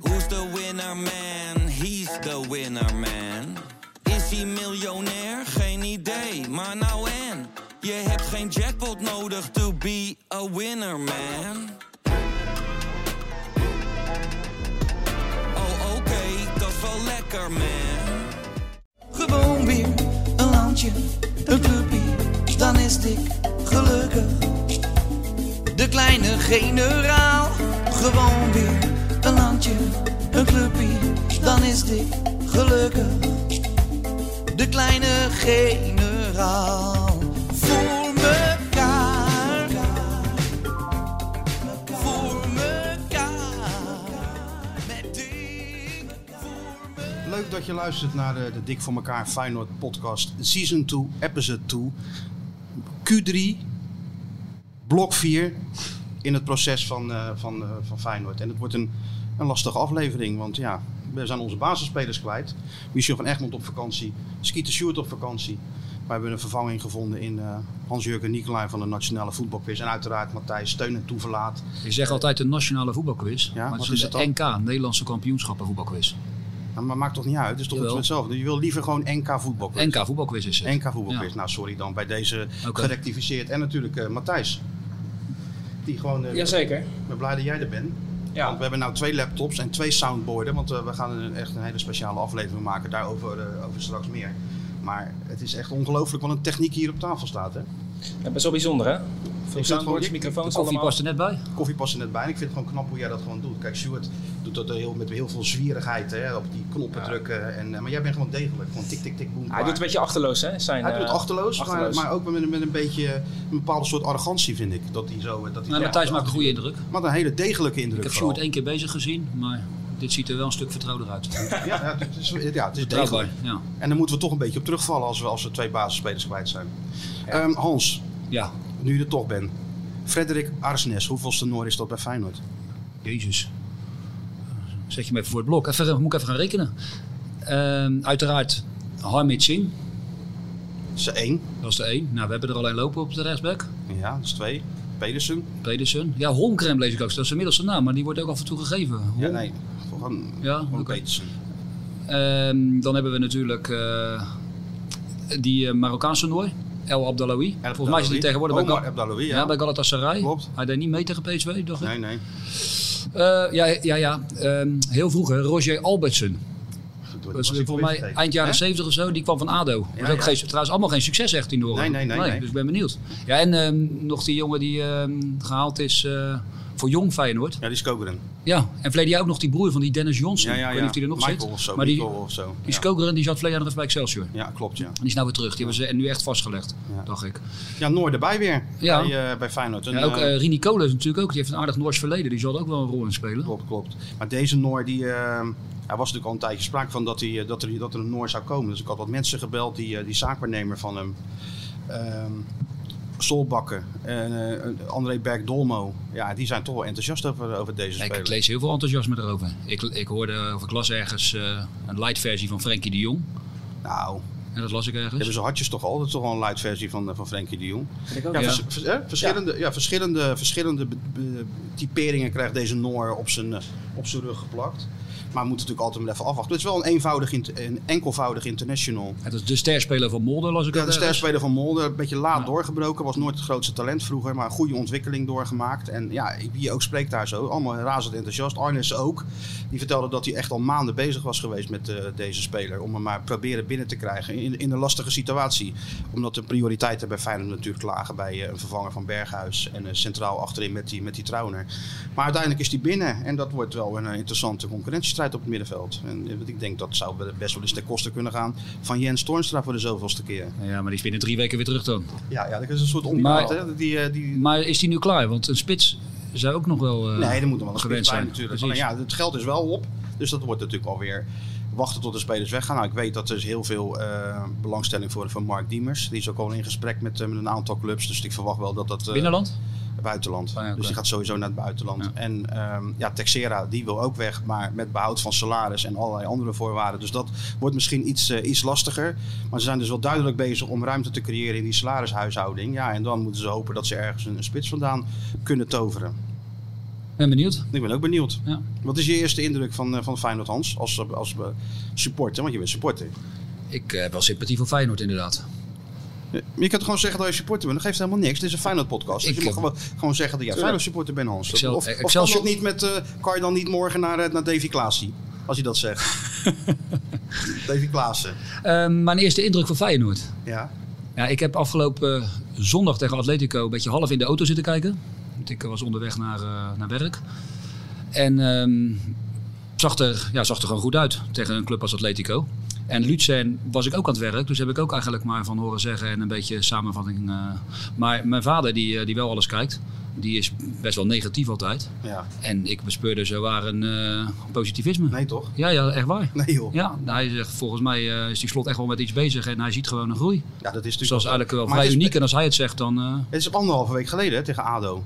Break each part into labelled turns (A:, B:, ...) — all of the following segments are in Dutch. A: Who's the winner man? He's the winner man. Is hij miljonair? Geen idee, maar nou en. Je hebt geen jackpot nodig to be a winner man. Oh oké, dat is wel lekker man.
B: Gewoon weer een landje, een clubje, dan is ik gelukkig. De kleine generaal. Gewoon weer een landje, een clubje, dan is ik gelukkig. De kleine generaal. Voor mekaar. Voor mekaar. Met dik voor mekaar.
C: Leuk dat je luistert naar eh, de, de Dik voor elkaar Feyenoord podcast Season 2, Episode 2, Q3, Blok 4 in het proces van, eh, van, eh, van Feyenoord. En het wordt een, een lastige aflevering, want ja, we zijn onze basisspelers kwijt. Michel van Egmond op vakantie, Skeeter Sjoerd op vakantie. We hebben een vervanging gevonden in eh, Hans-Jurgen Nicolai van de Nationale Voetbalquiz. En uiteraard Matthijs Steun en Toeverlaat.
D: Ik zeg altijd de nationale voetbalquiz. maar het
C: wat
D: is,
C: is
D: de
C: het dan?
D: NK, Nederlandse kampioenschappen voetbalquiz.
C: Nou, maar maakt toch niet uit, het is toch
D: Jawel.
C: hetzelfde. Je wil liever gewoon NK voetbal.
D: NK voetbalquiz is het.
C: NK voetbalquiz.
D: Ja.
C: Nou, sorry dan bij deze
D: Oké.
C: gerectificeerd. En natuurlijk eh, Matthijs. Die gewoon. eh
E: Jazeker.
C: Ik ben blij dat jij er bent.
E: Ja.
C: Want we hebben nou twee laptops en twee soundboarden. Want eh, we gaan een, echt een hele speciale aflevering maken. Daarover eh, over straks meer. Maar het is echt ongelooflijk wat een techniek hier op tafel staat. Hè?
E: Ja, best wel bijzonder, hè? Veel
C: het
E: soundboards,
C: gewoon-
D: De
E: microfoons
D: koffie
E: allemaal.
D: past er net bij.
C: Koffie past er net bij. En ik vind het gewoon knap hoe jij dat gewoon doet. Kijk, Stuart doet dat eh, heel, met heel veel zwierigheid. Hè? Op die knoppen drukken. En, eh, maar jij bent gewoon degelijk. Gewoon tik, tik, tik, boem.
E: Hij doet het een beetje achterloos, hè? Zijn,
C: Hij doet het
E: eh,
C: achterloos, maar-
E: achterloos.
C: Maar, ook met, een- met een beetje eh, een bepaalde soort arrogantie, vind ik. Dat hij zo. eh, Dat hij
D: Nou,
C: Ja,
D: Matthijs
C: dat-
D: maakt een goede indruk.
C: Wat een hele degelijke indruk.
D: Ik heb
C: vooral.
D: Sjoerd één keer bezig gezien, maar dit ziet er wel een stuk vertrouwder uit.
C: Ja, ja, het is, ja, het is degelijk.
D: Betrouwbaar. Ja.
C: En daar moeten we toch een beetje op terugvallen als we, als we twee basisspelers kwijt zijn. Ehm, Hans,
D: ja.
C: nu je er toch bent. Frederik Arsnes, hoeveelste Noor is dat bij Feyenoord?
D: Jezus. Zet je hem even voor het blok. Even, eh, moet ik even gaan rekenen. Ehm, uiteraard Harmit Singh,
C: Ze één.
D: dat is de één. Nou, we hebben er alleen lopen op de rechtsback.
C: Ja, dat is twee. Pedersen.
D: Pedersen. Ja, Holmgren lees ik ook. Dat is inmiddels zijn naam, maar die wordt ook af en toe gegeven.
C: Ja,
D: Holm-
C: nee. Gewoon,
D: Ja,
C: gewoon
D: oké.
C: Pedersen.
D: Ehm, dan hebben we natuurlijk eh, die eh, Marokkaanse nooi, El Abdalawi. Volgens mij is die tegenwoordig bij,
C: Omar
D: Gal-
C: Abdalloui,
D: ja.
C: Oh, ja.
D: bij Dus Galatasaray.
C: Klopt.
D: Hij deed niet mee tegen PSV, dacht ik.
C: Nee, nee.
D: Eh, ja, ja, ja. Ehm, heel vroeger Roger Albertson.
C: Verdorie,
D: Dat is
C: was ik
D: volgens
C: weer
D: mij
C: vergeten.
D: eind jaren
C: Hè?
D: 70 of zo. Die kwam van ADO. Dat was
C: Ja,
D: ook
C: ja.
D: geen, trouwens allemaal geen succes echt in Noorden.
C: Nee, nee, nee, nee.
D: Dus ik ben benieuwd. Ja, en ehm, nog die jongen die ehm, gehaald is eh, voor Jong Feyenoord.
C: Ja, die is Kokeren.
D: Ja, en verleden jaar ook nog die broer van die Dennis Johnson.
C: Ja, ja, ja.
D: Ik weet niet of die er nog
C: Michael
D: zit.
C: of zo.
D: maar die,
C: Michael of zo.
D: die
C: ja.
D: Skogeren die zat verleden jaar nog even bij Excelsior.
C: ja, klopt, ja.
D: En die is nou weer terug. Die hebben ze nu echt vastgelegd,
C: Ja.
D: dacht ik.
C: Ja, Noor erbij weer.
D: Ja.
C: Bij, eh, bij Feyenoord. Een,
D: Ja, ook
C: eh,
D: eh Rini Kolen is natuurlijk ook. Die heeft een aardig Noors verleden. Die zal er ook wel een rol in spelen.
C: Klopt, klopt. Maar deze Noor, die, eh, er was natuurlijk al een tijdje sprake van dat, hij, eh, dat, er, dat er een Noor zou komen. Dus ik had wat mensen gebeld, die, eh, die zaakwaarnemer van hem. Ehm Solbakken en eh, André Berg-Dolmo. Ja, die zijn toch wel enthousiast over, over deze
D: Ja, Ik
C: speler.
D: lees heel veel enthousiasme erover. Ik, ik hoorde of ik las ergens eh, een light versie van Frenkie de Jong.
C: Nou, die
D: En dat las ik ergens.
C: hebben ze hartjes toch al. Dat is toch wel een light versie van, eh, van Frenkie de Jong.
E: ik ook,
C: Ja,
D: ja.
C: vers- vers- hè? verschillende, ja. verschillende, verschillende be- be- typeringen krijgt deze Noor op zijn, eh, op zijn rug geplakt. Maar we moeten natuurlijk altijd maar even afwachten. Het is wel een, eenvoudig, int- een enkelvoudig international.
D: Het is de sterspeler van Molde, las ik
C: Ja, de
D: ergens.
C: sterspeler van Molde, een beetje laat
D: Ja.
C: doorgebroken. Was nooit het grootste talent vroeger, maar een goede ontwikkeling doorgemaakt. En ja, wie je ook spreekt daar zo, allemaal razend enthousiast. Arnes ook, die vertelde dat hij echt al maanden bezig was geweest met eh, deze speler. Om hem maar proberen binnen te krijgen in, in een lastige situatie. Omdat de prioriteiten bij Feyenoord natuurlijk lagen bij eh, een vervanger van Berghuis. En eh, centraal achterin met die, met die Trauner. Maar uiteindelijk is hij binnen en dat wordt wel een eh, interessante concurrentiestrijd op het middenveld. En eh, want ik denk dat zou best wel eens ten koste kunnen gaan van Jens Toornstra voor de zoveelste keer.
D: Ja, maar die is binnen drie weken weer terug dan.
C: Ja, ja, dat is een soort onderhoud.
D: Maar-
C: hè, Die, eh, die...
D: Maar is die nu klaar? Want een spits zou ook nog wel eh,
C: nee, er moet nog wel een
D: gewend
C: spits bij
D: zijn.
C: natuurlijk.
D: Precies.
C: Maar ja, het geld is wel op. Dus dat wordt natuurlijk alweer wachten tot de spelers weggaan. Nou, ik weet dat er is heel veel eh, belangstelling voor van Mark Diemers. Die is ook al in gesprek met, eh, met een aantal clubs. Dus ik verwacht wel dat dat... eh,
D: Binnenland?
C: Buitenland.
D: Ah, ja, oké.
C: Dus die gaat sowieso naar het buitenland.
D: Ja.
C: En ehm, ja, Texera, die wil ook weg, maar met behoud van salaris en allerlei andere voorwaarden. Dus dat wordt misschien iets, eh, iets lastiger. Maar ze zijn dus wel duidelijk bezig om ruimte te creëren in die salarishuishouding. Ja, en dan moeten ze hopen dat ze ergens een, een spits vandaan kunnen toveren.
D: ben benieuwd.
C: Ik ben ook benieuwd.
D: Ja.
C: Wat is je eerste indruk van, eh, van Feyenoord Hans als, eh, als eh, supporter? Want je bent supporter.
D: Ik eh, heb wel sympathie voor Feyenoord inderdaad.
C: Je je kunt gewoon zeggen dat je supporter bent. Dat geeft helemaal niks. Dit is een Feyenoord podcast. Dus
D: Ik,
C: je mag
D: eh,
C: gewoon, gewoon zeggen dat jij Feyenoord supporter bent Hans.
D: Excel-
C: of, of kan,
D: Excelsior-
C: dat niet met, eh, kan je dan niet morgen naar, eh, naar Davy Klaassen? Als je dat zegt. Davy Klaassen.
D: Eh, mijn eerste indruk van Feyenoord.
C: Ja.
D: Ja, ik heb afgelopen zondag tegen Atletico een beetje half in de auto zitten kijken. Want ik was onderweg naar, eh, naar werk. En ehm, zag, er, ja, zag er gewoon goed uit tegen een club als Atletico. En Lutsen was ik ook aan het werk, dus heb ik ook eigenlijk maar van horen zeggen en een beetje samenvatting. eh. Maar mijn vader, die, eh, die wel alles kijkt, die is best wel negatief altijd.
C: ja.
D: En ik bespeurde zowaar een eh, positivisme.
C: Nee toch?
D: Ja, ja, echt waar.
C: Nee joh.
D: Ja, hij zegt volgens mij eh, is die slot echt wel met iets bezig en hij ziet gewoon een groei.
C: Ja, dat is natuurlijk...
D: Dus dat is eigenlijk wel
C: Maar
D: vrij
C: het is-
D: uniek. En als hij het zegt, dan... eh,
C: Het is anderhalve week geleden hè, tegen ADO.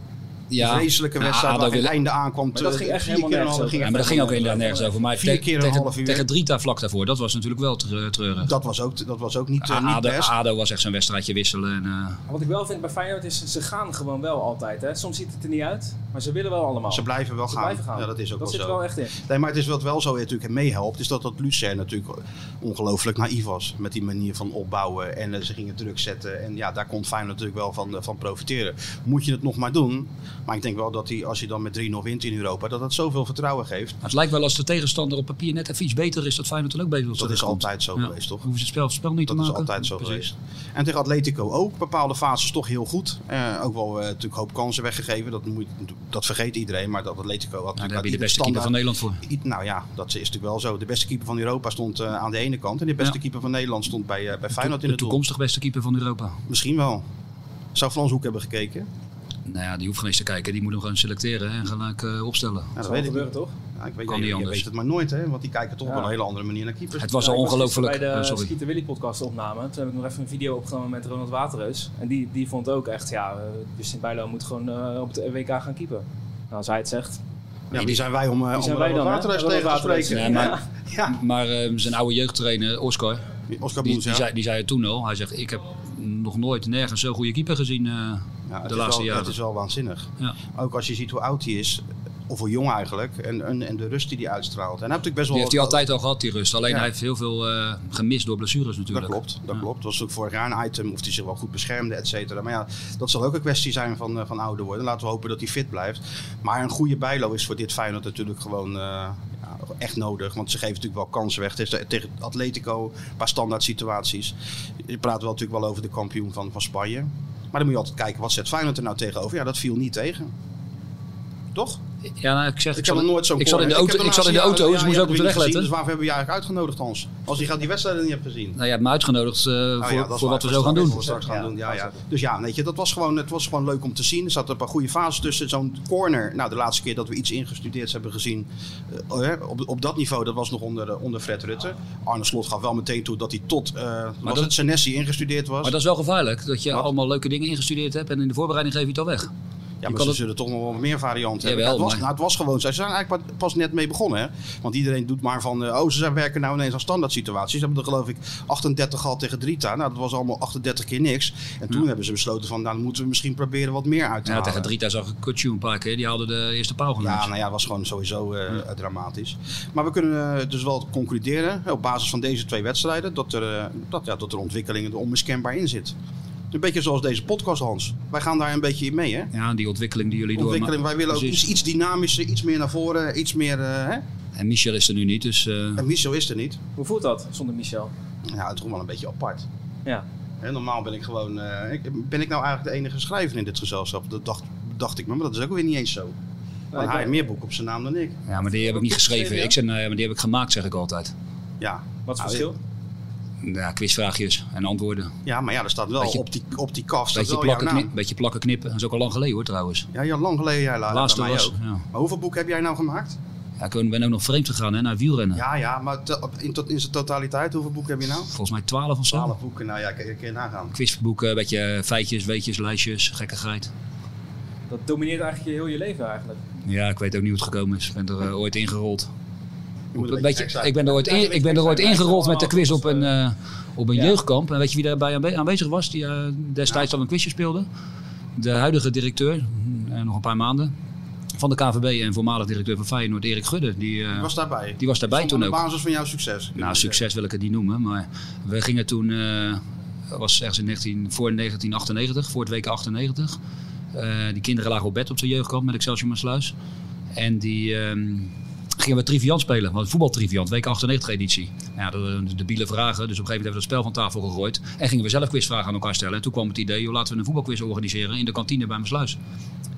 D: ja.
C: Vreselijke
D: Ja,
C: wedstrijd
D: ADO
C: waar geen
D: wil-
C: einde aankwam.
E: Maar dat ging echt
C: Vier
E: helemaal
C: keer een
E: nergens
C: halve-
E: over.
D: Ja,
C: ging
D: maar dat
C: echt
D: ging ook
C: helemaal
D: inderdaad nergens over. Maar
C: Vier
D: te-
C: keer een
D: tegen,
C: half uur.
D: tegen Drita vlak daarvoor, dat was natuurlijk wel tre- treurig.
C: Dat was ook, dat was ook niet, eh, niet
D: ADO,
C: best.
D: ADO was echt zo'n wedstrijdje wisselen. En, eh,
E: Wat ik wel vind bij Feyenoord is, ze gaan gewoon wel altijd. Hè. Soms ziet het er niet uit, maar ze willen wel allemaal.
C: Ze blijven wel
E: Ze
C: gaan.
E: blijven gaan.
C: Ja, dat is ook wel
E: dat zit
C: zo.
E: er wel echt in.
C: Nee, maar het is wat wel zo natuurlijk meehelpt, is dat dat Lucerne natuurlijk ongelooflijk naïef was met die manier van opbouwen. En eh, ze gingen druk zetten. En ja, daar kon Feyenoord natuurlijk wel van, eh, van profiteren. Moet je het nog maar doen. Maar ik denk wel dat die, als je dan met 3-0 wint in Europa, dat dat zoveel vertrouwen geeft.
D: het lijkt wel als de tegenstander op papier net even iets beter is, dat Feyenoord er ook bezig
C: Dat is altijd zo geweest, toch?
D: Hoeven ze het spel, spel niet
C: Dat
D: te
C: is
D: maken.
C: altijd zo
D: Precies.
C: geweest. En tegen Atletico ook. Bepaalde fases toch heel goed. Eh, ook wel eh, natuurlijk een hoop kansen weggegeven. Dat, moet, dat vergeet iedereen. Maar dat Atletico had natuurlijk
D: Nou, daar heb
C: uit
D: je de
C: iedere
D: beste keeper van
C: standaard-
D: Nederland voor.
C: i- Nou ja, dat is natuurlijk wel zo. De beste keeper van Europa stond eh, aan de ene kant. En de beste
D: Ja.
C: keeper van Nederland stond bij, eh, bij Feyenoord in
D: de
C: het doel.
D: toekomstig beste keeper van Europa.
C: Misschien wel. Zou Frans Hoek hebben gekeken?
D: Nou ja, die hoeft geen eens te kijken. Die moet hem gewoon selecteren hè, en gelijk eh, opstellen.
C: Ja, dat
E: Zal
C: weet ik
E: gebeuren
C: niet.
E: toch?
C: Ja, ik weet,
D: Kan
C: je-
D: niet
C: je
D: anders.
C: weet het maar nooit, hè? Want die kijken toch
E: Ja.
C: op een hele andere manier naar keepers.
D: Het was
E: Ja,
D: al
E: ik was
D: ongelooflijk.
E: gisteren Bij
D: eh,
E: de
D: sorry.
E: Schieten Willy podcast opname. Toen heb ik nog even een video opgenomen met Ronald Waterreus. En die, die vond ook echt, ja, eh, Justin Bijlo moet gewoon eh, op de WK gaan keepen. Nou, als hij het zegt.
C: Ja, maar die zijn wij om, eh, om
E: zijn
C: er
E: wij
C: wat
E: dan, hè?
C: waterreis
E: Wat
C: tegen te
E: waterreis.
C: spreken.
D: Nee,
C: Ja. Ja.
D: Maar eh, zijn oude jeugdtrainer, Oscar,
C: Oscar
D: Die,
C: Boens,
D: die,
C: ja.
D: zei, die zei het toen al. Hij zegt, ik heb nog nooit nergens zo'n goede keeper gezien eh,
C: Ja, het
D: de
C: is
D: laatste
C: wel,
D: jaren.
C: Het is wel waanzinnig.
D: Ja.
C: Ook als je ziet hoe oud hij is, of hoe jong eigenlijk, en, en, en de rust die hij uitstraalt. En hij heeft natuurlijk best wel
D: die heeft hij altijd al gehad, die rust. Alleen
C: Ja.
D: hij heeft heel veel eh, gemist door blessures natuurlijk.
C: Dat klopt, dat
D: Ja.
C: klopt. Dat was ook vorig jaar een item, of hij zich wel goed beschermde, et cetera. Maar ja, dat zal ook een kwestie zijn van, eh, van ouder worden. Laten we hopen dat hij fit blijft. Maar een goede bijlo is voor dit Feyenoord natuurlijk gewoon eh, ja, echt nodig. Want ze geven natuurlijk wel kansen weg tegen, tegen Atletico, een paar standaard situaties. Je praat wel natuurlijk wel over de kampioen van, van Spanje. Maar dan moet je altijd kijken, wat zet Feyenoord er nou tegenover? Ja, dat viel niet tegen. Toch?
D: Ja, nou, ik zeg,
C: Ik,
D: ik,
C: zal
D: zat,
C: er nooit zo'n
D: ik zat in de
C: corner-
D: auto, ik
C: heb
D: zat in de
C: laatste jaren-
D: auto dus ik moest
C: ja,
D: ook op de
C: jullie gezien,
D: weg letten.
C: Dus waarvoor hebben we je eigenlijk uitgenodigd, Hans? Als je gaat die wedstrijden niet hebt gezien.
D: Nou, jij hebt me uitgenodigd eh,
C: Nou
D: voor,
C: ja, dat is
D: voor
C: waar,
D: wat we
C: dat
D: zo
C: is
D: gaan
C: waar,
D: doen.
C: dat we straks gaan
E: Ja,
C: doen. Ja,
E: gaan
C: ja.
E: zetten.
C: Dus ja, weet je, dat was gewoon, het was gewoon leuk om te zien. Er zaten een paar goede fases tussen. Zo'n corner, nou de laatste keer dat we iets ingestudeerd hebben gezien eh, hè, op, op dat niveau, dat was nog onder, eh, onder Fred Rutte. Arne Slot gaf wel meteen toe dat hij tot, eh, was
D: dat-
C: het Senesi ingestudeerd was.
D: Maar dat is wel gevaarlijk, dat je
C: Wat?
D: allemaal leuke dingen ingestudeerd hebt en in de voorbereiding geef je het al weg.
C: ja, maar
D: kan
C: ze
D: het-
C: zullen toch nog wel meer varianten hebben.
D: Jawel,
C: het, was,
D: maar-
C: nou, het was gewoon, zo. ze zijn eigenlijk pa- pas net mee begonnen. Hè? Want iedereen doet maar van, eh, oh ze zijn werken nou ineens aan standaard situaties. Ze hebben er geloof ik 38 gehad tegen Drita. Nou dat was allemaal 38 keer niks. En toen hebben ze besloten van, nou dan moeten we misschien proberen wat meer uit te
D: Hm. Ja,
C: halen.
D: tegen Drita zag ik Kutsu een paar keer, die haalde de eerste paal
C: Ja,
D: genoemd.
C: nou ja, het was gewoon sowieso eh,
D: Hm.
C: dramatisch. Maar we kunnen eh, dus wel concluderen, eh, op basis van deze twee wedstrijden, dat er, eh, dat, ja, dat er ontwikkelingen er onmiskenbaar in zit. Een beetje zoals deze podcast, Hans. Wij gaan daar een beetje in mee, hè?
D: Ja, die ontwikkeling die jullie
C: Ontwikkeling, wij
D: doormaken.
C: willen ook
D: Precies.
C: iets, iets dynamischer, iets meer naar voren, iets meer... eh, hè?
D: En Michel is er nu niet, dus... eh,
C: En Michel is er niet.
E: Hoe voelt dat zonder Michel?
C: Ja, het is gewoon wel een beetje apart.
E: Ja.
C: Hè, normaal ben ik gewoon... eh, ik- ben ik nou eigenlijk de enige schrijver in dit gezelschap? Dat dacht, dacht ik me, maar dat is ook weer niet eens zo. Want
E: ik
C: hij
E: ben-
C: heeft meer boeken op zijn naam dan ik.
D: Ja, maar die heb ik niet geschreven. Ik zeg, nou ja, maar die heb ik gemaakt, zeg ik altijd.
C: Ja.
E: Wat is het
C: Nou,
E: verschil?
D: Ja, quizvraagjes en antwoorden.
C: Ja, maar ja, er staat wel
D: Beetje-
C: op die, op die kast. staat
D: Beetje
C: wel jouw
D: plakken,
C: naam.
D: knip- beetje plakken knippen. Dat is ook al lang geleden hoor trouwens.
C: Ja, ja, lang geleden jij laat.
D: Laatste
C: bij mij
D: was.
C: ook.
D: Ja.
C: Maar hoeveel boeken heb jij nou gemaakt?
D: Ja, ik ben ook nog vreemd gegaan hè, naar wielrennen.
C: Ja, ja, maar te- op- in, tot, in zijn totaliteit, hoeveel boeken heb je nou?
D: Volgens mij 12 of zo.
C: Twaalf boeken, nou ja, kun kun je nagaan.
D: Quizboeken, een beetje eh, feitjes, weetjes, lijstjes, gekkigheid.
E: Dat domineert eigenlijk je heel je leven eigenlijk.
D: Ja, ik weet ook niet hoe het gekomen is. Ik ben er eh, ooit ingerold.
C: Je moet
D: Een
C: een
D: beetje-
C: gek zijn.
D: ik ben er ooit, in- ik ben er ooit ingerold met de quiz
C: dus,
D: op een, eh, op een
E: Ja.
D: jeugdkamp. En weet je wie daarbij aanwe- aanwezig was? Die eh, destijds al een quizje speelde. De huidige directeur. eh, nog een paar maanden. van de KVB en voormalig directeur van Feyenoord, Erik Gudde. Die, eh,
C: Die was daarbij.
D: die was daarbij
C: Van-
D: toen
C: Op
D: ook.
C: basis van jouw succes.
D: Nou, succes wil ik het niet noemen, maar we gingen toen, eh was ergens in 19, voor 1998, voor het WK 98. Eh, die kinderen lagen op bed op zijn jeugdkamp met Excelsior Maasluis. En die ehm, gingen we triviant spelen, want voetbaltriviant, WK 98 editie. Nou, ja, door de debiele vragen, dus op een gegeven moment hebben we dat spel van tafel gegooid. En gingen we zelf quizvragen aan elkaar stellen. En toen kwam het idee, joh, laten we een voetbalquiz organiseren in de kantine bij Maasluis.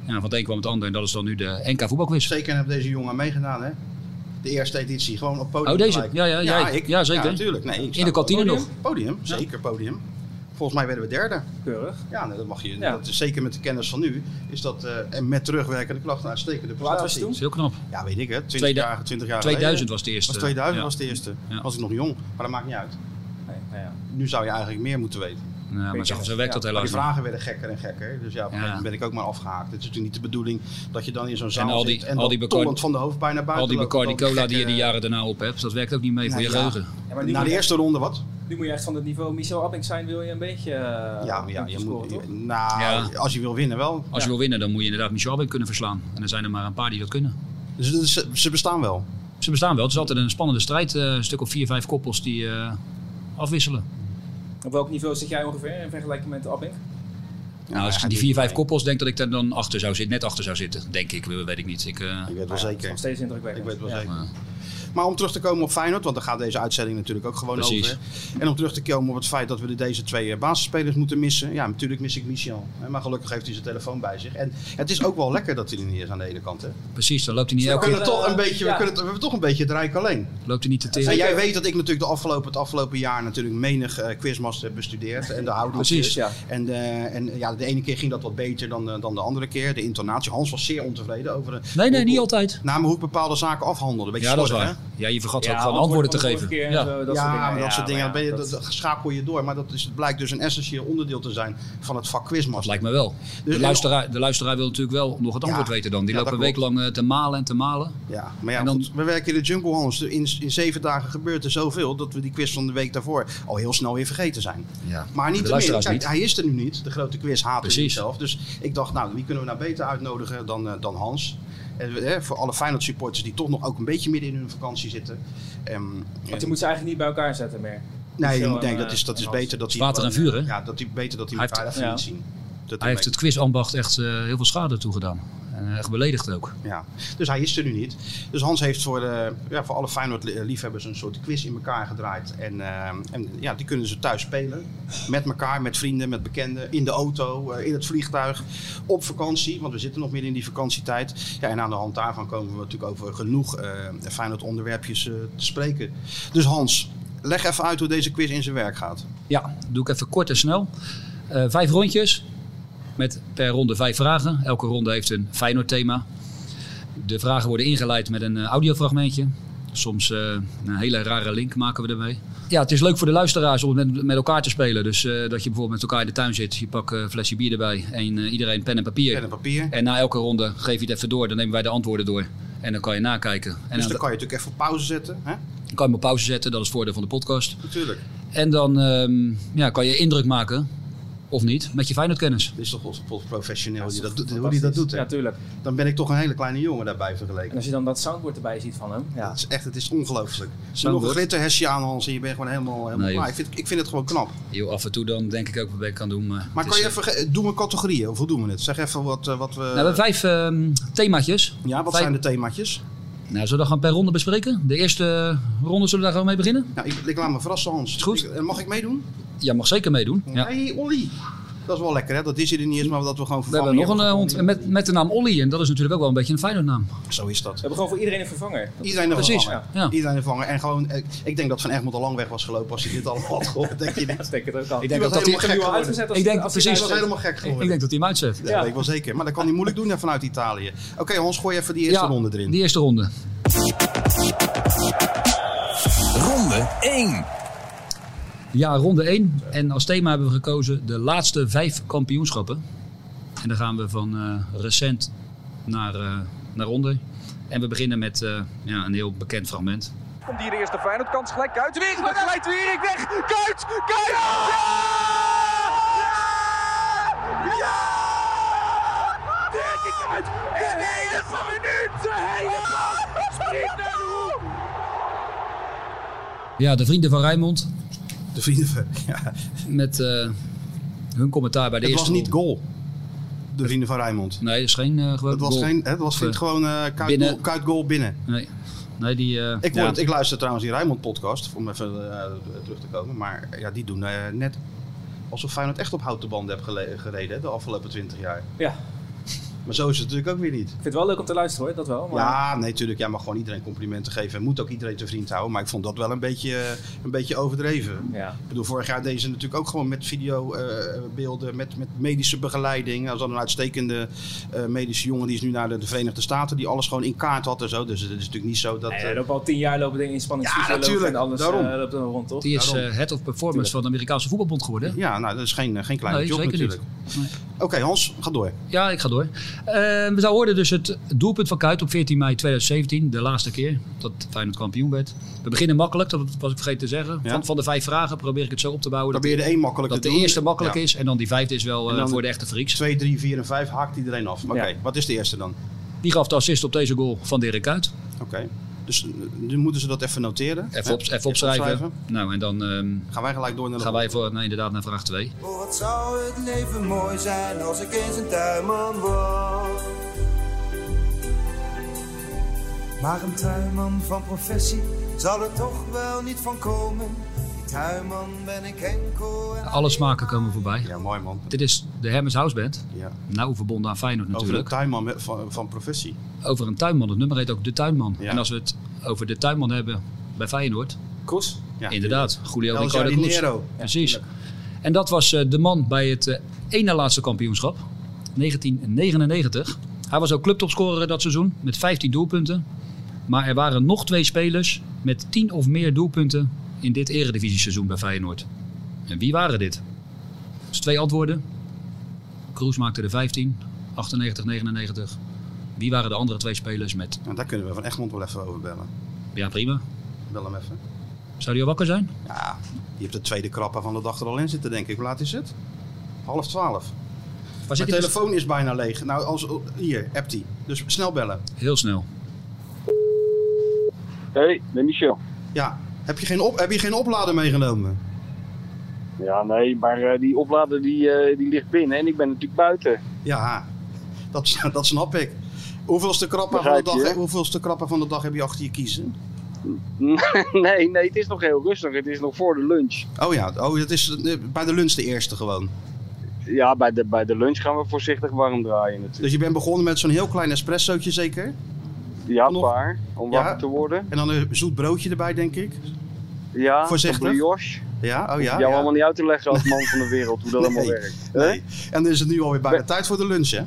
D: Ja, van het een kwam het ander en dat is dan nu de NK voetbalquiz.
C: Zeker heb deze jongen meegedaan, hè? De eerste editie, gewoon op podium.
D: Oh, deze?
C: gelijk.
D: Ja, ja, jij. Ja, zeker.
C: natuurlijk. Nee, ik sta
D: In de
C: op
D: kantine
E: podium?
D: nog.
C: het Podium, zeker podium. Volgens mij werden we derde.
E: Keurig.
C: Ja, nee, dat mag je.
E: Ja.
C: Dat is, zeker met de kennis van nu is dat eh, en met terugwerkende kracht een uitstekende
E: Hoe oud was
C: prestatie.
E: je toen?
D: Dat is heel knap.
C: Ja, weet ik hè. 20
D: Tweede-
C: jaar, 20 jaar
D: 2000
C: geleden.
D: was de eerste.
C: was 2000
D: Ja.
C: was de eerste.
D: Ja.
C: Was ik nog jong, maar dat maakt niet uit.
E: Nee, nou ja.
C: Nu zou je eigenlijk meer moeten weten.
D: Ja, maar zo, zo werkt dat
E: Ja,
C: Maar die
D: helaas niet.
C: vragen werden gekker en gekker. Dus ja, op een
D: Ja.
C: gegeven moment ben ik ook maar afgehaakt. Het is natuurlijk niet de bedoeling dat je dan in zo'n zaal
D: al die-
C: zit en
D: al
C: dan
D: die Bacardi-
C: tollend van de hoofdpijn naar buiten
D: Al die
C: loopt met
D: Bacardi Cola die je de
C: gekke-
D: jaren daarna op hebt, dat werkt ook niet mee voor
C: Nou ja.
D: je geheugen.
E: Ja, maar nu,
C: Na
E: moet
C: de
E: je,
C: eerste ronde wat?
E: nu moet je echt van het niveau Michel Abink zijn, wil je een beetje eh,
C: Ja, ja je
E: punten scoren,
C: moet,
E: toch?
C: nou,
D: Ja.
C: als je wil winnen wel.
D: Als je
E: Ja.
D: wil winnen, dan moet je inderdaad Michel Abbe kunnen verslaan. En er zijn er maar een paar die dat kunnen.
C: Dus het is- ze, ze bestaan wel.
D: Ze bestaan wel. Het is altijd een spannende strijd. eh, een stuk of vier, vijf koppels die eh, afwisselen.
E: Op welk niveau zit jij ongeveer in vergelijking met Abink?
D: nou,
C: ja,
D: als ik die
C: die-
D: vier, vijf koppels denk dat ik daar dan achter zou zitten. Net achter zou zitten, denk ik. Weet ik niet. Ik, eh,
C: Ik weet wel
E: Nou ja, het is
C: zeker.
E: nog steeds
C: Ik
E: indrukwekkend.
C: weet wel
E: Ja.
C: zeker.
D: Ja.
C: Maar om terug te komen op Feyenoord, want daar gaat deze uitzending natuurlijk ook gewoon
D: Precies.
C: over. En om terug te komen op het feit dat we de- deze twee eh, basisspelers moeten missen. Ja, natuurlijk mis ik Michel. hè, Maar gelukkig heeft hij zijn telefoon bij zich. En het is ook wel lekker dat hij er niet is aan de ene kant. Hè. We,
D: precies, dan loopt hij niet
E: Zo
D: elke
E: kan
D: keer
C: kunnen
E: het.
C: toch een beetje, we,
E: ja.
C: kunnen, het- we hebben toch een beetje het rijk alleen.
D: loopt hij niet te
C: En
D: teren.
C: jij weet dat ik natuurlijk de afgelopen, het afgelopen jaar natuurlijk menig eh, quizmaster heb bestudeerd. En de houding.
D: Precies,
E: ja.
C: En, eh, en ja, de ene keer ging dat wat beter dan, eh, dan de andere keer. De intonatie. Hans was zeer ontevreden over de...
D: Nee, nee,
C: hoe-
D: niet altijd.
C: Nou, maar hoe ik bepaalde zaken afhandelde. Beetje
D: Ja, dat is
C: slordig,
D: waar. Ja, je vergat
E: Ja,
D: ook gewoon antwoorden te
E: van de
D: geven.
E: vorige keer en
D: Ja.
E: zo, eh, dat
C: ja,
E: soort dingen.
C: maar dat
E: Ja,
C: soort dingen.
E: maar
C: dan ben je,
E: ja,
C: dat, dat schakel je door. Maar dat is, het blijkt dus een essentieel onderdeel te zijn van het vak
D: Dat
C: quizmaster.
D: lijkt me wel.
C: Dus-
D: De luisteraar, de luisteraar wil natuurlijk wel nog het antwoord
C: Ja.
D: weten dan. Die
C: Ja,
D: loopt een
C: dat
D: week lang eh, te malen en te malen.
C: Ja, maar ja,
D: En dan-
C: goed, we werken in de jungle, Hans. In, in zeven dagen gebeurt er zoveel dat we die quiz van de week daarvoor al heel snel weer vergeten zijn.
D: Ja.
C: Maar niet
D: De
C: te meer.
D: luisteraars
C: Kijk,
D: niet.
C: hij is er nu niet. De grote quiz haat
D: Precies.
C: zichzelf. Dus ik dacht, nou, wie kunnen we nou beter uitnodigen dan, eh, dan Hans? En, we- hè, voor alle Feyenoord supporters die toch nog ook een beetje midden in hun vakantie zitten. Ehm, en-
E: Want je moet ze eigenlijk niet bij elkaar zetten meer.
C: nee, je
E: Zo,
C: moet- nee,
E: eh,
C: dat is, dat is
E: Hans.
C: beter dat hij...
D: Water en
C: gewoon,
D: vuur, hè?
C: Ja, dat hij beter dat hij
D: Hij
C: elkaar
D: heeft-
C: even
E: ja.
C: niet zien. Dat
D: Hij heeft het quizambacht echt eh, heel veel schade toegedaan. En eh, echt beledigd ook.
C: Ja, dus hij is er nu niet. Dus Hans heeft voor, de, ja, voor alle Feyenoord-liefhebbers een soort quiz in elkaar gedraaid. En, eh, en ja, die kunnen ze thuis spelen. Met elkaar, met vrienden, met bekenden. In de auto, eh, in het vliegtuig. Op vakantie, want we zitten nog midden in die vakantietijd. Ja, en aan de hand daarvan komen we natuurlijk over genoeg eh Feyenoord-onderwerpjes eh, te spreken. Dus Hans, leg even uit hoe deze quiz in zijn werk gaat.
D: Ja, doe ik even kort en snel. Eh, vijf rondjes. Met per ronde vijf vragen. Elke ronde heeft een Feyenoord thema. De vragen worden ingeleid met een eh, audiofragmentje. Soms eh, een hele rare link maken we ermee. Ja, het is leuk voor de luisteraars om met, met elkaar te spelen. Dus eh, dat je bijvoorbeeld met elkaar in de tuin zit. Je pakt eh, een flesje bier erbij en eh, iedereen pen en papier.
C: Pen en papier. Dus
D: En na elke ronde geef je het even door. Dan nemen wij de antwoorden door. En dan kan je nakijken. En
C: Dus
D: dan
C: dan kan je natuurlijk even op pauze zetten. Hè?
D: dan kan je hem op pauze zetten. Dat is het voordeel van de podcast.
C: Natuurlijk.
D: En dan ehm, ja, kan je indruk maken, of niet, met je Feyenoordkennis.
C: Dit is toch wel professioneel
E: is
C: die dat,
E: toch
C: doet- hoe die dat doet.
E: fantastisch.
C: hè?
E: Ja, tuurlijk.
C: Dan ben ik toch een hele kleine jongen daarbij vergeleken.
E: En als je dan dat soundboard erbij ziet van hem.
C: Ja,
E: Ja.
C: het is echt, het is ongelooflijk.
D: Zo'n
C: Nog een
D: woord.
C: glitterhesje aan Hans en je bent gewoon helemaal, helemaal
D: Nee, joh.
C: klaar. Ik vind, ik vind het gewoon knap.
D: Heel af en toe dan denk ik ook wat ik kan doen. Maar,
C: Maar
D: het
C: kan
D: is,
C: je
D: eh,
C: even, ge- doen we categorieën of hoe doen we het? Zeg even wat, eh, wat we...
D: Nou, we hebben vijf ehm, themaatjes.
C: ja, wat
D: vijf-
C: zijn de themaatjes?
D: Nou, zullen we dat gaan per ronde bespreken? De eerste eh, ronde zullen we daar gewoon mee beginnen?
C: Nou, ik, ik laat me verrassen Hans.
D: Is goed.
C: Ik- eh, mag ik meedoen?
D: Ja, mag zeker meedoen. Ja.
C: Hey Olly. Dat is wel lekker hè, dat is hier er niet eens, maar dat we gewoon
D: We hebben nog een eh,
C: vervangen.
D: hond met, met de naam Olly. En dat is natuurlijk ook wel een beetje een Feyenoordnaam.
C: Zo is dat.
E: We hebben gewoon voor iedereen een vervanger. Dat-
C: Iedereen nog
D: Precies,
C: vervangen.
D: ja.
C: Iedereen vervangen. En gewoon, eh, ik denk dat Van Egmond al lang weg was gelopen als hij dit allemaal had gehoord. Denk je niet?
E: Dat denk ik het ook al.
D: Ik
C: Die
D: denk
C: was
D: dat dat die-
C: helemaal gek
E: al
C: geworden.
E: uitgezet als
D: Ik denk
E: als hij
D: precies-
C: Die was
E: thuis zit.
C: helemaal gek
D: Ik
C: geworden.
D: denk dat hij hem uitzet.
C: Ja,
E: Ja.
C: dat weet ik wel zeker. Maar dat kan hij moeilijk doen hè, vanuit Italië. Oké, Hans, gooi even die eerste
D: Ja,
C: ronde erin.
D: Die eerste ronde.
B: Ronde 1.
D: Ja, ronde 1. En als thema hebben we gekozen de laatste vijf kampioenschappen. En dan gaan we van eh, recent naar, eh, naar onder. En we beginnen met eh, ja, een heel bekend fragment.
F: Komt hier de eerste Feyenoord kans gelijk Kuit weer. Dan glijdt weer ik weg. Kuit! Kuit! Ja! Ja! Ja! Dirk Kuyt! 1-1! eerste minuut! De hele bal! Schiet naar de hoek!
D: Ja, de vrienden van Rijnmond
C: De vrienden van... Ja.
D: met eh, hun commentaar bij de
C: Het was
D: eerste
C: niet goal. De vrienden van Rijmond.
D: Nee, dat is geen eh gewoon
C: Het was,
D: goal.
C: geen, het was geen,
D: Eh,
C: gewoon eh kuitgoal
D: binnen.
C: binnen. kuitgoal binnen.
D: Nee, nee die... eh,
C: Ik,
D: ja.
C: word, ik luister trouwens die Rijmond podcast, om even eh, terug te komen. Maar ja, die doen eh, net alsof Feyenoord echt op houten banden heeft gele- gereden hè, de afgelopen 20 jaar.
E: Ja,
C: Maar zo is het natuurlijk ook weer niet.
E: ik vind het wel leuk om te luisteren hoor, dat wel. Maar
C: Ja, nee, natuurlijk. Jij mag gewoon iedereen complimenten geven. En moet ook iedereen te vriend houden. Maar ik vond dat wel een beetje, eh, een beetje overdreven.
E: ja.
C: Ik bedoel, vorig jaar deden ze natuurlijk ook gewoon met videobeelden, beelden, met, met medische begeleiding. Als dan een uitstekende eh, medische jongen die is nu naar de, de Verenigde Staten, die alles gewoon in kaart had en zo. Dus het is natuurlijk niet zo dat.
E: Nee,
C: eh,
E: er lopen al tien jaar lopen dingen inspanningsfysiologen
C: Ja, natuurlijk,
E: en alles
C: daarom.
E: eh, loopt er rond, toch?
D: Die is
C: Daarom.
D: eh head of performance van de Amerikaanse voetbalbond geworden. hè?
C: ja, nou, dat is geen, eh, geen kleine
D: Nee,
C: job
D: zeker niet.
C: natuurlijk. Oké, Hans, ga door.
D: Ja, ik ga door. Eh, we hoorden dus het doelpunt van Kuit op 14 mei 2017. De laatste keer dat Feyenoord kampioen werd. We beginnen makkelijk, dat was ik vergeten te zeggen.
C: Ja.
D: Van, van de vijf vragen probeer ik het zo op te bouwen dat,
C: Probeer de één makkelijk
D: dat
C: te
D: de
C: doen.
D: eerste makkelijk
C: Ja.
D: is. En dan die vijfde is wel
C: En
D: eh,
C: dan-
D: voor de echte freaks.
C: 2, 3, 4 en 5 haakt iedereen af. Oké,
E: Ja.
C: wat is de eerste dan?
D: Die gaf de assist op deze goal van Dirk Kuit.
C: Oké. Dus eh, nu moeten ze dat even noteren.
D: Even,
C: Hè?
D: op, even opschrijven. Nou, en dan ehm,
C: Gaan wij gelijk door naar de
D: gaan wij voor, nou, inderdaad naar vraag 2.
G: Oh, wat zou het leven mooi zijn als ik eens een tuinman was. Maar een tuinman van professie zal er toch wel niet van komen. Die tuinman ben ik enkel en...
D: Alle smaken komen voorbij.
C: Ja, mooi man.
D: Dit is de Hermes House Band.
C: Ja.
D: Nou verbonden aan Feyenoord
C: Over
D: natuurlijk.
C: de tuinman met- van, van professie.
D: over een tuinman. Het nummer heet ook De Tuinman.
C: Ja.
D: En als we het over De Tuinman hebben bij Feyenoord.
E: Kroes?
C: Ja, Nou,
D: inderdaad, Julio
C: El
D: Ricardo Cruz.
C: Jardinero.
D: Precies. En dat was eh, de man bij het eh, ene laatste kampioenschap. 1999. Hij was ook clubtopscorer dat seizoen met 15 doelpunten. Maar er waren nog twee spelers met 10 of meer doelpunten in dit eredivisie-seizoen bij Feyenoord. En wie waren dit? Dus twee antwoorden. Kroes maakte er 15, 98, 99. Wie waren de andere twee spelers met
C: Nou, daar kunnen we van Egmond wel even over bellen.
D: Ja, prima.
C: Bel hem even.
D: Zou die al wakker zijn?
C: Ja, je hebt de tweede krappa van de dag er al in zitten, denk ik. Hoe laat is het? Half twaalf.
D: Waar
C: Mijn
D: zit hij?
C: telefoon is bijna leeg. Nou, als, hier, appt die. Dus snel bellen.
D: Heel snel.
H: Hey, de Michel.
C: Ja, heb je geen, op, heb je geen oplader meegenomen?
H: Ja, nee, maar eh, die oplader die, eh, die ligt binnen en ik ben natuurlijk buiten.
C: Ja, dat, dat snap ik. Hoeveelste krappa, van de
H: Begrijp je,
C: dag,
H: hè?
C: hoeveelste krappa van de dag heb je achter je kiezen?
H: nee, nee, het is nog heel rustig. Het is nog voor de lunch.
C: Oh ja, oh, dat is eh, bij de lunch de eerste gewoon.
H: Ja, bij de, bij de lunch gaan we voorzichtig warm draaien natuurlijk.
C: Dus je bent begonnen met zo'n heel klein espressootje zeker?
H: Ja,
C: nog-
H: paar, om
C: Ja.
H: wakker te worden.
C: En dan een zoet broodje erbij, denk ik.
H: Ja,
C: Voorzichtig.
H: een brioche.
C: Ja, oh
H: Ja,
C: ja.
H: jou
C: ja.
H: allemaal niet uit te leggen als man van de wereld hoe dat allemaal
C: Nee,
H: werkt. hè?
C: Nee. En dan is het nu alweer bijna tijd voor de lunch, hè?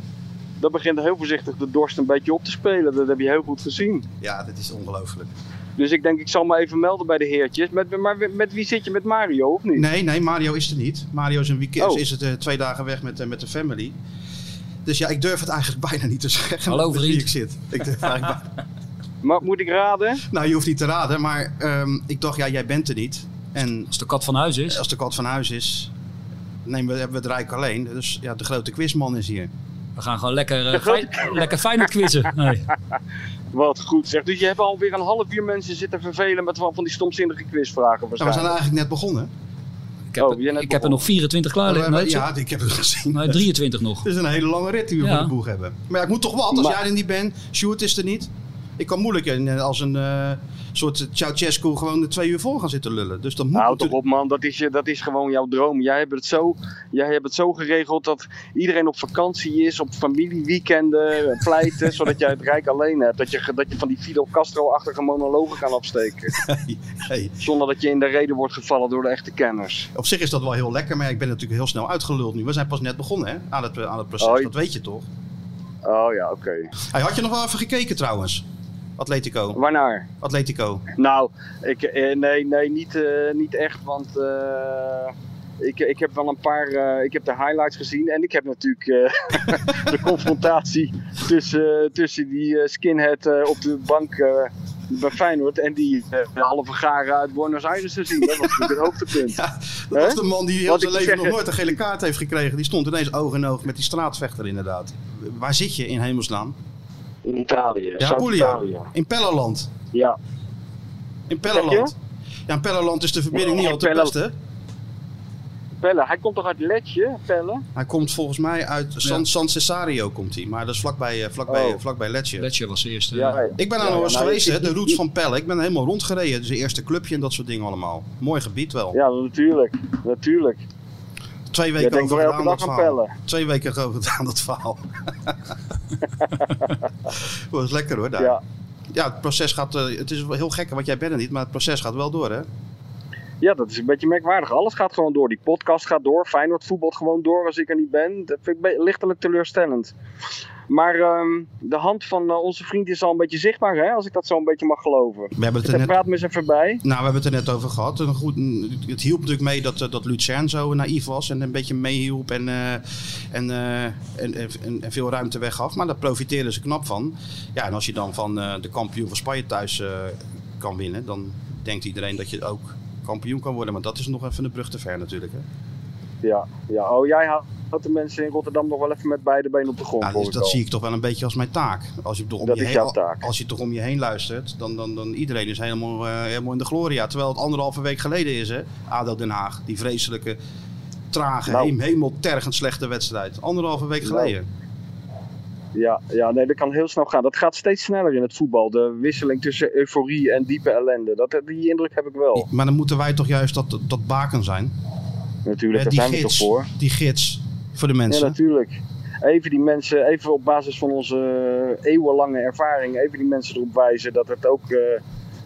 H: Dat begint heel voorzichtig de dorst een beetje op te spelen. Dat heb je heel goed gezien.
C: Ja, dit is ongelooflijk.
H: Dus ik denk, ik zal me even melden bij de heertjes. Met, maar met wie zit je? Met Mario of niet?
C: Nee, nee, Mario is er niet. Mario is een weekend,
H: Oh.
C: is het eh, twee dagen weg met, eh, met de family. Dus ja, ik durf het eigenlijk bijna niet te zeggen.
D: Hallo,
C: met wie
D: vriend.
C: Ik zit. Ik durf eigenlijk bijna-
H: Maar moet ik raden?
C: Nou, je hoeft niet te raden, maar ehm, ik dacht, ja, jij bent er niet. En
D: Als de kat van huis is.
C: als de kat van huis is, nemen we, hebben we het Rijk alleen. Dus ja, de grote quizman is hier. Nou,
D: We gaan gewoon lekker, eh, fijn, lekker Feyenoord quizzen. Nee.
H: Wat goed zeg. Dus je hebt alweer een half uur mensen zitten vervelen met van van die stomzinnige quizvragen
C: Nou, we zijn
H: waarschijnlijk.
C: eigenlijk net begonnen.
D: Ik heb,
H: Oh, je
D: ik
H: net
D: heb er
H: begonnen.
D: nog 24 klaar
C: Maar Oh, we
D: liggen.
C: hebben-
D: Nee,
C: ja, ik heb het gezien.
D: nee, 23 nog.
C: Het is een hele lange rit die we
D: Ja.
C: voor de boeg hebben. Maar ja, ik moet toch wat, als
H: Maar-
C: jij er niet bent. Sjoerd is er niet. Ik kan moeilijk in, eh, als een eh, soort Ceausescu gewoon de twee uur vol gaan zitten lullen. Dus dat moet
H: Nou, toch
C: natuurlijk-
H: op man, dat is, je- dat is gewoon jouw droom. Jij hebt, het zo, jij hebt het zo geregeld dat iedereen op vakantie is, op familieweekenden, eh, pleiten, zodat jij het rijk alleen hebt. Dat je, ge- dat je van die Fidel Castro-achtige monologen kan afsteken.
C: Hey,
H: Zonder dat je in de reden wordt gevallen door de echte kenners.
C: op zich is dat wel heel lekker, maar ik ben natuurlijk heel snel uitgeluld nu. We zijn pas net begonnen hè, aan, het, aan het proces,
H: Hoi.
C: dat weet je toch?
H: Oh ja, oké.
C: Hey, had je nog wel even gekeken trouwens? Atletico,
H: Waarnaar?
C: Atletico.
H: Nou, ik, eh, nee, nee niet, eh, niet echt, want eh, ik, ik heb wel een paar, eh, ik heb de highlights gezien en ik heb natuurlijk eh, de confrontatie tussen, tussen die eh, skinhead eh, op de bank eh, bij Feyenoord en die eh, halve garen uit Buenos Aires gezien. Dat was natuurlijk het hoogtepunt.
C: Ja, dat
H: Hè?
C: was de man die heel
H: Wat
C: zijn
H: ik
C: leven
H: zeg-
C: nog nooit een gele kaart heeft gekregen. Die stond ineens oog in oog met die straatvechter inderdaad. Waar zit je in hemelsnaam?
H: in Italië.
C: Ja, Puglia.
H: Zuid-Italië.
C: In Pellerland.
H: Ja.
C: In
H: Zeg
C: Pellerland. Ja, in Pellerland is de verbinding niet
H: Nee,
C: al te
H: Pelle-
C: best, hè?
H: Pelle, hij komt toch uit Letje, Pelle?
C: Hij komt volgens mij uit San, San Cesario, komt hij. Maar dat is vlakbij, eh, vlakbij,
H: Oh.
C: vlakbij Lecce.
D: Letje was de eerste.
C: Ik ben daar
H: Ja,
C: nog
H: ja,
C: eens
H: nou,
C: geweest,
H: ik-
C: hè? De
H: ik-
C: roots
H: ik-
C: van Pelle. Ik ben helemaal rondgereden. Dus zijn eerste clubje en dat soort dingen allemaal. Mooi gebied wel.
H: Ja, natuurlijk. Natuurlijk.
C: Twee
H: Jij
C: weken
H: denkt
C: over
H: toch elke
C: gedaan dat
H: dag aan
C: verhaal.
H: Pelle?
C: Twee weken over gedaan dat verhaal. Was lekker hoor daar. Ja,
H: Ja.
C: het proces gaat... eh, het is wel heel gek, want jij bent er niet. Maar het proces gaat wel door, hè?
H: ja, dat is een beetje merkwaardig. Alles gaat gewoon door. Die podcast gaat door. Feyenoord voetbalt gewoon door als ik er niet ben. Dat vind ik be- lichtelijk teleurstellend. Maar ehm, de hand van eh, onze vriend is al een beetje zichtbaar, hè? Als ik dat zo een beetje mag geloven.
C: We hebben het er
H: Hij
C: net
H: praat me eens even bij.
C: Nou, we hebben het er net over gehad. Een goed, het hielp natuurlijk mee dat, eh, dat Lucien zo naïef was en een beetje meehielp en, eh, en, eh, en, en, en- en veel ruimte weggaf. Maar daar profiteerden ze knap van. Ja, en als je dan van eh, de kampioen van Spanje thuis eh, kan winnen, dan denkt iedereen dat je ook kampioen kan worden. Maar dat is nog even een brug te ver natuurlijk. Hè?
H: Ja, ja. Oh, jij houdt de mensen in Rotterdam nog wel even met beide benen op de grond.
C: Nou,
H: hoor
C: dus
H: ik
C: dat
H: al.
C: zie ik toch wel een beetje als mijn taak. Als je toch om,
H: Dat
C: je
H: is
C: heen,
H: jouw taak.
C: Als je toch om je heen luistert, dan, dan, dan iedereen is helemaal, eh, helemaal in de gloria. Terwijl het anderhalve week geleden is, hè? ADO Den Haag. Die vreselijke, trage,
H: Nou.
C: heem- hemeltergend slechte wedstrijd. Anderhalve week
H: Nou.
C: geleden.
H: Ja, ja, nee, dat kan heel snel gaan. Dat gaat steeds sneller in het voetbal. De wisseling tussen euforie en diepe ellende. Dat, die indruk heb ik wel.
C: Maar dan moeten wij toch juist dat, dat baken zijn.
H: Natuurlijk,
C: Hè,
H: daar
C: die,
H: zijn we toch
C: gids,
H: voor.
C: die gids voor de mensen.
H: Ja, natuurlijk. Even die mensen, even op basis van onze eh, eeuwenlange ervaring, even die mensen erop wijzen dat het ook, eh,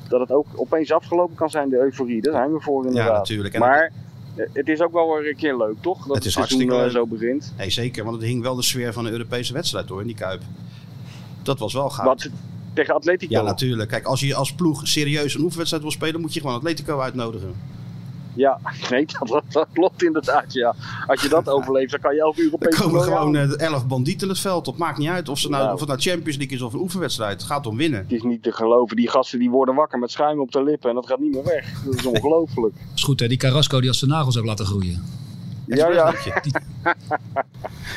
H: dat het ook opeens afgelopen kan zijn, de euforie. Daar zijn we voor inderdaad.
C: natuurlijk. En
H: maar eh, het is ook wel weer een keer leuk, toch? Dat
C: Het is
H: seizoen,
C: hartstikke
H: eh,
C: leuk.
H: zo begint.
C: Nee, zeker, want het hing wel de sfeer van een Europese wedstrijd door in die Kuip. Dat was wel gaaf.
H: Wat, tegen Atletico.
C: Ja, natuurlijk. Kijk, als je als ploeg serieus een oefenwedstrijd wil spelen, moet je gewoon Atletico uitnodigen.
H: Ja, nee, dat, dat klopt inderdaad. Ja. Als je dat overleeft, dan kan je elke
C: Er
H: Europese
C: komen
H: royale
C: gewoon eh, elf bandieten het veld op. Maakt niet uit of, ze nou,
H: Nou.
C: of het nou Champions League is of een oefenwedstrijd. Het gaat om winnen.
H: Het is niet te geloven. Die gasten die worden wakker met schuim op de lippen en dat gaat niet meer weg. Dat is ongelooflijk.
D: Is goed hè, die Carrasco die had zijn nagels ook laten groeien. Dus
H: Ja, ja.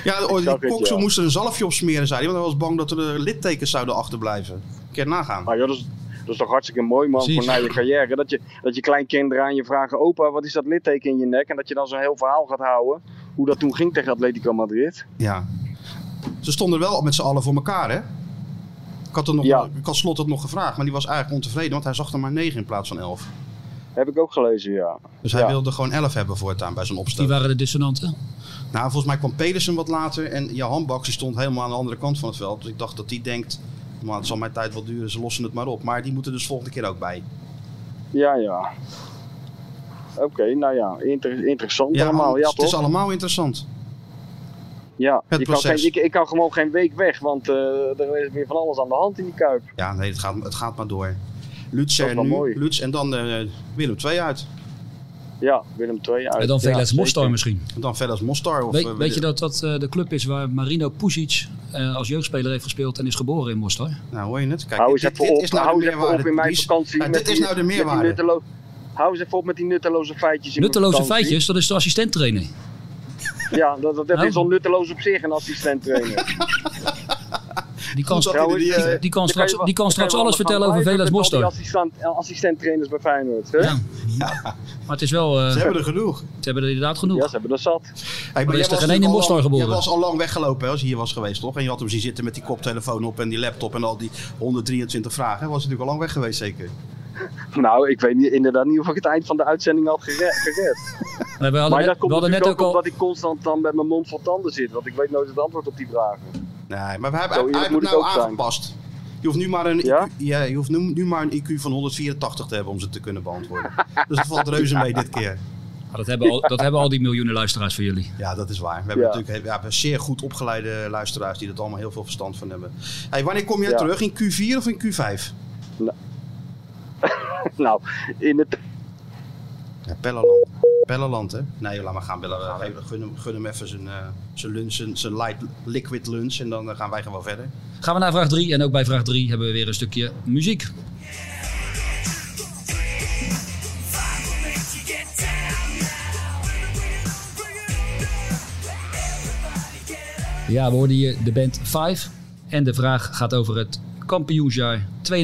C: Ja, oh, die
H: zag het,
C: Kokso
H: ja.
C: moest er een zalfje op smeren, zei hij. Want hij was bang dat er eh, littekens zouden achterblijven. Keer nagaan.
H: Maar joh, dat, is, dat is toch hartstikke mooi man
D: Precies.
H: voor na je carrière. Dat je, dat je kleinkinderen aan je vragen, opa wat is dat litteken in je nek? En dat je dan zo'n heel verhaal gaat houden. Hoe dat toen ging tegen Atletico Madrid.
C: Ja. Ze stonden wel met z'n allen voor elkaar, hè? Ik had, het nog,
H: Ja.
C: ik had Slot het nog gevraagd, maar die was eigenlijk ontevreden. Want hij zag er maar 9 in plaats van 11.
H: Heb ik ook gelezen, ja.
C: Dus hij
H: Ja.
C: wilde gewoon 11 hebben voortaan bij zijn
D: Die
C: opstoot.
D: waren de dissonanten.
C: Nou, volgens mij kwam Pedersen wat later en Johan Baks die stond helemaal aan de andere kant van het veld. Dus ik dacht dat die denkt, maar het zal mijn tijd wel duren, ze lossen het maar op. Maar die moeten dus volgende keer ook bij.
H: Ja, ja. Oké, nou ja, inter- interessant
C: al-
H: allemaal. Ja,
C: het
H: toch?
C: is allemaal interessant.
H: Ja,
C: Het
H: je kan
C: proces.
H: geen, ik, ik kan gewoon geen week weg, want eh, er is weer van alles aan de hand in die kuip.
C: Ja, nee, het gaat, het gaat maar door. Lutz
H: Dat is
C: er
H: wel
C: nu,
H: mooi.
C: Lutz en dan eh, Willem 2 uit.
H: Ja, Willem II uit.
D: En dan
H: ja,
D: Velez Mostar
H: zeker.
D: misschien.
C: En dan verder als Mostar. Of,
D: Weet,
C: eh,
D: weet je dat dat eh, de club is waar Marino Puzic eh, als jeugdspeler heeft gespeeld en is geboren in Mostar?
C: Nou, hoor je het? Kijk,
H: Hou
C: dit,
H: eens
C: dit,
H: even
C: dit
H: op,
C: is nou
H: hou
C: de
H: eens even
C: meerwaarde.
H: op in mijn
C: Dries.
H: vakantie.
C: Ja,
H: met
C: dit is
H: die-
C: nou de
H: met die
C: meerwaarde.
H: nuttelo- hou eens even op met die nutteloze feitjes. in mijn
D: Nutteloze
H: vakantie.
D: feitjes, dat is de assistent trainer.
H: Ja, dat, dat, dat
D: Nou.
H: is al nutteloos op zich, een assistent trainer.
D: Die kan,
C: Goed dat hij er niet, eh,
D: die, die kan straks, die kan straks alles vertellen over Velez Mostar.
H: Assistent, eh, assistent trainers bij Feyenoord. Hè?
D: Ja. Maar het is wel, eh,
C: Ze
D: ze
C: hebben er genoeg.
D: hebben er inderdaad
H: Ja,
D: genoeg.
H: ze hebben er zat.
C: Hey,
D: er
C: jij
D: is er
C: was
D: geen één in
C: al
D: Mostar
C: lang-
D: geboren.
C: Jij was al lang weggelopen hè, als je hier was geweest, toch? En je had hem zien zitten met die koptelefoon op en die laptop en al die 123 vragen. Hij was natuurlijk al lang weg geweest, zeker.
H: Nou, ik weet niet, inderdaad niet of ik het eind van de uitzending had gere- gered.
D: Nee, we hadden,
H: maar
D: net,
H: dat
D: we
H: komt
D: hadden
H: natuurlijk
D: net ook
H: ook omdat
D: al...
H: ik constant dan met mijn mond vol tanden zit. Want ik weet nooit het antwoord op die vragen.
C: Nee, maar we hebben,
H: Zo
C: hij
H: eerlijk
C: heeft
H: moet
C: het
H: ik
C: nou
H: ook zijn.
C: aangepast. Je hoeft, nu maar een
H: Ja?
C: IQ, ja, je hoeft nu, nu maar een IQ van 184 te hebben om ze te kunnen beantwoorden. dus dat valt reuze mee dit keer.
D: Ah, Dat hebben al, dat hebben al die miljoenen luisteraars voor jullie.
C: Ja, dat is waar. We hebben
H: Ja.
C: natuurlijk ja, we hebben zeer goed opgeleide luisteraars die er allemaal heel veel verstand van hebben. Hey, wanneer kom jij
H: Ja.
C: terug? In Q4 of in Q5?
H: Nou, in het
C: Ja, Pellerland. Pellerland, hè? Nee, laat maar gaan. Bellen. Geef- Gun, hem, gun hem even zijn, eh, zijn lunch, zijn, zijn light liquid lunch. En dan eh, gaan wij gewoon verder.
D: Gaan we naar vraag 3. En ook bij vraag 3 hebben we weer een stukje muziek. Ja, we hoorden hier de band 5. En de vraag gaat over het kampioensjaar 92-93.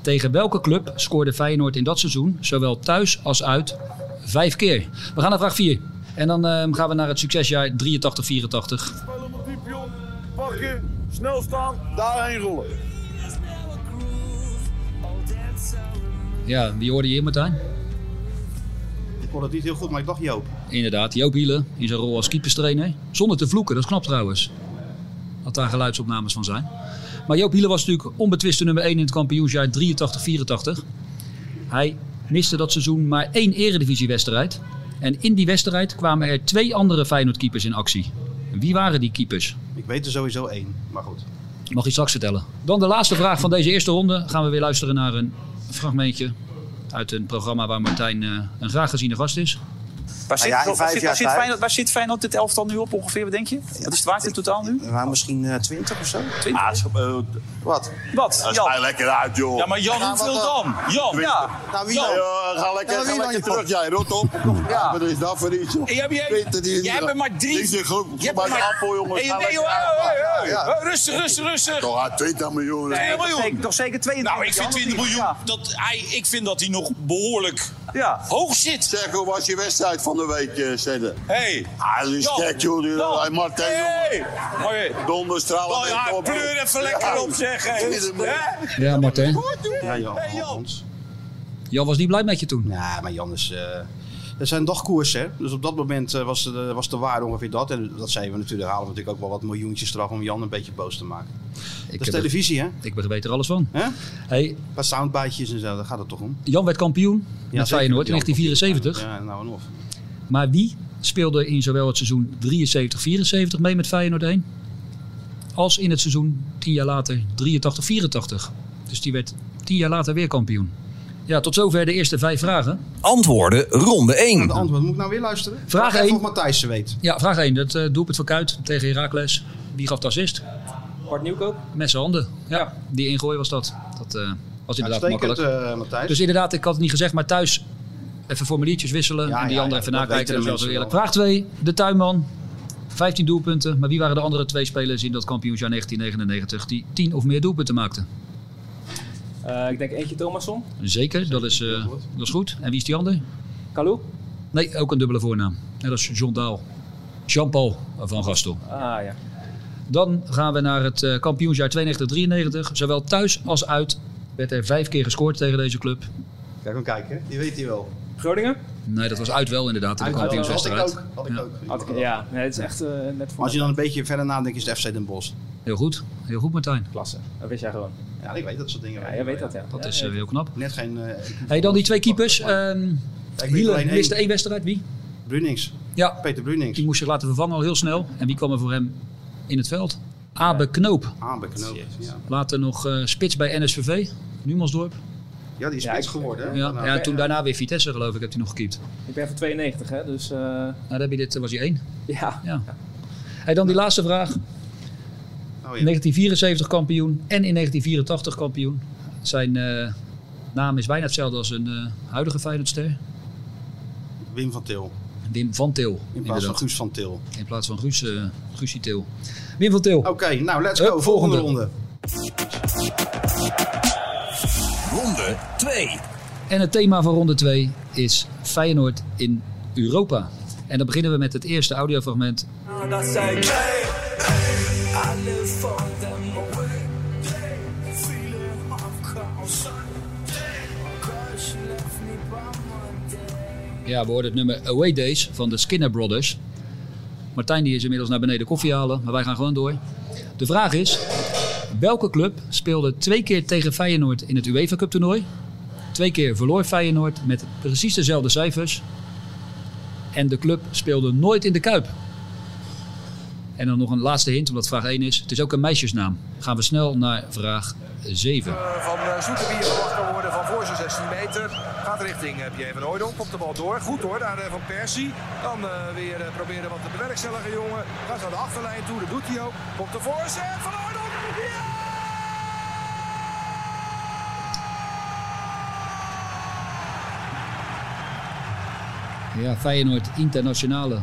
D: Tegen welke club scoorde Feyenoord in dat seizoen, zowel thuis als uit, vijf keer? We gaan naar vraag 4. En dan ehm, gaan we naar het succesjaar 83-84.
I: Spelen met die pion. Pakken. Snel staan. Daarheen rollen.
D: Ja, wie hoorde je hier, Martijn?
C: Ik hoor het niet heel goed, maar ik dacht Joop.
D: Inderdaad, Joop Hielen in zijn rol als keeperstrainer. Zonder te vloeken, dat is knap trouwens. Dat daar geluidsopnames van zijn. Maar Joop Hielen was natuurlijk onbetwiste nummer 1 in het kampioensjaar 83-84. Hij miste dat seizoen maar één eredivisiewedstrijd. En in die wedstrijd kwamen er twee andere Feyenoord-keepers in actie. Wie waren die keepers?
C: Ik weet er sowieso één, maar goed.
D: Mag je straks vertellen. Dan de laatste vraag van deze eerste ronde. Gaan we weer luisteren naar een fragmentje uit een programma waar Martijn eh, een graag geziene gast is.
J: Waar zit,
K: Nou ja, in
J: waar
K: vijf
J: zit-
K: jaar
J: waar zit
K: tijd.
J: Feyenoord, waar zit Feyenoord dit elftal nu op ongeveer, wat denk je? Wat is het waard in totaal nu?
K: Maar misschien eh, 20 of zo?
J: Ah,
K: Wat?
J: Wat,
I: Ga je
J: Jan?
I: lekker uit, joh.
J: Ja, maar Jan,
K: Ja,
J: hoeveel
K: wat
J: dan? Jan, ja.
K: Nou, wie
J: Jan.
K: dan?
I: Ja, ga lekker,
K: Ja,
I: ga
K: wie dan,
I: lekker
K: joh?
I: terug, jij. Rot op.
K: Ja.
I: Wat is dat voor iets, joh?
J: Jij, jij,
I: Peter, die is
J: jij
I: niet-
J: bent maar drie.
I: Die is een groep.
J: Jij
I: Bij
J: bent
I: de
J: maar-
I: appel, jongens.
J: Hey,
I: Ga
J: nee,
I: lekker
J: joh,
I: uit.
J: hey, hey, hey.
K: Ja.
J: Hey, Oh, Rustig, rustig, rustig.
I: Toch, ah, 20 miljoen.
J: Nee,
I: Ja,
J: miljoen.
K: Zeker- Toch zeker 22
J: Nou, ik vind 20 miljoen, dat, hij, ik vind dat hij nog behoorlijk
K: Ja.
J: hoog zit.
I: Zeg, hoe was je wedstrijd van de week, eh, Zedde?
J: Hey.
I: Ah, dat is
J: Jan,
I: gek, joh. Die-
J: Jan.
I: Hey, Martijn,
J: hey. Hoi.
I: joh. Donderstralen.
J: Oh
I: met
J: ja,
I: op-
J: pleur even lekker
I: Ja.
J: op, zeg. hey.
I: 20 miljoen.
J: Hè?
D: Ja, Martijn.
C: Ja, Jan.
J: Hey, Jan.
C: Hans.
D: Jan was niet blij met je toen.
C: Ja, maar Jan is... eh, het zijn dagkoersen, hè? dus op dat moment eh, was, de, was de waarde ongeveer dat. En dat zeiden we natuurlijk, halen we natuurlijk ook wel wat miljoentjes eraf om Jan een beetje boos te maken.
D: Ik,
C: dat is
D: heb er,
C: televisie, hè?
D: ik weet er alles van.
C: hè?
D: Hey,
C: Wat soundbitejes en zo, daar gaat het toch om?
D: Jan werd kampioen
C: Ja,
D: met
C: zeker,
D: Feyenoord in
C: Jan.
D: 1974.
C: Ja, nou en of.
D: Maar wie speelde in zowel het seizoen 73-74 mee met Feyenoord 1? Als in het seizoen 10 jaar later 83-84. Dus die werd 10 jaar later weer kampioen. Ja, tot zover de eerste vijf vragen.
B: Antwoorden ronde
C: De
B: 1.
C: antwoord moet ik nou weer luisteren.
D: Vraag
C: Even
D: één.
C: Of Matthijs ze weet.
D: Ja, vraag 1. Dat doe doelpunt van Kuit tegen Heracles. Wie gaf de assist?
E: Bart Nieuwkoop.
D: Met zijn handen. Ja, die ingooi was dat. Dat eh, was inderdaad
C: Uitstekend,
D: makkelijk.
C: eh Matthijs.
D: Dus inderdaad, ik had het niet gezegd, maar thuis even formuliertjes wisselen.
C: Ja,
D: en die
C: ja,
D: andere
C: ja,
D: even
C: dat weten
D: nakijken. Dat
C: de
D: is wel zo
C: mensen wel.
D: eerlijk. Vraag 2, de tuinman. 15 doelpunten. Maar wie waren de andere twee spelers in dat kampioensjaar 1999 die 10 of meer doelpunten maakten?
E: Eh, ik denk eentje Thomasson.
D: Zeker, dat is, eh, dat is goed. En wie is die ander?
E: Kalou.
D: Nee, ook een dubbele voornaam. En dat is John Daal. Jean-Paul van Gastel.
E: Ah ja.
D: Dan gaan we naar het eh, kampioensjaar 92-93. Zowel thuis als uit werd er vijf keer gescoord tegen deze club.
C: Kijk hem kijken, die weet hij wel.
E: Groningen?
D: Nee, dat was uit wel inderdaad in de
C: Uit-
D: kampioenswedstrijd.
C: Had ik ook. Had ik
D: Ja.
C: ook.
E: Had ik, ja, nee, het is echt eh, net voor
C: Als je dan een beetje verder nadenkt, is het FC Den Bosch.
D: Heel goed, heel goed Martijn.
E: klasse. Dat wist jij gewoon.
C: Ja, ik weet dat soort dingen.
E: Ja, jij weet dat ja.
D: Dat
E: Ja,
D: is
E: ja.
D: eh, heel knap.
C: Net geen. eh,
D: Hey, dan die twee keepers. Ehm
C: ik weet
D: Hielen
C: alleen
D: miste
C: één.
D: één wedstrijd. Wie?
C: Brunings.
D: Ja,
C: Peter Brunings.
D: die moest zich laten vervangen al heel snel. En wie kwam er voor hem in het veld? Abe Knoop.
C: Aanbeknoopt. Ja.
D: Later nog eh, spits bij NSVV. Numansdorp.
C: ja, die is
E: Ja,
C: spits
E: ik-
C: geworden. hè?
D: Ja,
C: Nou,
D: ja, en toen daarna weer Vitesse geloof ik, heb hij nog gekiept. Nou,
E: Ik ben van 92 hè, dus eh,
D: daar heb je dit, eh, was hij één.
E: ja.
D: Ja. Hey, dan die laatste vraag.
C: oh ja.
D: 1974 kampioen en in 1984 kampioen. Zijn eh, naam is bijna hetzelfde als een eh, huidige Feyenoordster.
C: Wim van Til.
D: Wim van Til.
C: In plaats van
D: inderdaad.
C: Guus van Til.
D: In plaats van Guus, eh, Guusie Til. Wim van Til.
C: Oké, nou let's
D: Hup,
C: go. Volgende
D: Eh, volgende.
C: ronde.
B: Ronde 2.
D: En het thema van ronde 2 is Feyenoord in Europa. En dan beginnen we met het eerste audiofragment. Ja, we hoorden het nummer Away Days van de Skinner Brothers. Martijn die is inmiddels naar beneden koffie halen, maar wij gaan gewoon door. De vraag is, welke club speelde twee keer tegen Feyenoord in het UEFA Cup toernooi? Twee keer verloor Feyenoord met precies dezelfde cijfers. En de club speelde nooit in de Kuip. En dan nog een laatste hint, omdat vraag 1 is. Het is ook een meisjesnaam. Gaan we snel naar vraag 7.
G: Van eh, Zoetebier verwacht kan worden van voor zijn 16 meter. Gaat richting eh, Pierre van Hooydonk. Komt de bal door. Goed hoor, daar eh, van Persie. Dan eh, weer eh, proberen wat te bewerkstelligen, jongen. Gaat naar de achterlijn toe, dat doet hij ook. Komt de voorzet van Hooydonk. Ja!
D: Ja, Feyenoord Internationale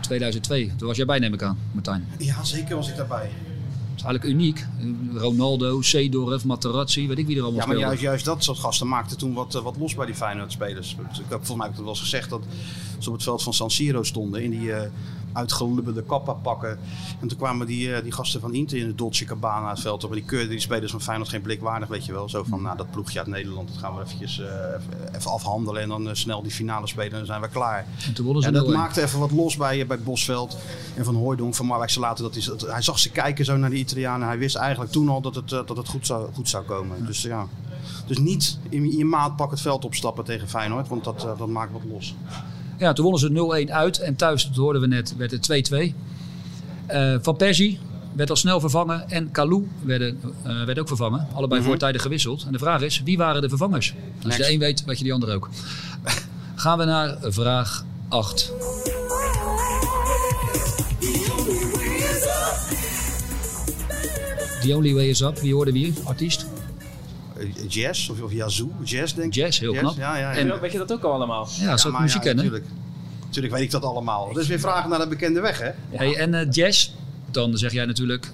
D: 2002. Toen was jij bij, neem ik aan, Martijn.
C: Ja, zeker was ik daarbij.
D: eigenlijk uniek. Ronaldo, Seedorf, Materazzi, weet ik wie er allemaal
C: Ja, maar
D: speelde.
C: juist, juist dat soort gasten maakte toen wat, eh, wat los bij die Feyenoord-spelers. Ik heb volgens mij heb ik het wel eens gezegd dat ze op het veld van San Siro stonden in die eh uitgelubberde kappa pakken. En toen kwamen die, eh, die gasten van Inter in de Dolce Cabana het veld op. En die keurden die spelers van Feyenoord geen blik waardig, weet je wel. Zo van, nou dat ploegje uit Nederland, dat gaan we eventjes eh, even- even afhandelen. En dan eh, snel die finale spelen en dan zijn we klaar.
D: En toen wonnen ze
C: En dat
D: 0-1.
C: maakte even wat los bij, eh, bij Bosveld en Van Hooijdonk. Van Marwijk ze later, dat hij, dat- hij zag ze kijken zo naar die Italianen. Hij wist eigenlijk toen al dat het, eh, dat het goed, zou, goed zou komen. Dus eh, ja. Dus niet in je maat pak het veld opstappen tegen Feyenoord, want dat, eh, dat maakt wat los.
D: Ja, toen wonnen ze 0-1 uit. En thuis, dat hoorden we net, werd het 2-2. Eh, van Persie werd al snel vervangen. En Kalou werden, eh, werd ook vervangen. Allebei
C: Mhm.
D: voortijdig gewisseld. En de vraag is, wie waren de vervangers? Als je
C: Next.
D: de een weet, weet je die ander ook. Gaan we naar vraag 8. The Only Way Is Up. Wie hoorden we hier? Artiest?
C: Eh, Jazz of, of Yazoo, jazz denk ik.
D: Jazz, heel knap.
C: Ja, ja, ja.
D: En-
E: Weet je dat ook al allemaal?
D: Ja, zou ik
C: maar
D: muziek kennen?
C: Natuurlijk. natuurlijk weet ik dat allemaal. Dus weer vragen naar de bekende weg, hè?
D: Hey, en eh, jazz, dan zeg jij natuurlijk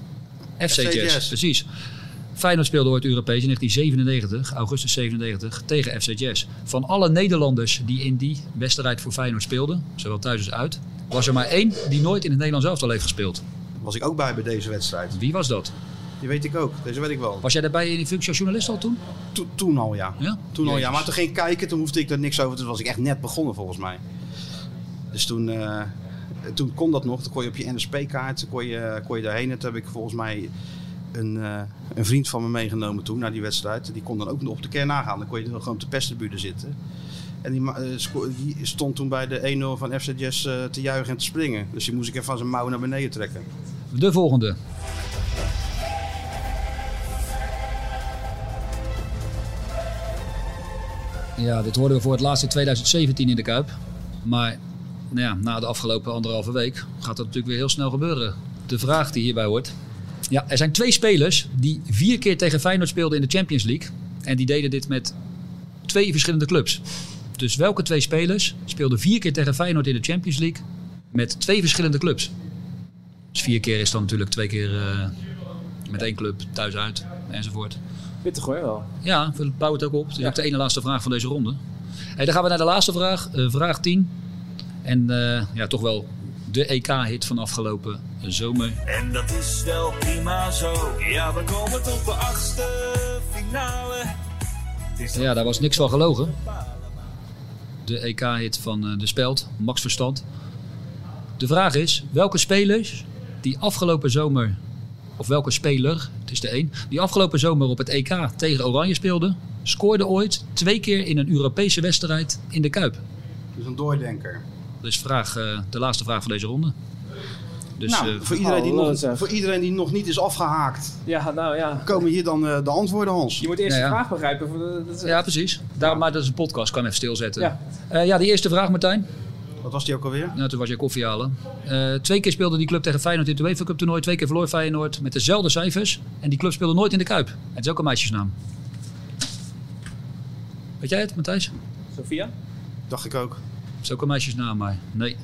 D: FC,
C: FC
D: jazz.
C: Jazz.
D: Precies. Feyenoord speelde ooit Europees in 1997, augustus 97, tegen FC Jazz. Van alle Nederlanders die in die wedstrijd voor Feyenoord speelden, zowel thuis als uit, was er maar één die nooit in het Nederlands elftal heeft gespeeld.
C: Was ik ook bij bij deze wedstrijd.
D: Wie was dat?
C: Die weet ik ook, deze weet ik wel.
D: Was jij daarbij in die functie als journalist al toen?
C: To- toen al, ja.
D: Ja?
C: Toen al, ja. Maar toen
D: Jezus.
C: ging ik kijken, toen hoefde ik er niks over. Toen was ik echt net begonnen, volgens mij. Dus toen, eh, toen kon dat nog. Toen kon je op je NSP-kaart, kon je, kon je daarheen. En toen heb ik volgens mij een, eh, een vriend van me meegenomen toen, naar die wedstrijd. Die kon dan ook nog op de kern nagaan. Dan kon je gewoon op de pestribune zitten. En die, ma- eh, sco- die stond toen bij de 1-0 van FC Jazz eh, te juichen en te springen. Dus die moest ik even van zijn mouw naar beneden trekken.
D: De volgende. Ja, dit hoorden we voor het laatst in 2017 in de Kuip. Maar nou ja, na de afgelopen anderhalve week gaat dat natuurlijk weer heel snel gebeuren. De vraag die hierbij hoort. Ja, er zijn twee spelers die vier keer tegen Feyenoord speelden in de Champions League. En die deden dit met twee verschillende clubs. Dus welke twee spelers speelden vier keer tegen Feyenoord in de Champions League met twee verschillende clubs? Dus vier keer is dan natuurlijk twee keer eh, met één club thuis uit enzovoort.
E: Pittig hoor wel.
D: Ja, we bouwen het ook op. Dat is ook de ene laatste vraag van deze ronde. Hey, dan gaan we naar de laatste vraag, eh, vraag 10. En eh, ja, toch wel de EK-hit van afgelopen zomer.
L: En dat is wel prima zo. Ja, we komen tot de achtste finale.
D: Ja, daar was niks van gelogen. De EK-hit van eh, de Speld, Max Verstand. De vraag is, welke spelers die afgelopen zomer, of welke speler, het is de een, die afgelopen zomer op het EK tegen Oranje speelde, scoorde ooit twee keer in een Europese wedstrijd in de Kuip?
C: Dus een doordenker.
D: Dat is vraag, eh, de laatste vraag van deze ronde. Dus
C: nou,
D: eh,
C: voor, iedereen die
D: oh,
C: nog,
D: dat is-
C: voor iedereen die nog niet is afgehaakt.
E: Ja, nou ja.
C: Komen hier dan eh, de antwoorden, Hans? Je
E: moet eerst
D: Ja,
E: de
D: ja.
E: vraag begrijpen. voor de- dat is-
D: Ja, precies. Daarom, maar dat is een podcast, kan even stilzetten.
E: Ja.
D: Ja, ja die eerste vraag, Martijn.
C: Wat was die ook alweer?
D: Nou, toen was jij koffie halen. Eh, twee keer speelde die club tegen Feyenoord in het UEFA Cup toernooi. Twee keer verloor Feyenoord met dezelfde cijfers. En die club speelde nooit in de Kuip. Het is ook een meisjesnaam. Weet jij het, Matthijs?
E: Sophia?
C: Dacht ik ook.
D: Het is ook een meisjesnaam, maar nee.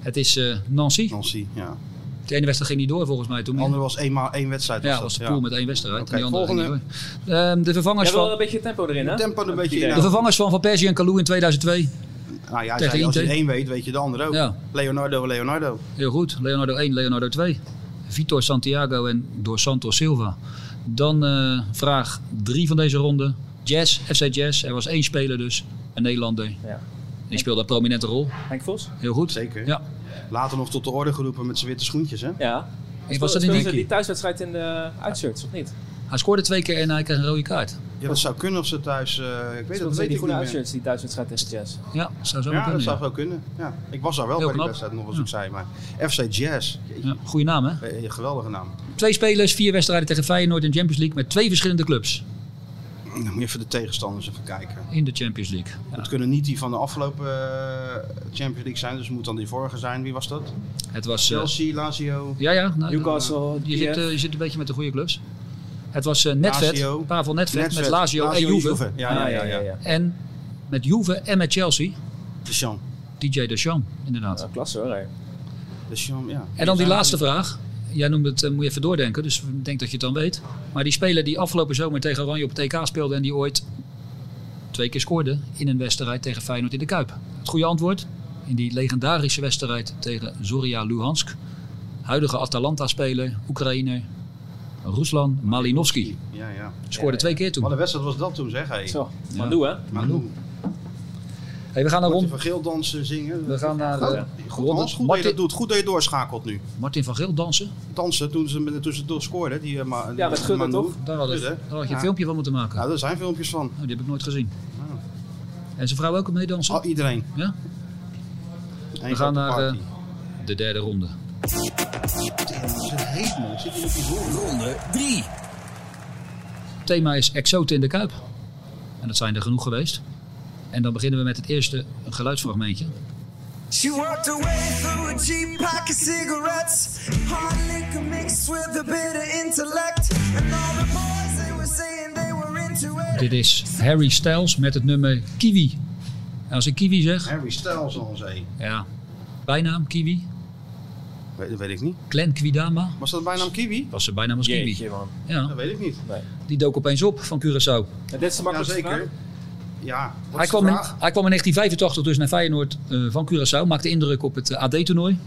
D: Het is eh, Nancy.
C: Nancy, ja.
D: De ene wedstrijd ging niet door volgens mij toen.
C: De andere was eenmaal één wedstrijd.
D: Ja,
C: dat,
D: was de pool met één wedstrijd. en die andere
C: volgende.
D: ging niet door. Ehm, de vervangers
E: Jij wil
D: van...
E: een beetje tempo erin, hè?
C: Tempo een beetje
D: De
C: in.
D: vervangers van Van Persie en Kalou in 2002.
C: Nou ja, hij
D: tegen
C: zei, als je
D: Inter.
C: één weet, weet je de ander ook.
D: Ja.
C: Leonardo, Leonardo.
D: Heel goed. Leonardo 1, Leonardo 2. Vitor Santiago en door Santos Silva. Dan eh, vraag 3 van deze ronde. Jazz, FC Jazz. Er was één speler dus. Een Nederlander.
E: Ja.
D: Die speelde een prominente rol.
E: Henk Vos?
D: Heel goed.
C: Zeker.
D: Ja.
C: Later nog tot de orde geroepen met zijn witte schoentjes, hè?
E: Ja.
D: was dat
E: Speelden
D: niet-
E: ze die thuiswedstrijd in de uitshirts, of niet?
D: Hij scoorde twee keer en hij kreeg een rode kaart.
C: Ja, dat zou kunnen of ze thuis... eh, ik weet
E: Speelden
C: het,
E: ze
C: dat weet ik
E: die groene
C: niet meer.
E: uitshirts die thuiswedstrijd tegen Jazz?
D: Ja, zou zo
C: Ja,
D: kunnen.
C: dat
D: ja.
C: zou wel kunnen. Ja. Ik was daar wel
D: Heel
C: bij die
D: knap.
C: wedstrijd nog, als ik zei. Maar FC Jazz.
D: Ja, goeie naam, hè?
C: Eh, een geweldige naam.
D: Twee spelers, vier wedstrijden tegen Feyenoord in de Champions League. Met twee verschillende clubs
C: Dan moet je even de tegenstanders even kijken.
D: in de Champions League. Ja.
C: Het kunnen niet die van de afgelopen eh, Champions League zijn. Dus het moet dan die vorige zijn. Wie was dat?
D: Het was... eh,
C: Chelsea, Lazio.
D: Ja, ja. nou,
E: Newcastle,
D: je, zit, eh, je zit een beetje met de goede clubs. Het was eh,
C: Lazio.
D: Netvet, Pavel Netvet,
C: Netvet,
D: met Lazio,
C: Lazio,
D: en Juve.
C: Juve.
E: Ah,
C: Ja, ja, ja, ja, ja.
D: En met Juve en met Chelsea,
C: Deschamps.
D: DJ Deschamps, inderdaad.
E: Klasse hoor. hè.
C: Deschamps, ja.
D: En dan die laatste vraag. jij noemt het, eh, moet je even doordenken, dus ik denk dat je het dan weet. Maar die speler die afgelopen zomer tegen Oranje op TK speelde en die ooit twee keer scoorde in een wedstrijd tegen Feyenoord in de Kuip. Het goede antwoord, in die legendarische wedstrijd tegen Zoria Luhansk. Huidige Atalanta-speler, Oekraïner, Ruslan Malinovski.
C: Ja, ja.
D: Scoorde twee keer toen.
C: Wat een wedstrijd was dat toen, zeg. Hey. Zo,
D: Manu, hè?
C: Manu.
D: Hey, we gaan naar
C: Martin
D: rond.
C: van Geel dansen, zingen.
D: We gaan naar,
C: Goed,
D: eh,
C: goed,
D: Ronde.
C: Hans, goed dat je
D: Martin-
C: dat doet. Goed dat je doorschakelt nu.
D: Martin van Geel dansen?
C: Dansen toen ze met- tussendoor scoorden. Die, eh, ma- die
D: Ja, met Gudde,
C: Manu.
D: toch? Daar hadden-
C: Gudde.
D: daar had je een
C: Ja.
D: filmpje van moeten maken.
C: Ja, daar zijn filmpjes van.
D: Oh, die heb ik nooit gezien. En zijn vrouw ook al meedansen?
C: Oh, iedereen.
D: Ja?
C: grote
D: We gaan naar
C: party.
D: eh, de derde ronde.
B: Ronde 3.
D: thema is exoten in de Kuip. En dat zijn er genoeg geweest. En dan beginnen we met het eerste een geluidsfragmentje.
M: She walked away through a cheap pack of cigarettes. Hard liquor mixed with a bit of intellect. And all the boys, they were saying they were into it.
D: Dit is Harry Styles met het nummer Kiwi. En als ik Kiwi zeg...
C: Harry Styles al zee.
D: Ja. Bijnaam Kiwi.
C: Weet, dat weet ik niet.
D: Glen Kwidama.
C: Was dat bijnaam Kiwi?
D: Was ze bijnaam als Kiwi. Ja.
C: Dat weet ik niet. Nee.
D: Die dook opeens op van Curaçao.
E: Dit is de makkelijkste
C: zeker. Ja, wat
D: Hij
C: is de
D: kwam, in,
C: vraag?
D: hij kwam in 1985 dus naar Feyenoord eh, van Curaçao. Maakte indruk op het eh, AD-toernooi.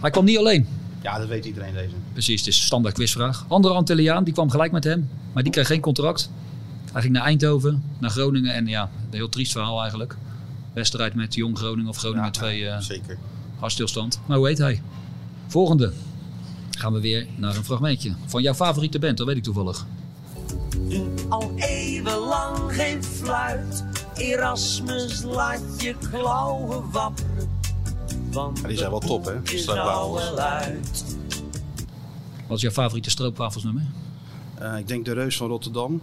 D: Hij kwam niet alleen.
C: Ja, dat weet iedereen deze.
D: Precies, het is een standaard quizvraag. Andere Antilliaan, die kwam gelijk met hem, maar die kreeg geen contract. Hij ging naar Eindhoven, naar Groningen en ja, een heel triest verhaal eigenlijk. Wedstrijd met Jong Groningen of Groningen 2. eh
C: zeker.
D: Hartstilstand. Maar hoe heet hij? Volgende. Gaan we weer naar een fragmentje van jouw favoriete band, dat weet ik toevallig.
M: Al eeuwenlang geen fluit. Erasmus laat je klauwen wapperen. Want
C: Ja, die zijn wel top, hè?
M: is
C: Stroopwafels.
M: al wel uit.
D: Wat is jouw favoriete stroopwafelsnummer?
C: Eh, ik denk de Reus van Rotterdam.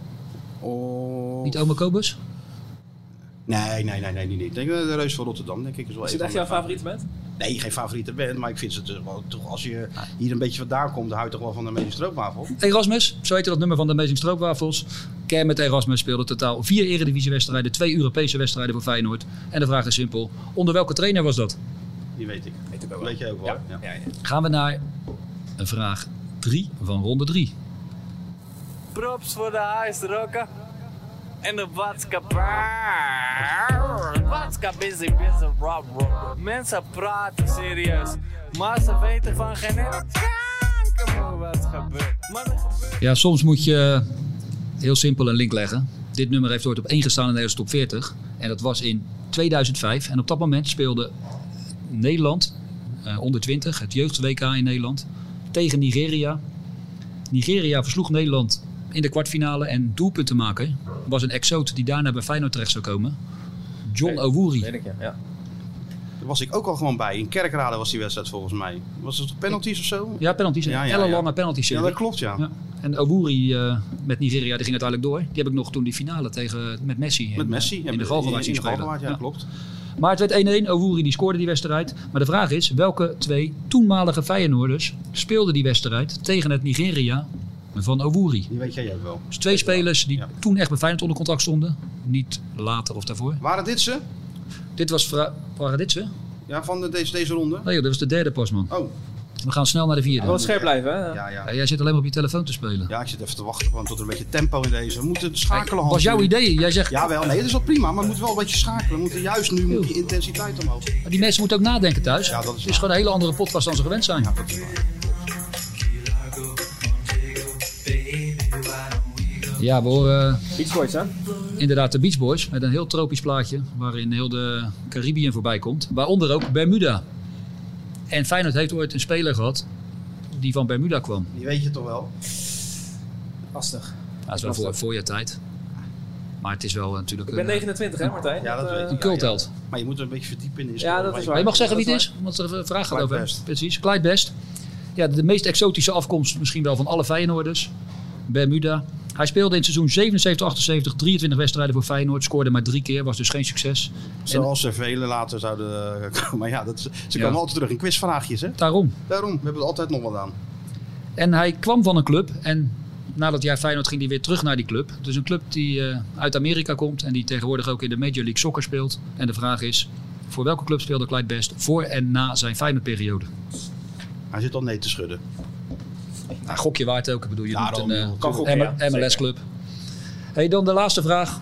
C: Of...
D: Niet Ome Kobus?
C: Nee, nee, nee, nee, niet. Ik denk eh, de Reus van Rotterdam, denk ik. Is, wel
E: Is
C: een
E: het echt
C: van
E: jouw
C: mijn
E: favoriete band?
C: Nee, geen favoriete band, maar ik vind het eh, wel toch als je hier een beetje vandaan komt, dan hou je toch wel van de meeste stroopwafel.
D: Erasmus, zo heette dat nummer van de Amazing Stroopwafels. Ker met Erasmus speelde totaal vier Eredivisiewedstrijden, twee Europese wedstrijden voor Feyenoord. En de vraag is simpel, onder welke trainer was dat?
C: Die weet ik. Weet, weet je ook wel. Ja. Ja.
D: Gaan we naar een vraag 3 van ronde 3.
N: Props voor de huisrokken. En de watskapaar. Watskap is een busy rob rob. Mensen praten serieus. Maar ze weten van geen ene kanker wat gebeurt. Maar er gebeurt-
D: Ja, soms moet je heel simpel een link leggen. Dit nummer heeft ooit op 1 gestaan in de Nederlandse top 40. En dat was in 2005. En op dat moment speelde Nederland eh, onder 20, het jeugd-WK in Nederland, tegen Nigeria. Nigeria versloeg Nederland in de kwartfinale en doelpuntenmaker was een exoot die daarna bij Feyenoord terecht zou komen. John Owuri.
E: Weet ik, ja. ja.
C: Daar was ik ook al gewoon bij. In Kerkrade was die wedstrijd volgens mij. Was het penalties of zo?
D: Ja, penalties.
C: Ja, ja, ja.
D: Ellenlange penalty serie.
C: Ja, dat klopt, ja.
D: En Owuri eh, met Nigeria, die ging uiteindelijk door. Die heb ik nog toen die finale tegen, met Messi. in,
C: Met Messi.
D: eh,
C: ja,
D: In de
C: met-
D: Galgenwaard zien
C: in de
D: spelen.
C: Galgenwaard, ja, klopt.
D: Maar het werd 1-1. Owuri die scoorde die wedstrijd. Maar de vraag is, welke twee toenmalige Feyenoorders speelden die wedstrijd tegen het Nigeria van Owuri?
C: Die weet jij ook wel.
D: Dus twee spelers die toen echt bij Feyenoord onder contract stonden. Niet later of daarvoor.
C: Waren dit ze?
D: Dit was... Fra- waren dit ze?
C: Ja, van de, deze, deze ronde.
D: Nee, joh, dat was de derde pas, man.
C: Oh.
D: We gaan snel naar de vierde.
E: Wel scherp blijven, hè?
C: Ja, ja.
D: Ja, jij zit alleen maar op je telefoon te spelen.
C: Ja, ik zit even te wachten gewoon tot er een beetje tempo in deze. We moeten schakelen, Hans.
D: was jouw
C: nu.
D: idee? Jij zegt...
C: Jawel, nee, dat is wel prima, maar we moeten wel een beetje schakelen. We moeten juist nu moet die intensiteit omhoog.
D: Maar die mensen moeten ook nadenken thuis. Het is gewoon een hele andere podcast dan ze gewend zijn. Ja, we horen eh,
E: Beach Boys, hè?
D: inderdaad de Beach Boys met een heel tropisch plaatje waarin heel de Caribbean voorbij komt. Waaronder ook Bermuda. En Feyenoord heeft ooit een speler gehad die van Bermuda kwam.
C: Die weet je toch wel?
E: Lastig.
D: Dat is wel voor, voor je tijd. Maar het is wel eh, natuurlijk
E: Ik ben
D: een,
E: 29, hè Martijn?
C: Ja, dat
E: eh,
C: weet ik.
D: een cultheld.
C: Maar je moet er een beetje verdiepen in de
E: Ja, dat is waar.
D: Maar je mag zeggen wie het
E: Dat is
D: is, want de vraag gaat
C: Clyde
D: over. hem.
C: Best.
D: Precies, Clyde Best. Ja, de meest exotische afkomst misschien wel van alle Feyenoorders. Bermuda. Hij speelde in het seizoen 77-78 23 wedstrijden voor Feyenoord. Scoorde maar drie keer, was dus geen succes.
C: Zoals er velen later zouden eh, komen. Maar ja, dat, ze
D: Ja.
C: komen altijd terug in quizvraagjes, hè?
D: Daarom.
C: Daarom, we hebben het altijd nog wel aan.
D: En hij kwam van een club en na dat jaar Feyenoord ging hij weer terug naar die club. Dus een club die eh, uit Amerika komt en die tegenwoordig ook in de Major League Soccer speelt. En de vraag is, voor welke club speelde Clyde Best voor en na zijn Feyenoordperiode?
C: Hij zit al nee te schudden. eh,
D: nou, gokje waard ook. Ik bedoel, je
E: Daarom,
D: doet een eh,
E: joh. Kan gokken, ja. Zeker.
D: MLS-club. Hey, dan de laatste vraag.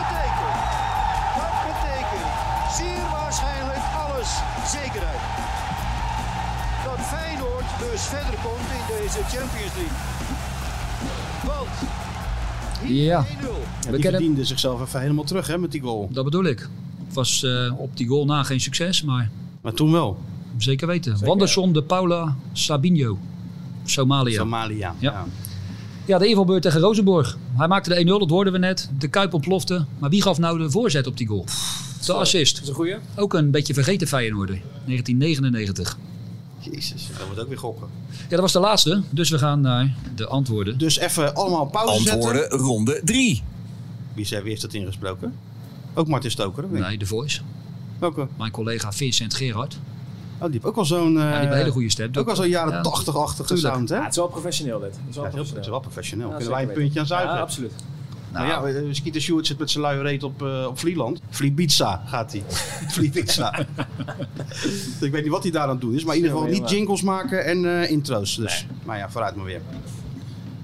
O: betekent, dat betekent zeer waarschijnlijk alles zekerheid. Dat Feyenoord dus verder komt in deze Champions League. Want
D: Ja.
C: die verdiende zichzelf even helemaal terug hè, met die goal.
D: Dat bedoel ik. Het was eh, op die goal na geen succes, maar...
C: Maar toen wel.
D: Zeker weten. Wanderson de Paula Sabinho. Somalië.
C: Somalia. Ja. ja.
D: Ja, de invalbeurt tegen Rozenborg. Hij maakte de 1-0, dat hoorden we net. De Kuip ontplofte. Maar wie gaf nou de voorzet op die goal? De assist. Dat is een
E: goeie.
D: Ook een beetje vergeten Feyenoorder. 1999.
C: Jezus, dat moet ook weer gokken.
D: Ja, dat was de laatste. Dus we gaan naar de antwoorden.
C: Dus even allemaal pauze
B: Antwoorden
C: zetten.
B: ronde 3.
C: Wie, zei, wie heeft dat ingesproken? Ook Martin Stoker? of niet?
D: Nee, de Voice.
C: Welke?
D: Mijn collega Vincent Gerard.
C: Oh, die heeft ook wel zo'n... eh,
D: Ja, die heeft een hele goede stem.
C: Ook wel zo'n jaren
D: Ja,
C: 80-achtige
D: tuurlijk.
C: sound, hè?
E: Ja, het is wel professioneel dit. Het is wel
C: Ja,
E: professioneel.
C: het is wel professioneel.
E: Ja,
C: Kunnen wij een
E: zeker
C: puntje aan
E: weten.
C: zuigen?
E: Ja, absoluut.
C: Nou ja, eh, Skeeter Stewart zit met zijn luie reet op, eh op Vlieland. Vliebiza gaat hij. Vliebiza. ik weet niet wat hij daar aan het doen is. Maar in ieder geval niet jingles maken en eh, intro's. Dus. Maar ja, vooruit maar weer.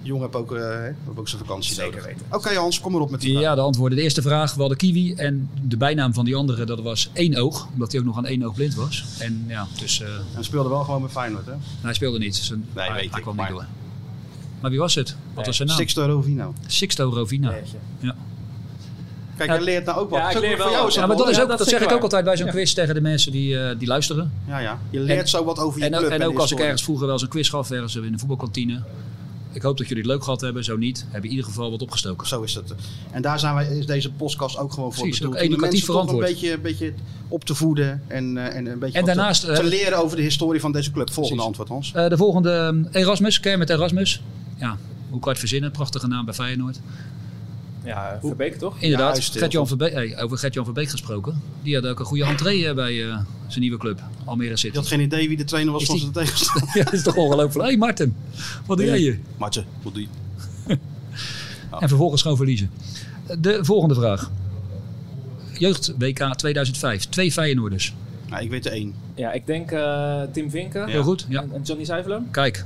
C: Jong heb ook, eh, hè, heb ook zijn vakantie Zeker weten. Oké Hans, kom maar op met die
D: Ja, de antwoorden. De eerste vraag, we hadden Kiwi. En de bijnaam van die andere, dat was één oog. Omdat hij ook nog aan één oog blind was. En ja, dus... eh,
C: Hij speelde wel gewoon met Feyenoord, hè?
D: hij speelde niet. Zijn, nee, hij, hij kwam niet door. Maar wie was het? Wat was zijn naam?
C: Sixto Rovino.
D: Sixto Rovina. Ja.
C: Kijk,
D: Ja.
C: jij leert nou ook wat.
D: Ja,
C: Dat is
D: ik
C: ook
D: leer
C: weer
D: wel
C: voor jou
D: wat.
C: is
D: Ja, maar dat,
C: wel-
D: is ook, dat, zeg
C: zeker
D: ik ook
C: waar.
D: altijd bij zo'n
C: Ja.
D: quiz tegen de mensen die, eh, die luisteren.
C: Ja, ja. Je leert
D: En-
C: zo wat over je
D: en, ook-
C: club
D: En
C: en de
D: ook als ik
C: historie.
D: ergens vroeger wel eens een quiz gaf, ergens in de voetbalkantine. Ik hoop dat jullie het leuk gehad hebben. Zo niet, hebben in ieder geval wat opgestoken.
C: Zo is dat. En daar zijn wij, is deze podcast ook gewoon voor
D: Precies,
C: bedoeld.
D: ook
C: Om de
D: educatief
C: mensen toch een
D: verantwoord.
C: beetje, een beetje op te voeden en, eh, en een beetje
D: En
C: wat te-
D: daarnaast,
C: te,
D: eh,
C: leren over de historie van deze club. Volgende
D: Precies.
C: antwoord Hans.
D: Eh, de volgende, ehm, Erasmus, Kermit Erasmus. Ja, hoe kan je het verzinnen? Prachtige naam bij Feyenoord.
E: Ja, Verbeek toch?
D: Inderdaad,
E: Ja, juist,
D: Gert-Jan Verbeek, hey, over Gert-Jan Verbeek gesproken. Die had ook een goede entree eh, bij eh, zijn nieuwe club, Almere City. Je had
C: geen idee wie de trainer was van zijn tegenstander.
D: ja, dat is toch ongelooflijk. Hé hey, Martin, wat doe jij hier?
C: Martje, wat doe je?
D: En vervolgens gewoon verliezen. De volgende vraag. Jeugd WK 2005. Twee Feyenoorders.
C: Nou, ik weet er één.
E: Ja, ik denk eh, Tim Vinken.
D: Heel goed. Ja.
E: En en Johnny Zuivelum.
D: Kijk.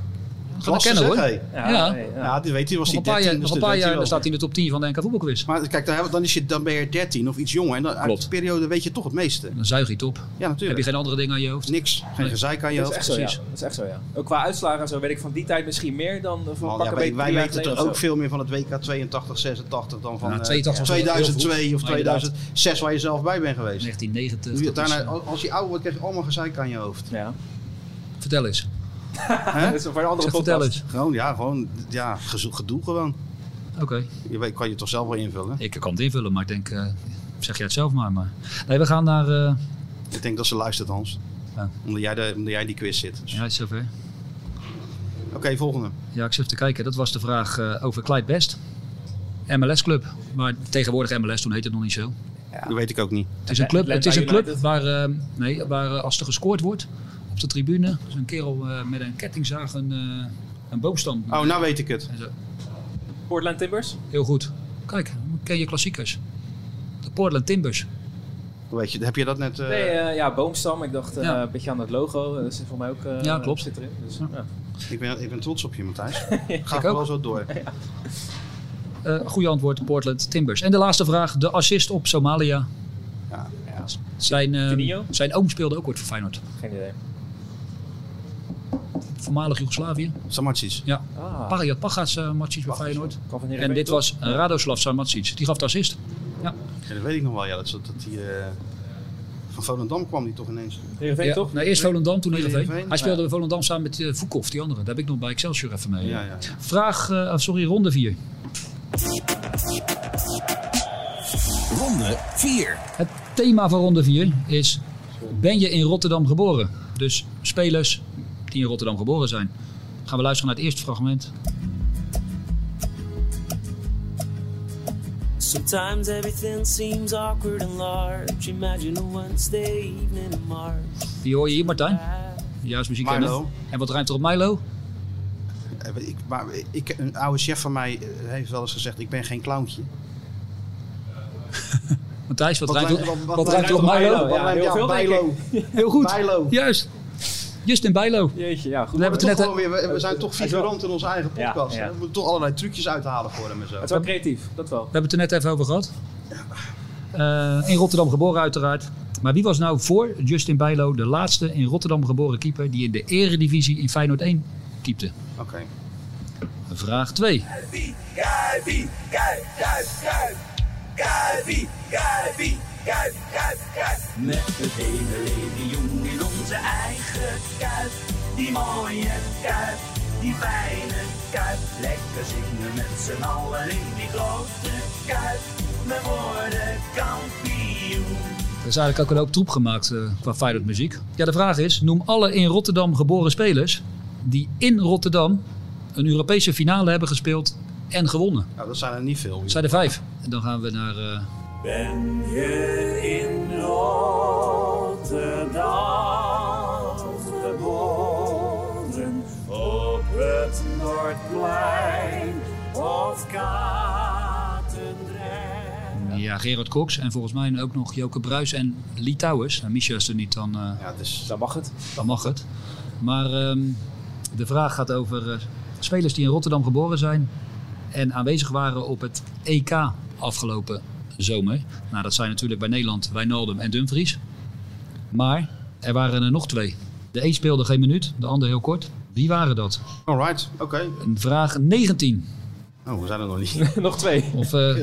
D: Gaan we
C: Klasse,
D: kennen hoor.
C: zeg, hey.
D: Ja.
C: Ja, die weet hij was
D: Nog
C: die
D: een paar
C: 13,
D: jaar,
C: dus
D: nog
C: dat
D: een paar
C: weet hij
D: jaar dan
C: wel.
D: staat hij in de top 10 van de NK Voetbalquiz.
C: Maar kijk, daar, dan, is je, dan ben je 13 of iets jonger. En dan, uit
D: Klopt.
C: die periode weet je toch het meeste.
D: Dan zuig je het op. Ja,
C: natuurlijk.
D: Heb je geen andere dingen aan je hoofd?
C: Niks. Geen gezeik aan je
E: Dat is
C: hoofd.
E: echt zo, ja. Dat is echt zo, ja. Ook qua uitslagen en zo weet ik van die tijd misschien meer dan eh, van
C: Want
E: pak
C: ja, wij
E: een beetje
C: wij
E: drie jaar
C: weten
E: geleden
C: toch
E: of
C: ook
E: zo.
C: veel meer van het WK 82, 86 dan van
D: Ja,
C: eh,
D: 82 Nou, was heel
C: 2002 of
D: vroeg. Maar inderdaad.
C: 2006 waar je zelf bij bent geweest.
D: 1990.
C: Nu je
D: dat is-
C: daarna- als je ouder wordt krijg je allemaal gezeik aan je hoofd.
E: Ja.
D: Vertel eens.
C: Hè?
E: Dat is voor een andere
D: Zeg, vertel
E: podcast.
D: eens.
C: Gewoon, ja, gewoon, ja, gezo- gedoe gewoon.
D: Oké.
C: Je weet, kan je toch zelf wel invullen?
D: Ik kan het invullen, maar ik denk, eh, zeg jij het zelf maar. maar. Nee, we gaan naar... eh,
C: Ik denk dat ze luistert, Hans.
D: Ja.
C: Omdat, jij de, omdat jij die quiz zit. Dus-
D: Ja, het is zover.
C: Oké, volgende.
D: Ja, ik zit te kijken. Dat was de vraag eh, over Clyde Best. MLS-club. Maar tegenwoordig MLS, toen heette het nog niet zo.
C: Dat weet ik ook niet.
D: Het is een club, het is een
E: Atlanta
D: club waar, eh, nee, waar eh, als er gescoord wordt op de tribune, is een kerel eh, met een kettingzaag een, eh, een boomstam.
C: Oh, nou weet ik het.
D: En zo.
E: Portland Timbers.
C: Eh,
D: Heel goed. Kijk, ken je klassiekers. De Portland Timbers.
C: Weet je, heb je dat net... eh,
E: Nee, eh, ja, boomstam. Ik dacht eh,
D: Ja.
E: een beetje aan het logo. Dat zit voor mij ook eh,
D: Ja, klopt.
E: zit erin. Dus, ja.
C: ik, ben, ik ben trots op je, Matthijs. Ga
D: ook.
C: gewoon zo door.
D: Eh goede antwoord, Portland Timbers. En de laatste vraag, de assist op Somalia.
C: Ja,
D: Zijn, eh,
E: Tinio?
D: zijn oom speelde ook ooit voor Feyenoord.
E: Geen idee.
D: Voormalig Joegoslavië.
C: Samatsic.
D: Ja.
E: Ah.
D: Pariat Pagas eh Matsic bij Feyenoord.
E: Kan van
D: En
E: Heerenveen,
D: dit
E: toch?
D: was eh, Radoslav Samatsic. Die gaf de assist. Ja.
C: Ja, dat weet ik nog wel, ja. Dat, dat die, eh, van Volendam kwam die toch ineens.
E: Heerenveen
D: Ja,
E: toch?
D: nou, eerst Volendam, toen Heerenveen.
C: Heerenveen?
D: Hij speelde bij Volendam samen met eh Voekhoff, die andere. Daar heb ik nog bij Excelsior even mee.
C: Ja, ja, ja.
D: Vraag, eh, sorry, ronde 4.
B: Ronde 4.
D: Het thema van ronde 4 is, ben je in Rotterdam geboren? Dus spelers die in Rotterdam geboren zijn. Gaan we luisteren naar het eerste fragment.
P: Sometimes everything seems awkward and large. Imagine a Wednesday evening in March.
D: Die hoor je hier, Martijn. Juist muziek kennen.
C: Milo.
D: En wat ruimt er op Milo?
C: Eh, Ik, maar ik, een oude chef van mij eh, heeft wel eens gezegd: Ik ben geen clowntje.
D: Matthijs, wat,
C: Wat
D: rijmt
C: lijkt-
D: op-
C: wat- wat
D: wat rijmt
C: lijkt
D: op
C: op
D: Milo?
C: Bijlo? Ja, heel veel, denk
D: Bijlo.
C: ik.
D: Heel goed.
C: Bijlo.
D: Juist. Justin Bijlo.
E: Jeetje, ja, goed.
D: We hebben
C: Toch
D: het net...
C: gewoon weer, we, we zijn toch figurant in onze eigen
D: Ja,
C: podcast. hè?
D: ja.
C: We moeten toch allerlei trucjes uithalen voor hem en zo.
E: Het is wel creatief, dat wel.
D: We hebben het er net even over gehad. Eh, in Rotterdam geboren uiteraard. Maar wie was nou voor Justin Bijlo de laatste in Rotterdam geboren keeper die in de eredivisie in Feyenoord 1 typte?
C: Oké.
D: Vraag 2.
L: Kuipie, kuip, kuip, kuip. Kuipie, kuipie, kuip, kuip, kuip. Met het hele legioen in onze eigen kuip. Die mooie kuip, die fijne kuip. Lekker zingen met z'n allen in die grote kuip. We worden kampioen.
D: Er is eigenlijk ook een hoop troep gemaakt eh, qua Feyenoord muziek. Ja, de vraag is, noem alle in Rotterdam geboren spelers die in Rotterdam een Europese finale hebben gespeeld en gewonnen.
C: Nou, dat zijn er niet veel.
D: Dat zijn er vijf. En dan gaan we naar... eh,
L: Ben je in Rotterdam geboren? Op het Noordplein of Katendrecht?
D: Ja, Gerard Cox en volgens mij ook nog Joke Bruis en Litouwers. Nou, Michel is er niet, dan, eh,
E: dan mag het.
D: dan mag het. Maar ehm, de vraag gaat over eh, spelers die in Rotterdam geboren zijn en aanwezig waren op het EK afgelopen zomer. Nou, dat zijn natuurlijk bij Nederland Wijnaldum en Dumfries. Maar er waren er nog twee. De een speelde geen minuut, de ander heel kort. Wie waren dat?
C: Alright, oké.
D: Vraag 19.
C: Oh, we zijn er nog niet.
E: nog twee.
D: Of, eh,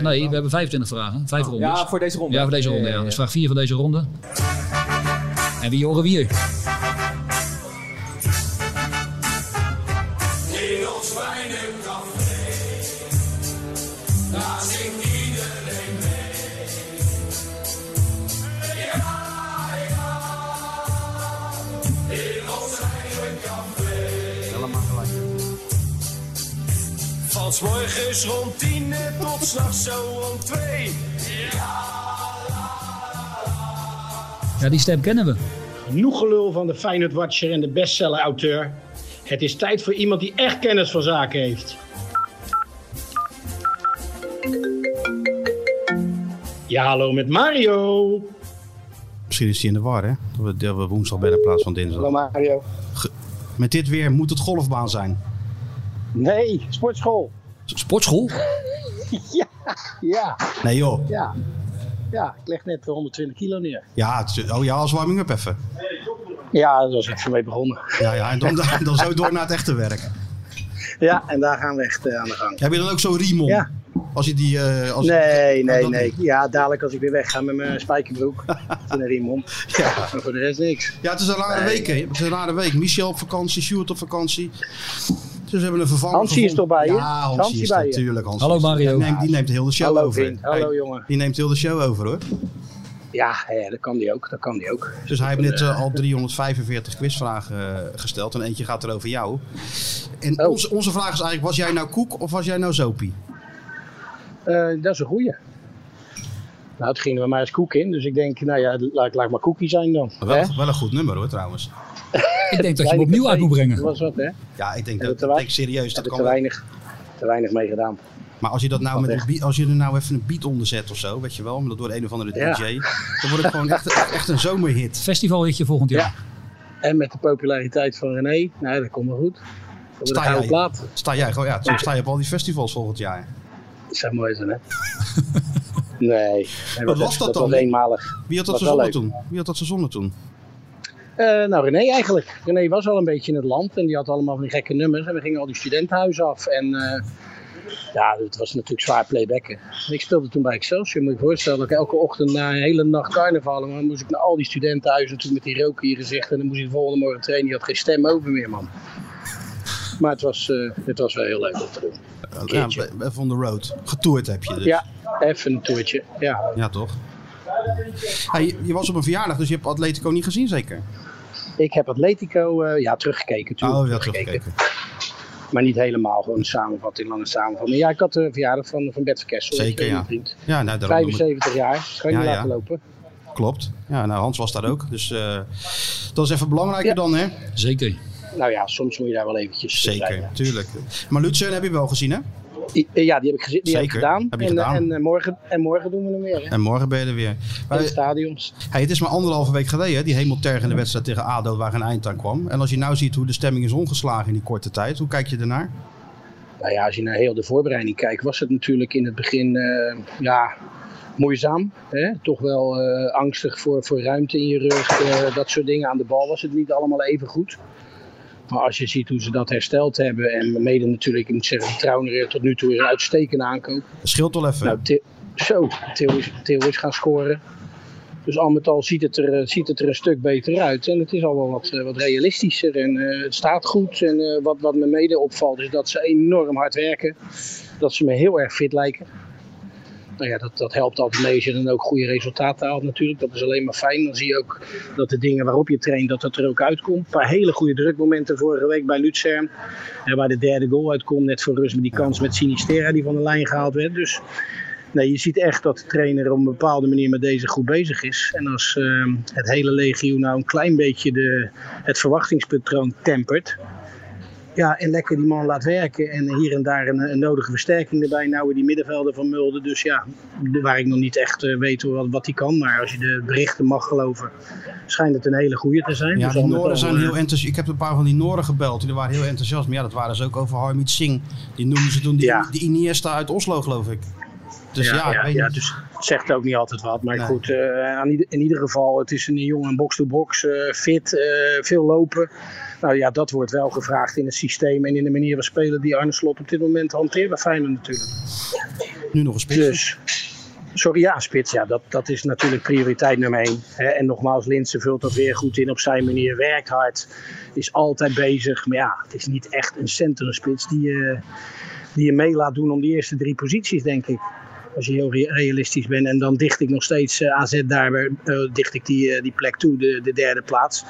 D: nee, we hebben 25 vragen. Vijf rondes.
E: Ah, Ja, voor deze ronde.
D: Ja, voor deze ronde.
E: Ja, ja,
D: Ja.
E: ja.
D: Dus vraag 4 van deze ronde. En wie horen we hier?
L: In ons fijne café, daar zingt iedereen mee. Ja, ja, in ons eigen café.
C: Helemaal gelijk.
L: Van 's morgens rond tien en tot s'nachts zo om twee. Ja,
D: Ja, die stem kennen we.
Q: Genoeg gelul van de Feyenoord Watcher en de bestseller-auteur. Het is tijd voor iemand die echt kennis van zaken heeft. Ja, hallo met Mario.
C: Misschien is hij in de war, hè? Dat we, dat we woensdag bij in plaats van dinsdag.
Q: Mario.
C: Ge- Met dit weer moet het golfbaan zijn.
Q: Nee, sportschool.
D: Sportschool?
Q: Ja, ja.
C: Nee, joh.
Q: Ja. ja, ik leg net 120 kilo neer.
C: Ja, het is- oh ja, als warming-up even.
Q: Ja, daar was ik voor mee begonnen.
C: Ja, ja, en dan, dan, dan zo door naar het echte werk.
Q: Ja, en daar gaan we echt eh, aan de gang.
C: Heb je dan ook zo'n riem om?
Q: Ja.
C: Als je die... eh, als
Q: nee, nee,
C: dat
Q: nee.
C: niet.
Q: Ja, dadelijk als ik weer wegga met mijn spijkerbroek. en een riem om. Maar voor de rest niks.
C: Ja, het is een rare
Q: Nee.
C: week, hè? Het is een rare week. Michel op vakantie, Sjoerd op vakantie. Dus we hebben een vervanger
Q: Hansie is
C: gevonden.
Q: toch bij je?
C: Ja, Hansie,
Q: Hansie
C: is
Q: bij
C: bij
Q: je?
C: natuurlijk. Hansie
D: Hallo,
C: is er.
D: Mario.
C: Die neemt, die neemt heel de show
Q: Hallo,
C: over.
Q: vriend. Hallo, jongen.
C: Die neemt heel de show over, hoor.
Q: Ja, ja, dat kan die ook. Dat kan die ook.
C: Dus hij heeft net eh, al 345 quizvragen eh, gesteld. En eentje gaat er over jou. En
Q: Oh.
C: onze, onze vraag is eigenlijk, was jij nou koek of was jij nou zopie?
Q: Eh, dat is een goeie. Nou, het ging er bij mij als koek in. Dus ik denk, nou ja, laat, laat maar koekie zijn dan. Hè?
C: Wel, wel een goed nummer hoor trouwens.
D: Ik denk dat je
Q: Weinig
D: hem opnieuw uit moet
Q: Dat
D: brengen.
Q: was wat, hè?
C: Ja, ik denk, Dus
Q: Hebben
C: dat,
Q: te
C: ik
Q: wei-
C: denk serieus, dat
Q: hebben
C: kan
Q: te
C: wel.
Q: weinig, te weinig mee gedaan.
C: Maar als je, dat nou
Q: Wat
C: met een
Q: echt.
C: beat- als je er nou even een beat onder zet of zo, weet je wel, maar dat door een of andere
Q: Ja.
C: DJ, dan wordt het gewoon echt, echt een zomerhit.
D: Festivalhitje volgend jaar.
Q: En met de populariteit van René, nou, dat komt wel goed. Dat wordt een
C: Sta
Q: gouden
C: jij,
Q: plaat.
C: sta jij gewoon, ja, zo sta je op al die festivals volgend jaar.
Q: Dat zou mooi zijn, hè? nee. nee,
C: Wat was dat dan?
Q: was eenmalig.
C: Wie had dat
Q: Was wel
C: verzonnen
Q: leuk.
C: toen? Wie had dat verzonnen toen?
Q: Eh, nou, René eigenlijk. René was al een beetje in het land en die had allemaal van die gekke nummers. En we gingen al die studentenhuizen af. En eh, ja, het was natuurlijk zwaar playbacken. En ik speelde toen bij Excelsior. Moet je je voorstellen dat ik elke ochtend na een hele nacht carnaval... maar dan moest ik naar al die studentenhuizen toen met die rook in je gezicht. En dan moest ik de volgende morgen trainen. Die had geen stem over meer, man. Maar het was, eh, het was wel heel leuk om te doen.
C: Ja, even on the road. Getoerd heb je dus.
Q: Ja, even een toertje. Ja.
C: Ja, toch? Hey, je- je was op een verjaardag, dus je hebt Atletico niet gezien zeker?
Q: Ik heb Atletico eh, ja, teruggekeken toen.
C: Oh, ja, teruggekeken.
Q: Maar niet helemaal, gewoon een samenvatting, lange samenvatting. Ja, ik had de verjaardag van, van Bert Verkessel.
C: Zeker, ja. Ja, nou, daarom noem ik-
Q: 75 jaar, kan je
C: Ja,
Q: niet
C: ja.
Q: laten lopen.
C: Klopt. Ja, nou, Hans was daar ook. Dus eh, dat is even belangrijker dan, hè?
D: Zeker.
Q: Nou ja, soms moet je daar wel eventjes
C: Zeker,
Q: zijn, ja.
C: tuurlijk. Maar Lutsen heb je wel gezien, hè?
Q: I- eh, ja, die heb ik, gezien, die heb ik
C: Zeker,
Q: gedaan.
C: heb je
Q: en, eh,
C: gedaan.
Q: En, eh, morgen, en morgen doen we hem weer. Hè?
C: En eh, morgen ben je er weer.
Q: in de stadions.
C: Hey, het is maar anderhalve week geleden, hè, die hemeltergende wedstrijd tegen ADO waar een eind aan kwam. En als je nou ziet hoe de stemming is omgeslagen in die korte tijd, hoe kijk je ernaar?
Q: Nou ja, als je naar heel de voorbereiding kijkt, was het natuurlijk in het begin eh, ja, moeizaam. Hè? Toch wel eh, angstig voor, voor ruimte in je rug, eh, dat soort dingen. Aan de bal was het niet allemaal even goed. Maar als je ziet hoe ze dat hersteld hebben en mede natuurlijk, ik moet zeggen, die Trauner tot nu toe is een uitstekende aankoop.
C: Scheelt wel even.
Q: Nou, Til- zo, Til is, Til is gaan scoren. Dus al met al ziet het, er, eh, ziet het er een stuk beter uit. En het is al wel wat, eh, wat realistischer. En eh, het staat goed. En eh, wat, wat me mede opvalt is dat ze enorm hard werken. Dat ze me heel erg fit lijken. Nou ja, dat, dat helpt altijd mee als je dan ook goede resultaten haalt natuurlijk. Dat is alleen maar fijn. Dan zie je ook dat de dingen waarop je traint, dat dat er ook uitkomt. Een paar hele goede drukmomenten vorige week bij Luzern. En waar de derde goal uitkomt, net voor rust met die kans met Sinistera die van de lijn gehaald werd. Dus nee, je ziet echt dat de trainer op een bepaalde manier met deze goed bezig is. En als ehm, het hele legio nou een klein beetje de, het verwachtingspatroon tempert... Ja, en lekker die man laat werken. En hier en daar een, een nodige versterking erbij. Nou, weer die middenvelden van Mulder. Dus ja, de- waar ik nog niet echt eh, weet wat, wat die kan. Maar als je de berichten mag geloven, schijnt het een hele goede te zijn.
C: Ja,
Q: Dus
C: die
Q: al met al,
C: Noren zijn
Q: eh,
C: heel enthousiast. Ik heb een paar van die Noren gebeld. Die waren heel enthousiast. Maar ja, dat waren ze ook over Harmit Singh. Die noemden ze toen die, die Iniesta uit Oslo, geloof ik. Dus ja, ik weet niet.
Q: dus het zegt ook niet altijd wat. Maar
C: Nee.
Q: goed, eh, aan ieder- in ieder geval, het is een jongen box-to-box, eh, fit, eh, veel lopen. Nou ja, dat wordt wel gevraagd in het systeem en in de manier van spelen die Arne Slot op dit moment hanteert bij Feyenoord natuurlijk.
C: Nu nog een spits.
Q: Dus, sorry, ja, spits, ja, dat, dat is natuurlijk prioriteit nummer één. Hè, En nogmaals, Linsen vult dat weer goed in op zijn manier, werkt hard, is altijd bezig. Maar ja, het is niet echt een centrumspits die, eh, die je mee laat doen om die eerste drie posities, denk ik. Als je heel re- realistisch bent. En dan dicht ik nog steeds eh, AZ daar, weer, eh, dicht ik die, eh, die plek toe, de, de derde plaats.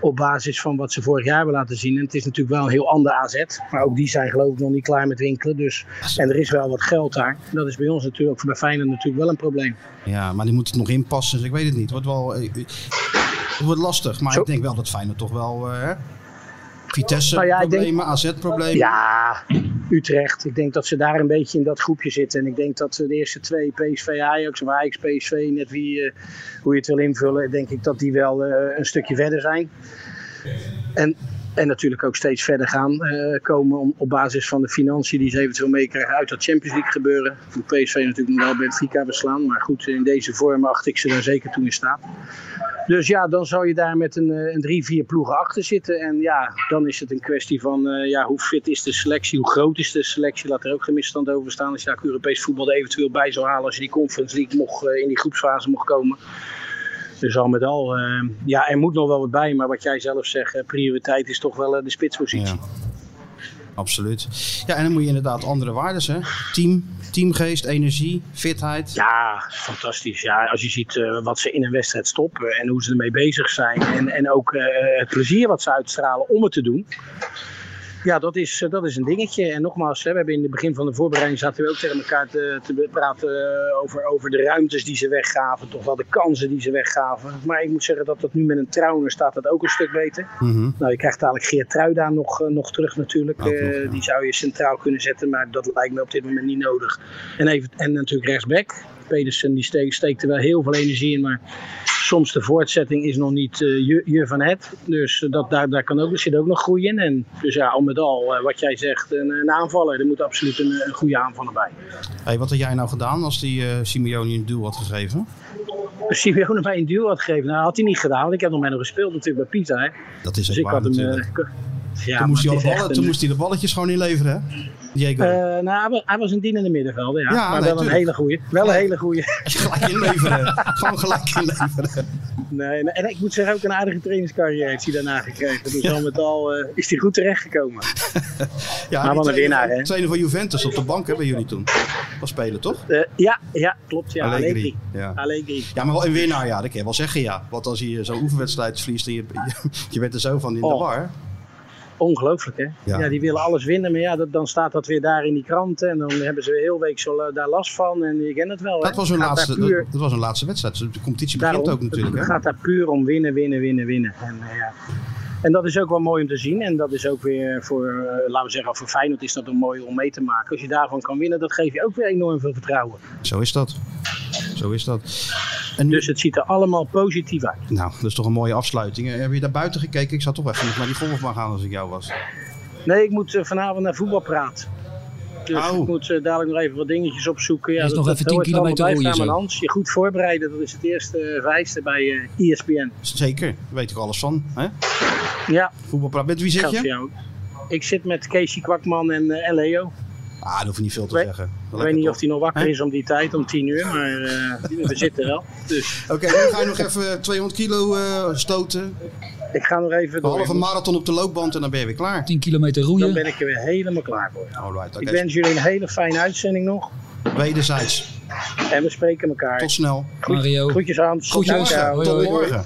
Q: Op basis van wat ze vorig jaar hebben laten zien. En het is natuurlijk wel een heel ander AZ. Maar ook die zijn geloof ik nog niet klaar met winkelen. Dus, en er is wel wat geld daar. En dat is bij ons natuurlijk, voor bij Feyenoord natuurlijk wel een probleem.
C: Ja, maar die moet het nog inpassen. Dus ik weet het niet. Het wordt wel... eh, eh, Het wordt lastig. Maar
Q: Zo.
C: ik denk wel dat Feyenoord toch wel... eh, Vitesse
Q: Nou ja, ik denk-
C: problemen, AZ problemen.
Q: Ja, Utrecht. Ik denk dat ze daar een beetje in dat groepje zitten. En ik denk dat ze de eerste twee, PSV, Ajax, of Ajax, PSV, net wie, eh, hoe je het wil invullen, denk ik dat die wel eh, een stukje verder zijn. En, en natuurlijk ook steeds verder gaan eh, komen om, op basis van de financiën die ze eventueel meekrijgen uit dat Champions League gebeuren. Moet PSV natuurlijk nog wel Benfica beslaan, maar goed, in deze vorm acht ik ze daar zeker toe in staat. Dus ja, dan zou je daar met een, eh, een drie, vier ploegen achter zitten. En ja, dan is het een kwestie van eh, ja, hoe fit is de selectie, hoe groot is de selectie. Laat er ook geen misstand over staan. Als je daar ook Europees voetbal er eventueel bij zou halen als je die Conference League mocht, eh, in die groepsfase mocht komen. Dus al met al, eh, ja, er moet nog wel wat bij. Maar wat jij zelf zegt, eh, prioriteit is toch wel eh, de spitspositie.
C: Absoluut. Ja, en dan moet je inderdaad andere waarden, hè. Team, teamgeest, energie, fitheid.
Q: Ja, fantastisch. Ja, als je ziet eh, wat ze in een wedstrijd stoppen en hoe ze ermee bezig zijn. En, en ook eh, het plezier wat ze uitstralen om het te doen. Ja, dat is, eh, dat is een dingetje. En nogmaals, hè, we hebben in het begin van de voorbereiding zaten we ook tegen elkaar te, te praten eh, over, over de ruimtes die ze weggaven. Toch wel de kansen die ze weggaven. Maar ik moet zeggen dat dat nu met een trouwner staat dat ook een stuk beter. Nou, je krijgt dadelijk Geert Truida nog, eh, nog terug natuurlijk. Eh, Die zou je centraal kunnen zetten, maar dat lijkt me op dit moment niet nodig. En, even, en natuurlijk rechtsback. Pedersen die steekt, steekt er wel heel veel energie in, maar soms de voortzetting is nog niet eh, je, je van het. Dus eh, dat, daar, daar kan ook, er zit ook nog groei in. En, dus ja, al met al, eh, wat jij zegt, een, een aanvaller. Er moet absoluut een, een goede aanvaller bij.
C: Hey, wat had jij nou gedaan als die eh Simeone een duel had gegeven?
Q: Als Simeone mij een duel had gegeven, nou, had hij niet gedaan. Want ik heb nog met hem gespeeld natuurlijk bij Pieter. Hè.
C: Dat is ook
Q: dus ik
C: waar
Q: had hem,
C: natuurlijk.
Q: eh, k- ja,
C: toen
Q: maar
C: moest, hij,
Q: het
C: alle
Q: is echt
C: ballen,
Q: een-
C: toen moest hij de balletjes gewoon inleveren, hè? Diego.
Q: Eh, nou, hij wa- hij was een dienende middenvelder, ja.
C: Ja,
Q: maar
C: nee,
Q: wel een
C: tuurlijk.
Q: hele goeie. Wel een hele goeie.
C: gelijk inleveren. Gewoon gelijk inleveren.
Q: Nee, nee, en ik moet zeggen, ook een aardige trainingscarrière heeft hij daarna gekregen. Dus al met al eh, is hij goed terechtgekomen.
C: ja, die
Q: maar wat een
C: trainer-
Q: winnaar, hè?
C: Trainer van Juventus op de bank, hè, bij jullie toen. Was spelen, toch?
Q: Eh, ja, ja, klopt. Ja,
C: Allegri,
Q: Allegri.
C: ja.
Q: Allegri.
C: Ja, maar wel een winnaar, ja. Dat kan je wel zeggen, ja. Want als je zo'n oefenwedstrijd verliest en je, je, je bent er zo van in de
Q: Oh.
C: war.
Q: Ongelooflijk, hè?
C: Ja.
Q: Ja. die willen alles winnen, maar ja, dat, dan staat dat weer daar in die kranten. En dan hebben ze weer heel week zo, la- daar last van. En je kent het wel, hè?
C: Dat was hun
Q: Gaat daar
C: laatste,
Q: puur-
C: dat, dat was hun laatste wedstrijd. De competitie begint
Q: Daarom,
C: ook natuurlijk,
Q: het
C: hè?
Q: gaat daar puur om winnen, winnen, winnen, winnen. En, eh, ja. En dat is ook wel mooi om te zien. En dat is ook weer voor, eh, laten we zeggen, voor Feyenoord is dat een mooi om mee te maken. Als je daarvan kan winnen, dat geeft je ook weer enorm veel vertrouwen.
C: Zo is dat. Zo is dat.
Q: Dus het ziet er allemaal positief uit.
C: Nou, dat is toch een mooie afsluiting. Eh, Heb je daar buiten gekeken? Ik zou toch even nog naar die golf maar gaan als ik jou was.
Q: Nee, ik moet eh, vanavond naar voetbal praten. Dus ik moet eh, dadelijk nog even wat dingetjes opzoeken. Ja,
D: Er is nog even 10
Q: hoort er allemaal
D: kilometer
Q: bij.
D: roeien
Q: Ga maar,
D: zo.
Q: Hans, je goed voorbereiden, dat is het eerste eh, vijfste bij eh ESPN.
C: Zeker, daar weet ik alles van. Hè?
Q: Ja.
C: Voetbalpraat. Met wie zit
Q: Geldt
C: je?
Q: voor jou ook. Ik zit met Casey Kwakman en eh, Leo.
C: Ah, daar hoef je niet veel te zeggen.
Q: Ik weet niet of hij nog wakker
C: Hè?
Q: is om die tijd, om 10 uur, maar eh, we zitten wel. Dus.
C: Oké, dan ga je nog even 200 kilo eh, stoten.
Q: Ik ga nog even
C: Een
Q: door.
C: halve marathon op de loopband en dan ben je weer klaar.
D: 10 kilometer
Q: Dan ben ik er weer helemaal klaar voor.
C: Alright,
Q: Ik
C: oké.
Q: wens jullie een hele fijne uitzending nog.
C: Wederzijds.
Q: En we spreken elkaar.
C: Tot snel.
Q: Goed-
C: Mario.
Q: Groetjes Hans.
C: Groetjes.
Q: Dank
C: Tot
Q: jou. Doei, doei.
C: morgen.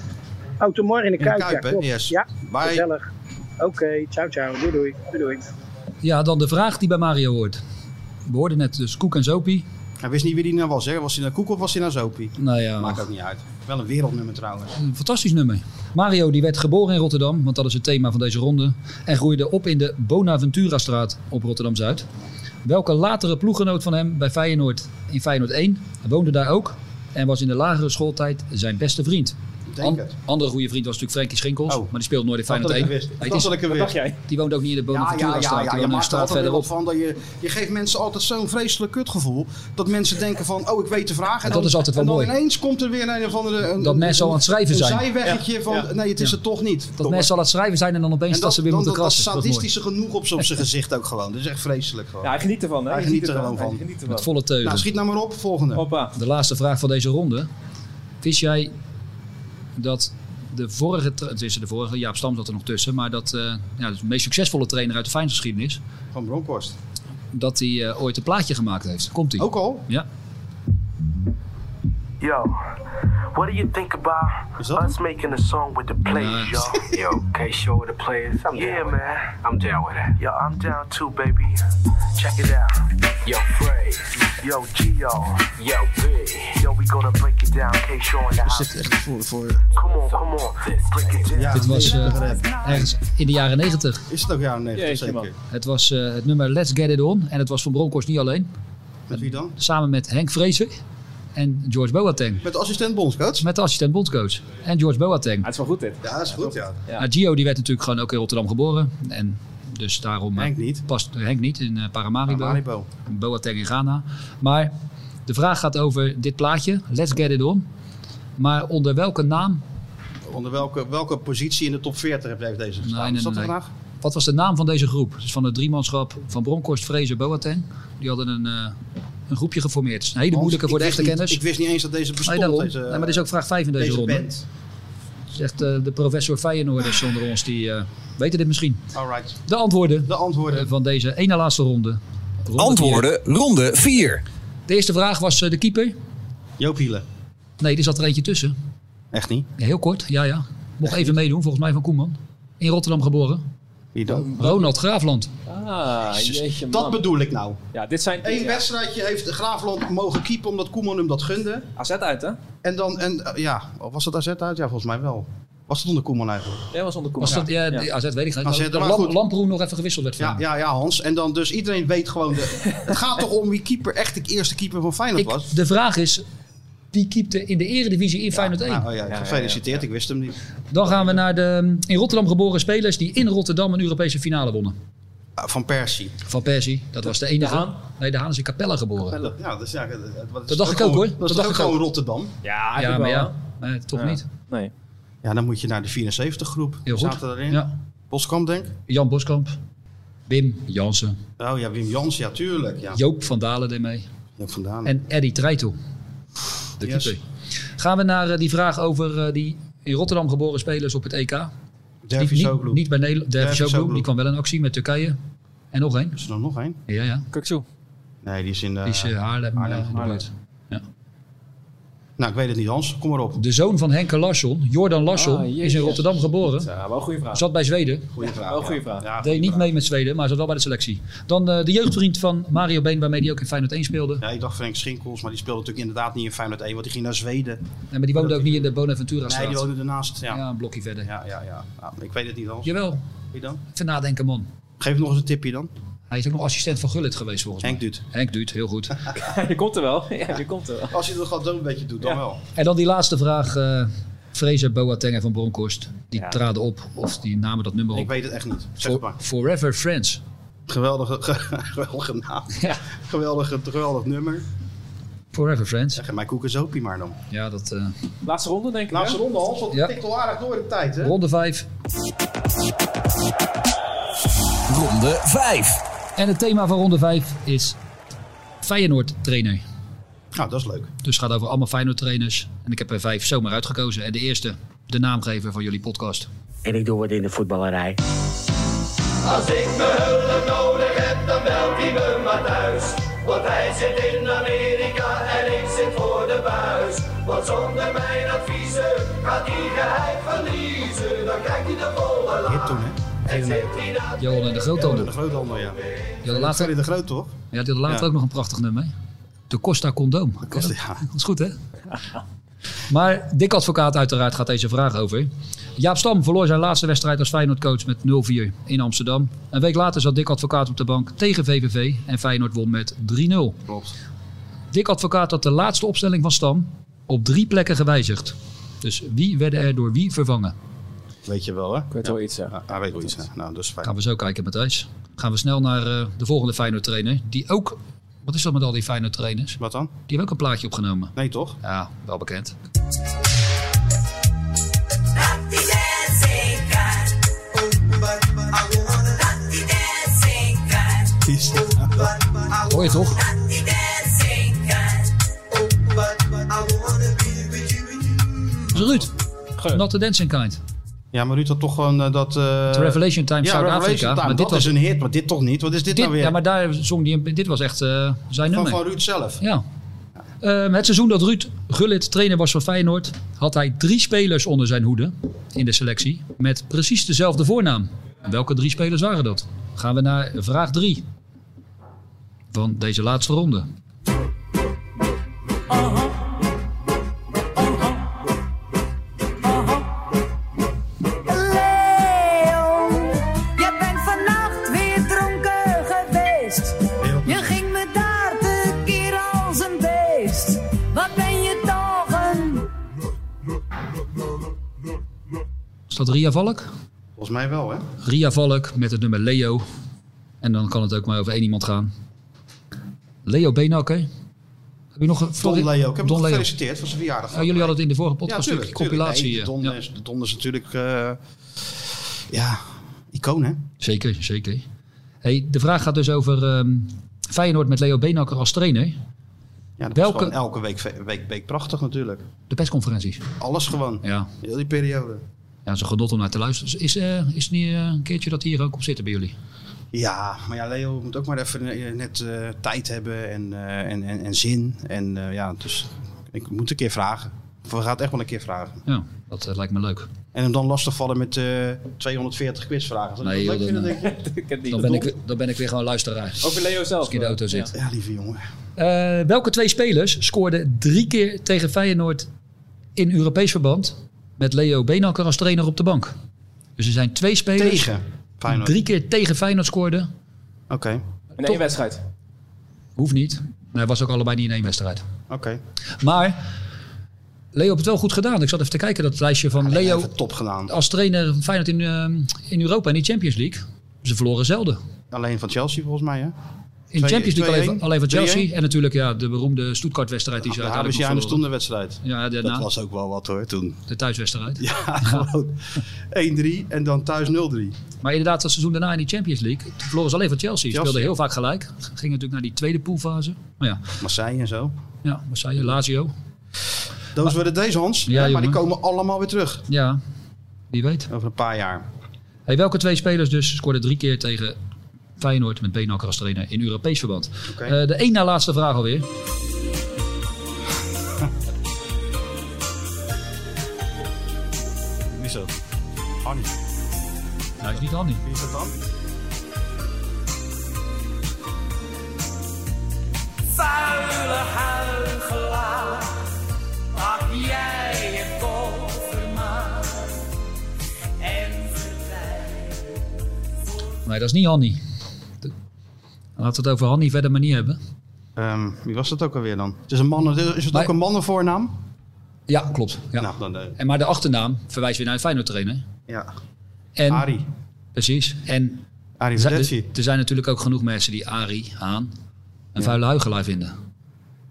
Q: Oh, tot morgen in de
C: In de
Q: Kuip. ja,
C: Kuip, hè?
Q: klopt.
C: Yes.
Q: Ja,
C: Bye.
Q: gezellig. Oké, ciao ciao. Doei doei. Doei doei.
D: Ja, dan de vraag die bij Mario hoort. We hoorden net dus Koek en Zopie.
C: Hij wist niet wie die nou was, hè? Was hij naar Koek of was hij naar Zopie?
D: Nou ja.
C: Maakt ook niet uit. Wel een wereldnummer trouwens.
D: Een fantastisch nummer. Mario die werd geboren in Rotterdam, want dat is het thema van deze ronde. En groeide op in de Bonaventura-straat op Rotterdam-Zuid. Welke latere ploeggenoot van hem bij Feyenoord in Feyenoord 1 woonde daar ook. En was in de lagere schooltijd zijn beste vriend.
C: denk het.
D: Andere goede vriend was natuurlijk Frankie Schinkels. Maar die speelde nooit in
C: dacht Oh.
D: Feyenoord 1.
C: dat ik het wist.
D: Nee, het
C: dacht
D: is-
C: dat ik het
D: dat
C: wist.
D: dacht jij. Die woonde ook niet in de
C: Ja, ja, ja,
D: Bonaventura-straat.
C: ja, je
D: die woonde een
C: maakt er
D: straat
C: altijd
D: verderop.
C: wat van. Dat je, je geeft mensen altijd zo'n vreselijk kutgevoel. Dat mensen denken van, oh, ik weet de vraag.
D: En dat is altijd wel
C: en dan
D: mooi.
C: ineens komt er weer een of andere... Een,
D: Dat mensen al aan het schrijven
C: een
D: zijn.
C: zijweggetje
D: Ja.
C: van,
D: Ja.
C: nee, het is
D: Ja.
C: het toch niet.
D: Dat mensen al aan het schrijven zijn en dan opeens
C: En
D: dat,
C: dat,
D: ze weer
C: dan
D: moeten
C: dat, dat
D: krassen. Dat is mooi.
C: sadistische genoeg op zijn gezicht ook gewoon. Dat is echt vreselijk gewoon.
D: Ja, hij geniet
E: ervan, hè?
C: Hij
E: Hij
C: geniet
E: geniet
C: er gewoon
E: ervan.
C: van.
E: Hij geniet
D: Met volle teugen.
C: Nou, schiet nou maar op. Volgende.
D: De laatste vraag van deze ronde. Wist jij dat de vorige, tra- het is de vorige, Jaap Stam zat er nog tussen, maar dat eh, ja, de meest succesvolle trainer uit de Feyenoordgeschiedenis,
C: Van Bronkhorst.
D: dat hij eh, ooit een plaatje gemaakt heeft. Komt hij?
C: Ook al?
D: Ja.
R: Yo, what do you think about us making a song with the players, yo? yo, okay, sure with the players. I'm yeah, down man. I'm down with that. Yo, I'm down too, baby. Check it out. Yo, phrase. Yo, Gio. Yo, B. Yo, we gonna break it down. Okay, sure in the house.
C: Voor, voor...
R: Come on, come on. Break it down.
D: Dit was eh, ergens in de jaren 90.
C: Is het ook jaren 90,
D: Jeetje,
C: zeker.
D: man. Het was eh, het nummer Let's Get It On en het was van Bronkhorst niet alleen.
C: Met wie dan?
D: Samen met Henk Vrezen en George Boateng.
C: Met de assistent bondscoach?
D: Met de assistent bondscoach en George Boateng.
E: het is wel goed dit.
C: Ja, dat is goed, ja.
D: Nou, Gio die werd natuurlijk gewoon ook in Rotterdam geboren. En dus daarom eh,
C: Henk niet.
D: past Henk niet in eh, Paramaribo.
C: Paramaribo.
D: En Boateng in Ghana. Maar de vraag gaat over dit plaatje. Let's get it on. Maar onder welke naam?
C: Onder welke, welke positie in de top 40 heb- heeft deze gestaan?
D: Nee, nee,
C: is dat
D: nee,
C: de
D: nee.
C: vraag?
D: Wat was de naam van deze groep? Dus van het driemanschap van Bronkhorst, Fraser, Boateng. Die hadden een, eh, een groepje geformeerd. Het is een hele
C: Hans,
D: moeilijke voor
C: ik
D: de
C: wist
D: echte
C: niet-
D: kenners.
C: Ik wist niet eens dat deze bestond.
D: Nee, daarom.
C: deze,
D: Nee, maar dit is ook vraag 5 in deze,
C: deze
D: ronde.
C: band.
D: Zegt eh, de professor Feyenoorders onder ons, die eh, weten dit misschien.
C: Alright.
D: De antwoorden,
C: de antwoorden.
D: van deze ene laatste ronde. Ronde
B: Antwoorden
D: vier.
B: ronde 4.
D: De eerste vraag was eh, de keeper.
C: Joop Hielen.
D: Nee, die zat er eentje tussen.
C: Echt niet?
D: Ja, heel kort, ja, ja. Mocht even meedoen, volgens mij van Koeman. In Rotterdam geboren.
C: Wie dan?
D: Ronald Graafland.
E: Ah, jeetje man.
C: Dat bedoel ik nou.
E: Ja, dit zijn...
C: Eén
E: ja.
C: wedstrijdje heeft Graafland mogen keepen omdat Koeman hem dat gunde.
E: AZ uit, hè?
C: En dan, en, eh, ja, was dat AZ uit? Ja, volgens mij wel. Was het onder Koeman eigenlijk?
E: Ja, was onder
D: Was dat, ja,
C: Ja.
D: die AZ weet ik niet.
C: AZ,
D: Dat
C: maar
D: Lam-
C: goed.
D: Lamproen nog even gewisseld werd.
C: Ja,
D: van.
C: ja, ja, Hans. En dan dus iedereen weet gewoon... De, het gaat toch om wie keeper echt de eerste keeper van Feyenoord
D: Ik-
C: was?
D: de vraag is, wie keepte in de eredivisie in Feyenoord 1?
C: Nou, oh ja, gefeliciteerd. Ik wist hem niet.
D: Dan gaan we naar de mm, in Rotterdam geboren spelers die in Rotterdam een Europese finale wonnen.
C: Ah, Van Persie.
D: Van Persie, dat was de
C: De
D: enige.
C: Haan?
D: Nee, de Haan is in Capelle geboren.
C: Ja, dus ja, dat, dat- dat is
D: Dat dacht ik ook, hoor.
C: Dat,
D: Dat
C: is
D: dacht
C: ook
D: ik ook.
C: gewoon Rotterdam.
E: Ja,
D: Ja,
E: eigenlijk
D: maar
E: wel.
D: ja, maar toch
E: Ja.
D: niet.
E: Nee.
C: Ja, dan moet je naar de 74 groep.
D: Heel
C: Die
D: goed.
C: Zaten daarin.
D: Ja.
C: Boskamp, denk ik.
D: Jan Boskamp, Wim Jansen,
C: Oh ja, Wim Jans, ja, tuurlijk. Ja.
D: Joop van Dalen deed mee.
C: Joop van Dalen.
D: En Eddie Treitel, de
C: Yes.
D: keeper. Gaan we naar eh, die vraag over eh, die in Rotterdam geboren spelers op het EK. Niet- niet,
C: Soglu.
D: niet bij Nederland. Dervis
C: Dervis
D: Soglu,
C: Soglu.
D: die kwam wel in actie met Turkije. En nog één.
C: Is er nog nog één?
D: Ja, ja.
E: Kukzu.
C: Nee, die is in eh,
D: Die is eh, Haarlem. eh,
C: Haarlem.
D: gebeurd. Ja.
C: Nou, ik weet het niet, Hans. Kom maar op.
D: De zoon van Henke Larsson, Jordan Larsson,
C: Ah, jee,
D: is in
C: jee.
D: Rotterdam geboren.
E: Ja, wel een goede vraag.
D: Zat bij Zweden.
E: Goeie vraag. Wel een goede vraag. Ja,
D: Deed niet mee met Zweden, maar zat wel bij de selectie. Dan eh, de jeugdvriend van Mario Been, waarmee hij ook in Feyenoord 1 speelde.
C: Ja, ik dacht Frank Schinkels, maar die speelde natuurlijk inderdaad niet in Feyenoord 1, want die ging naar Zweden.
D: Nee, maar die woonde ook niet in de Bonaventura
C: Nee,
D: straat.
C: die woonde ernaast. Ja,
D: een blokje verder.
C: Ja, ja, ja. Ja, ik weet het niet, Hans.
D: Jawel.
C: Wie dan?
D: Even nadenken, man.
C: Geef nog eens een tipje dan.
D: Hij is ook nog assistent van Gullit geweest, volgens
C: Henk mij. Henk
D: Duut. Henk Duut, heel goed.
E: je komt er wel. Ja, je komt er wel.
C: Als je dat gewoon een beetje doet, dan wel.
D: en dan die laatste vraag. eh Fraser Boateng en Van Bronckhorst. Die traden op, of die namen dat nummer op.
C: Ik weet het echt niet. Zeg
D: For-
C: maar.
D: Forever Friends.
C: Geweldige, geweldige naam. Geweldig, geweldig nummer.
D: Forever Friends.
C: Zeg mij koekenzoopie maar dan.
D: Ja, dat... eh,
E: Laatste ronde, denk ik.
C: Laatste
E: hè?
C: ronde, Hans. Want
D: Ja.
C: het tikt al aardig door de tijd, hè?
D: Ronde 5.
B: Ronde 5.
D: En het thema van ronde 5 is Feyenoord trainer.
C: Nou, dat is leuk.
D: Dus het gaat over allemaal Feyenoord trainers. En ik heb er vijf zomaar uitgekozen. En de eerste, de naamgever van jullie podcast.
S: En ik doe wat in de voetballerij.
L: Als ik me hulp nodig heb, dan belt hij me maar thuis. Want hij zit in Amerika en ik zit voor de buis. Want zonder mijn adviezen gaat hij geheid verliezen. Dan kijkt hij de volle laag.
C: Hip toen, hè?
L: En zit hij na
D: Johan en de Groothandel.
C: De Groothandel, ja.
D: Ja, de laatste...
C: de Groot, toch?
D: Ja, die had later
C: Ja.
D: ook nog een prachtig nummer. hè? De Costa Condoom.
C: Costa,
D: Dat is goed, hè? Maar Dick Advocaat uiteraard gaat deze vraag over. Jaap Stam verloor zijn laatste wedstrijd als Feyenoord-coach met 0-4 in Amsterdam. Een week later zat Dick Advocaat op de bank tegen VVV en Feyenoord won met 3-0.
C: Klopt.
D: Dick Advocaat had de laatste opstelling van Stam op drie plekken gewijzigd. Dus wie werden er door wie vervangen?
C: Weet je wel, hè? Ik
E: weet wel iets,
C: ja. Hij weet wel iets, hè? Nou, dat is fijn.
D: Gaan we zo kijken, Matthijs. Gaan we snel naar eh, de volgende Feyenoord trainer. Die ook... Wat is dat met al die Feyenoord trainers?
C: Wat dan? Die
D: hebben ook een plaatje opgenomen.
C: Nee, toch?
D: Ja, wel bekend. Hoor je toch? Dat is Dus Ruud. Not the dancing kind.
C: Ja, maar Ruud had toch gewoon eh, dat... eh,
D: The Revelation Time
C: ja,
D: Zuid-Afrika,
C: Revelation Time.
D: maar dit
C: dat is
D: was-
C: een hit, maar dit toch niet? Wat is dit,
D: Dit,
C: nou weer?
D: ja, maar daar zong hij... een- Dit was echt eh, zijn
C: van,
D: nummer.
C: van Ruud zelf.
D: Ja. Ehm, het seizoen dat Ruud Gullit trainer was van Feyenoord, had hij drie spelers onder zijn hoede in de selectie met precies dezelfde voornaam. Welke drie spelers waren dat? Gaan we naar vraag 3 van deze laatste ronde.
L: Leo, je bent vannacht weer dronken geweest. Je ging me daar te keer als een beest. Wat ben je toch een...
D: Is dat Ria Valk?
C: Volgens mij wel, hè?
D: Ria Valk met het nummer Leo. En dan kan het ook maar over één iemand gaan. Leo Benak, hè? Heb je nog een
C: Don Leo. Ik heb
D: Don
C: hem
D: Leo.
C: gefeliciteerd voor zijn verjaardag.
D: Oh, jullie hadden het in de vorige podcast,
C: natuurlijk.
D: natuurlijk, compilatie. eh.
C: Don, is, Don is natuurlijk... eh, ja, icoon, hè?
D: Zeker, zeker. Hey, de vraag gaat dus over ehm, Feyenoord met Leo Beenakker als trainer.
C: Ja, dat
D: Welke-
C: Welke... elke week, ve- week, week prachtig natuurlijk.
D: De persconferenties.
C: Alles gewoon.
D: Ja.
C: Heel die periode.
D: Ja, ze genot om naar te luisteren. Is, eh, is het niet eh, een keertje dat die hier ook op zitten bij jullie?
C: Ja, maar ja, Leo moet ook maar even eh, net eh, tijd hebben en, eh, en, en, en zin. En eh, ja, dus ik moet een keer vragen. Of we gaan het echt wel een keer vragen.
D: Ja, dat eh, lijkt me leuk.
C: En hem dan lastigvallen met eh 240 quizvragen. Zou
D: Nee,
C: je dat
D: joh,
C: leuk
D: dan,
C: vinden, denk je?
D: Dan ben, ik, Oh, weer- dan ben ik weer gewoon luisteraar.
E: Ook voor Leo zelf. eh,
D: Als ik in de auto zit.
C: Ja, lieve jongen.
D: Eh, welke twee spelers scoorden drie keer tegen Feyenoord in Europees verband met Leo Beenakker als trainer op de bank? Dus er zijn twee spelers
C: Tegen
D: die
C: Feyenoord.
D: drie keer tegen Feyenoord scoorden.
C: Oké,
E: In één wedstrijd.
D: Hoeft niet. Nee, was ook allebei niet in één wedstrijd.
C: oké.
D: Maar Leo heeft het wel goed gedaan. Ik zat even te kijken, dat lijstje
C: Ah,
D: van Leo
C: Even top gedaan.
D: als trainer van Feyenoord in, eh, in Europa en die Champions League. Ze verloren zelden.
C: Alleen van Chelsea volgens mij, hè?
D: In de Champions League alleen, alleen van Chelsea. En natuurlijk ja, de beroemde Stuttgart-wedstrijd die ze
C: Ja,
D: uiteindelijk
C: dus
D: nog
C: jij
D: verloren.
C: de wedstrijd.
D: Ja, daarna.
C: Dat was ook wel wat hoor, toen.
D: De thuiswedstrijd.
C: Ja, gewoon 1-3 en dan thuis 0-3.
D: Maar inderdaad, dat seizoen daarna in die Champions League. Toen verloren ze alleen van Chelsea. Ze
C: Chelsea,
D: speelden heel
C: ja.
D: vaak gelijk. Gingen natuurlijk naar die tweede poolfase. Maar ja,
C: Marseille en zo.
D: ja Marseille, Lazio.
C: Those were the days, Hans.
D: Ja,
C: maar die
D: jongen.
C: komen allemaal weer terug.
D: Ja, wie weet.
C: Over een paar jaar.
D: Hey, welke twee spelers dus scoorden drie keer tegen Feyenoord met Beenhakker als trainer in Europees verband?
C: Oké.
D: Eh, de één na laatste vraag alweer.
C: Wie is dat? Hanni.
D: Hij Nou, is niet Hanni.
C: Wie is dat dan?
L: Vuile huigelaar, pak jij je koffer maar en
D: Nee, dat is niet Hanni. Laten we het over Hanni verder maar niet hebben.
C: Ehm, wie was dat ook alweer dan? Het is, een mannen, is het ook een mannenvoornaam?
D: Ja, klopt. Ja.
C: Nou, dan, eh,
D: En maar de achternaam verwijst weer naar een Feyenoord trainer.
C: ja.
D: En,
C: Arie.
D: Precies. En
C: Arie
D: er zijn- dus-
C: Verletti.
D: er- Er zijn natuurlijk ook genoeg mensen die Arie, Haan een vuile huigelaar vinden.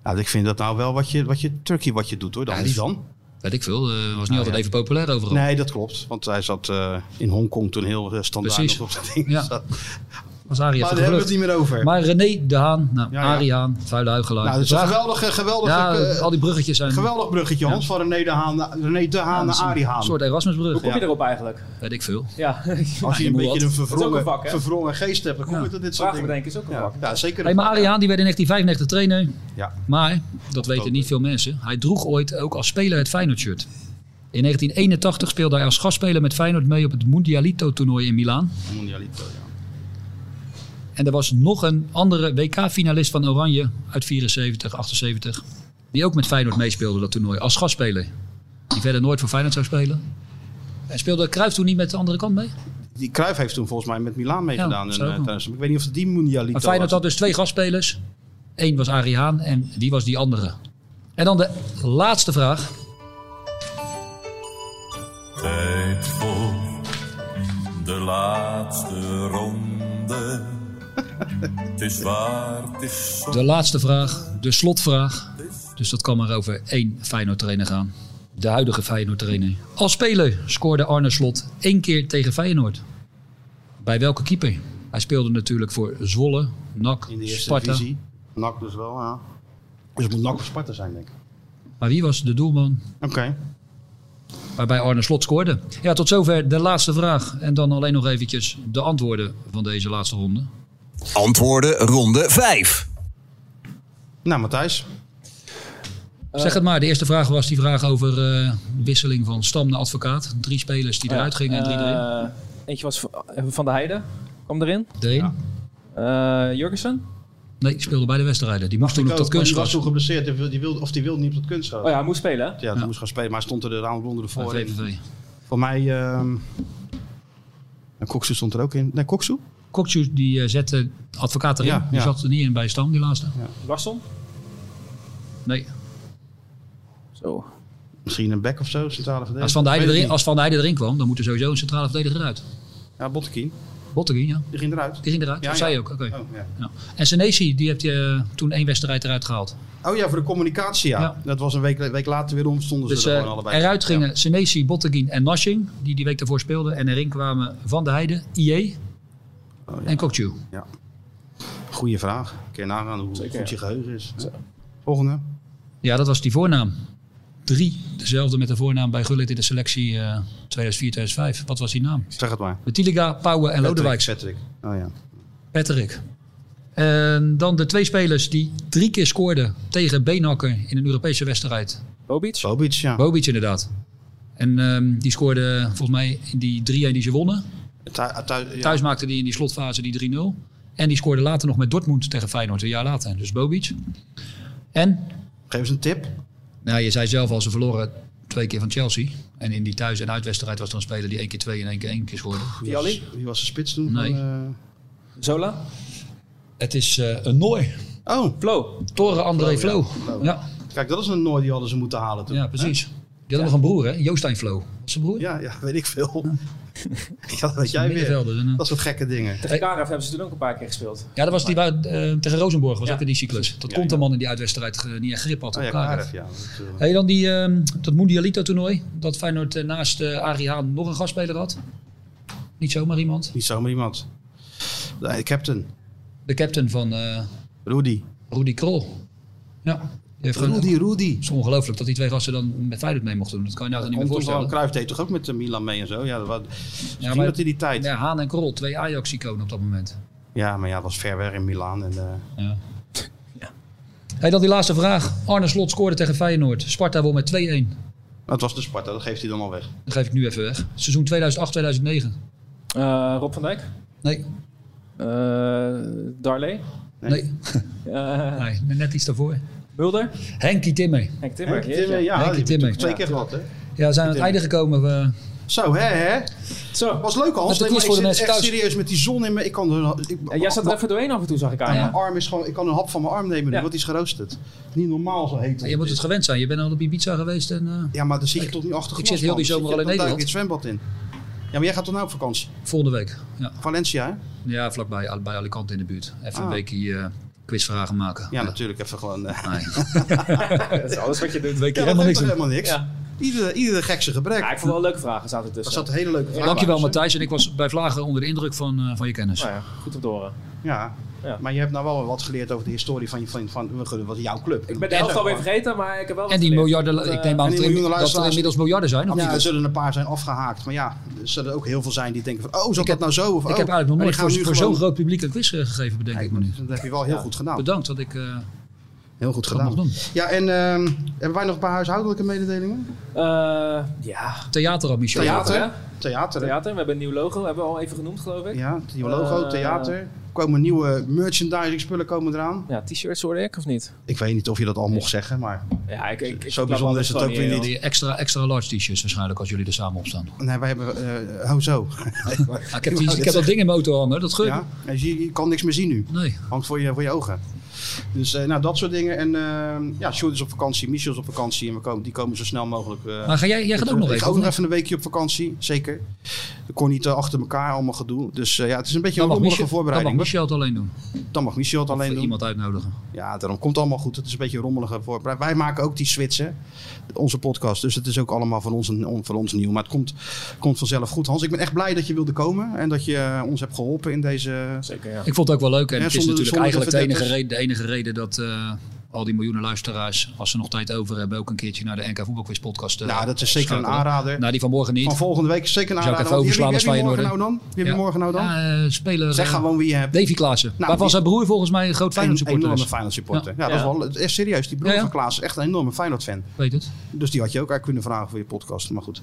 C: Nou, ik vind dat nou wel wat je, wat je Turkey wat je doet hoor. Dat is dan.
D: Weet ik veel. eh, was niet
C: Nou,
D: altijd
C: ja.
D: even populair overal.
C: Nee, dat klopt. Want hij zat eh, in Hongkong toen heel eh, standaard
D: Precies.
C: nog op dat ding. zat.
D: Was Arie
C: Maar
D: even
C: daar hebben we het
D: gelukt.
C: niet meer over.
D: Maar René de Haan, nou, Arie Haan, vuile huigelaar.
C: Nou, dat is
D: Dus
C: een
D: daar-
C: geweldige, geweldige,
D: Ja,
C: eh,
D: al die bruggetjes zijn...
C: geweldig bruggetje, Hans. Van René de Haan, naar- René de Haan
D: Ja, dat is
C: naar
D: een
C: Arie Haan.
D: soort Erasmusbrug.
E: Hoe kom je
C: Ja.
E: erop eigenlijk?
D: Weet ik veel.
E: Ja.
C: Als je een beetje een verwrongen,
E: vervroegd
C: verwrongen geest hebt, dan kom je tot dit soort dingen.
E: bedenken is ook een vak.
C: Ja, zeker.
D: Hey, maar Arie Haan die werd in 1995 trainer.
C: Ja.
D: Maar, dat weten niet veel mensen, hij droeg ooit ook als speler het Feyenoord-shirt. In 1981 speelde hij als gastspeler met Feyenoord mee op het Mundialito-toernooi in Milaan.
C: Mondialito, ja.
D: En er was nog een andere WK-finalist van Oranje uit 74, 78. Die ook met Feyenoord meespeelde dat toernooi als gastspeler. Die verder nooit voor Feyenoord zou spelen. En speelde Cruijff toen niet met de andere kant mee?
C: Die Cruijff heeft toen volgens mij met Milaan meegedaan. en,
D: zou
C: eh,
D: ook nog.
C: tijdens- ik weet niet of het die Mondialito
D: Maar Feyenoord
C: was.
D: had dus twee gastspelers. Eén was Arie Haan en wie was die andere? En dan de laatste vraag.
T: Tijd voor de laatste ronde. Het is waar, het is zo.
D: De laatste vraag, de slotvraag. Dus dat kan maar over één Feyenoord trainer gaan. De huidige Feyenoord trainer. Als speler scoorde Arne Slot één keer tegen Feyenoord. Bij welke keeper? Hij speelde natuurlijk voor Zwolle, NAC,
C: In de eerste
D: Sparta.
C: divisie. NAC dus wel, ja. Dus het moet NAC of Sparta zijn, denk ik.
D: Maar wie was de doelman?
C: Oké.
D: Waarbij Arne Slot scoorde. Ja, tot zover de laatste vraag. En dan alleen nog eventjes de antwoorden van deze laatste ronde.
B: Antwoorden ronde 5.
C: Nou, Matthijs. Eh.
D: Zeg het maar, de eerste vraag was die vraag over eh, wisseling van stam naar advocaat. Drie spelers
C: Oh
D: die eruit gingen en drie erin.
E: Eh, Eentje was van- eh, Van de Heijden. Kwam erin.
D: Erin.
E: Eh, Jurgensen.
D: Nee, die speelde bij de wedstrijden. Die mocht toen op dat
C: Die was
D: kunstgras.
C: toen geblesseerd die wil- die wilde, of die wilde niet op dat kunstgras.
E: Oh ja, hij moest spelen hè?
C: Ja, die moest gaan spelen, maar hij stond er de round onder de voor.
D: Bij VVV.
C: Voor mij... ehm en Koksu stond er ook in. Nee, Koksu?
D: Koksu die eh, zette advocaat erin.
C: Ja,
D: die
C: ja.
D: zat er niet in bij Stam, die laatste.
E: Larsson.
D: Nee.
E: Zo.
C: Misschien een back of zo, centrale verdediger.
D: Als Van der
C: Ik
D: Heijden
C: weet
D: erin,
C: het
D: als Van der Heijden erin kwam, dan moet er sowieso een centrale verdediger uit.
C: niet. Ja, Bottekin.
D: Botteguin, ja.
C: Die ging eruit.
D: Die ging eruit.
C: Ja,
D: of
C: ja.
D: zij ook. Oké.
C: Oh, ja.
D: Ja. En Senesi, die heeft eh, toen één wedstrijd eruit gehaald.
C: oh ja, voor de communicatie, ja. Dat was een week, week later weer om, stonden
D: Dus
C: ze er
D: eh,
C: gewoon allebei.
D: eruit gingen Senesi, Botteguin en Nasching, die die week daarvoor speelden. En erin kwamen Van der Heijden, IE en Kokju.
C: Oh, Ja. Goeie vraag. Kun je nagaan hoe
D: Zeker,
C: goed
D: ja.
C: je geheugen is. Volgende.
D: Ja, dat was die voornaam. Drie, dezelfde met de voornaam bij Gullit in de selectie eh, 2004-2005. Wat was die naam?
C: Zeg het maar.
D: Betiliga, Pauwen en Lodewijk.
C: Patrick. Oh ja.
D: Patrick. En dan de twee spelers die drie keer scoorden tegen Beenhakker in een Europese wedstrijd.
E: Bobic?
C: Bobic, ja.
D: Bobic inderdaad. En ehm, die scoorde volgens mij in die 3-1 die ze wonnen.
C: Thu- thu- ja.
D: Thuis maakte die in die slotfase die 3-0. En die scoorde later nog met Dortmund tegen Feyenoord een jaar later. Dus Bobic. En?
C: Geef eens een tip.
D: Nou, je zei zelf al, ze verloren twee keer van Chelsea. En in die thuis- en uitwedstrijd was er een speler die één keer twee en één keer één keer scoorde.
C: Wie was, wie was de spits toen?
D: Nee.
C: Van, eh,
E: Zola?
D: Het is eh, een Nooi.
C: Oh.
E: Flo.
D: Toren André
C: Flo,
D: Flo.
C: ja.
D: Ja,
C: Flo. Kijk, dat is een Noor die hadden ze moeten halen toen.
D: Ja, precies.
C: Hè?
D: Die had nog een broer, hè? Joostijn Flo. Was zijn broer?
C: Ja, ja, weet ik veel. Ja, dat weet jij weer.
D: middenvelder, een, eh.
C: Dat soort gekke dingen.
E: Tegen Karaf hebben ze toen ook een paar keer gespeeld.
D: Ja, dat was die waar, eh, tegen Rozenborg was
E: Ja.
D: ook in die cyclus. Dat komt een man in die uitwedstrijd eh, niet echt grip had.
C: Oh, ja,
D: op Karev.
C: Karev, ja. Dat, eh,
D: Hey, dan die, ehm, dat Mundialito toernooi. Dat Feyenoord eh, naast eh Arie Haan nog een gastspeler had. Niet zomaar iemand.
C: Niet zomaar iemand. De captain.
D: De captain van eh,
C: Rudy.
D: Rudy Krol. Ja. die heeft gewoon-
C: Rudy, Rudy.
D: Het is ongelooflijk dat die twee gasten dan met Feyenoord mee mochten doen. Dat kan je nou niet meer
C: Komt toch wel,
D: voorstellen.
C: Cruijff deed toch ook met eh, Milan mee en zo? Ja, dat was, ja,
D: maar-
C: dat in die tijd.
D: Ja, Haan en Krol, twee Ajax-iconen op dat moment.
C: Ja, maar ja, dat was ver weg in Milaan. En, eh,
D: Ja. Hey, dan die laatste vraag. Arne Slot scoorde tegen Feyenoord. Sparta won met 2-1.
C: Het was de Sparta, dat geeft hij dan al weg.
D: Dat geef ik nu even weg. Seizoen 2008, 2009.
E: Eh, Rob van Dijk? Eh,
D: Nee.
E: Darley? Eh,
D: Nee. Nee. nee. Net iets daarvoor.
E: Mulder?
D: Henkie Timme.
E: Henk Timmer.
C: Henk Timmer, ja,
D: Henkie
C: die
D: Timmer.
C: heeft twee keer gehad, hè?
D: Ja, we zijn aan het einde gekomen. Eh, We...
C: Zo, hè, hè?
E: Zo.
C: Was leuk, Hans.
D: Dat is
C: Nee, maar
D: voor de
C: ik zit
D: mensen
C: echt
D: thuis.
C: serieus met die zon in me. Ik kan er, ik,
E: jij zat er even doorheen af en toe, zag ik aan
C: Ja,
E: je.
C: mijn arm is gewoon... Ik kan een hap van mijn arm nemen nu, want die is geroosterd. Niet normaal zo heet
D: Ja, je moet het gewend zijn. Je bent al op Ibiza geweest. En, eh,
C: Ja, maar dan zit je toch niet achter
D: Ik
C: glas,
D: zit heel
C: man.
D: die
C: Dan
D: zomer
C: zit
D: al
C: je-
D: in
C: dan duik
D: Nederland.
C: je het zwembad in. Ja, maar jij gaat toch nou op vakantie?
D: Volgende week. Ja.
C: Valencia, hè?
D: Ja, vlakbij Al- bij Alicante in de buurt. Even
C: Ah.
D: een weekje eh, quizvragen maken.
C: Ja, natuurlijk. Even gewoon... eh.
E: Dat is alles wat je doet.
D: Weet je
C: Ja, dat
D: helemaal
C: heeft
D: niks.
C: toch
D: aan.
C: helemaal niks? Iedere, iedere gekse gebrek.
E: Ja, ik vond wel leuke vragen zaten
C: Er
E: tussen.
C: zat hele leuke vragen.
D: Dankjewel Matthijs. En ik was bij Vlagen onder de indruk van, eh, van je kennis.
E: Nou ja, goed om te horen.
C: Ja. maar je hebt nou wel wat geleerd over de historie van, je- van, van, van wat jouw club.
E: Ik ben de helft alweer vergeten, maar ik heb wel wat
D: En die
E: geleerd.
D: miljarden,
E: Dat, eh,
D: ik neem aan
C: en die
D: dat er,
C: miljoenen
D: in- dat er
C: luisteraars-
D: inmiddels miljarden zijn. Of
C: Ja, er
D: niet?
C: zullen een paar zijn afgehaakt. Maar ja, er zullen ook heel veel zijn die denken van... Oh, zat dat nou zo? Of,
D: ik
C: oh,
D: heb eigenlijk nog
C: en die
D: nooit
C: gaan
D: voor,
C: nu
D: voor
C: gewoon-
D: zo'n groot publiek een quiz eh, gegeven, bedenk ik me nu.
C: Dat heb je wel heel goed gedaan.
D: Bedankt dat ik eh
C: Nou. heel goed
D: dat mocht doen.
C: Ja, en ehm, hebben wij nog een paar huishoudelijke mededelingen?
E: Eh, ja.
D: Theater al, Michel.
C: Theater.
E: hè?
C: Theater. hè?
E: Theater, we hebben een nieuw logo, hebben we al even genoemd geloof ik.
C: Ja, het nieuwe logo,
E: Eh,
C: theater. Er komen nieuwe merchandising spullen komen eraan.
E: Ja, t-shirts hoorde ik of niet?
C: Ik weet niet of je dat al mocht zeggen, maar...
E: Ja, ik, ik, ik
C: Zo
E: klap
C: bijzonder
E: alles
C: is het
E: gewoon
C: ook weer
E: joh.
C: niet.
D: Die extra, extra large t-shirts waarschijnlijk als jullie er samen op staan.
C: Nee, wij hebben... eh hoezo?
D: Ah, ik heb, die, ik heb dat ding in mijn auto hangen, dat geurt.
C: Ja, en je, je kan niks meer zien nu.
D: Nee.
C: Hangt voor je, voor je ogen. Dus eh, nou, dat soort dingen. En eh ja, Sjoerd is op vakantie, Michel is op vakantie. En we komen, die komen zo snel mogelijk. eh,
D: Maar ga jij- jij gaat
C: terug.
D: ook nog
C: Ik
D: even,
C: ga ook
D: of
C: nog even een weekje op vakantie, zeker. Ik kon niet eh, achter elkaar allemaal gedoe. Dus eh, ja, het is een beetje
D: Dan
C: een
D: mag,
C: rommelige
D: Michel, dan mag
C: voorbereiding.
D: Michel het alleen doen.
C: Dan mag Michel het alleen
D: Of
C: doen.
D: Iemand uitnodigen.
C: Ja, daarom komt allemaal goed. Het is een beetje een rommelige voorbereiding. Wij maken ook die switchen, onze podcast. Dus het is ook allemaal van ons, on- van ons nieuw. Maar het komt, komt vanzelf goed. Hans, ik ben echt blij dat je wilde komen. En dat je eh, ons hebt geholpen in deze...
E: Zeker, ja.
D: Ik vond het ook wel leuk. En
C: Ja,
D: het is
C: zonder-
D: natuurlijk
C: zonder
D: eigenlijk de enige,
C: verdetters.
D: reden, de enige reden dat eh, al die miljoenen luisteraars, als ze nog tijd over hebben, ook een keertje naar de NK Voetbalquiz podcast eh,
C: Nou, dat is zeker een
D: schakelen.
C: aanrader.
D: Nou, die van morgen niet.
C: Van volgende week is zeker een
D: Zou ik
C: aanrader.
D: even
C: Want wie-
D: overslaan als
C: wie- wie
D: Feyenoord,
C: morgen nou dan? Wie heb je
D: Ja.
C: morgen nou dan?
D: Ja, eh, speler,
C: zeg
D: eh,
C: gewoon wie je hebt.
D: Davy Klaassen.
C: Nou,
D: Waarvan
C: die-
D: zijn broer volgens mij een groot Feyenoord
C: Een
D: supporter
C: enorme
D: is.
C: Feyenoord supporter. Ja,
D: Ja.
C: dat is
D: Ja.
C: wel echt serieus. Die broer
D: Ja, ja.
C: van Klaas is echt een enorme Feyenoord fan.
D: Weet het.
C: Dus die had je ook eigenlijk kunnen vragen voor je podcast. Maar goed.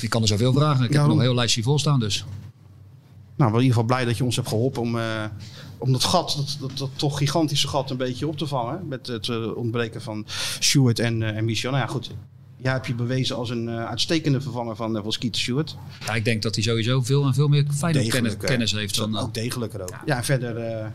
D: Je kan er zoveel vragen. Ik heb
C: Daarom.
D: nog een heel lijstje vol staan dus.
C: Nou, wel in ieder geval blij dat je ons hebt geholpen om, eh, om dat gat, dat, dat, dat toch gigantische gat, een beetje op te vangen. Met het eh, ontbreken van Stewart en, eh, en Michel. Nou ja, goed. Jij hebt je bewezen als een eh, uitstekende vervanger van, eh, van Skeeter Stewart.
D: Ja, ik denk dat hij sowieso veel en veel meer Feyenoord kennis,
C: Degelijker.
D: kennis heeft dan...
C: Ook degelijker ook. Ja, en verder eh,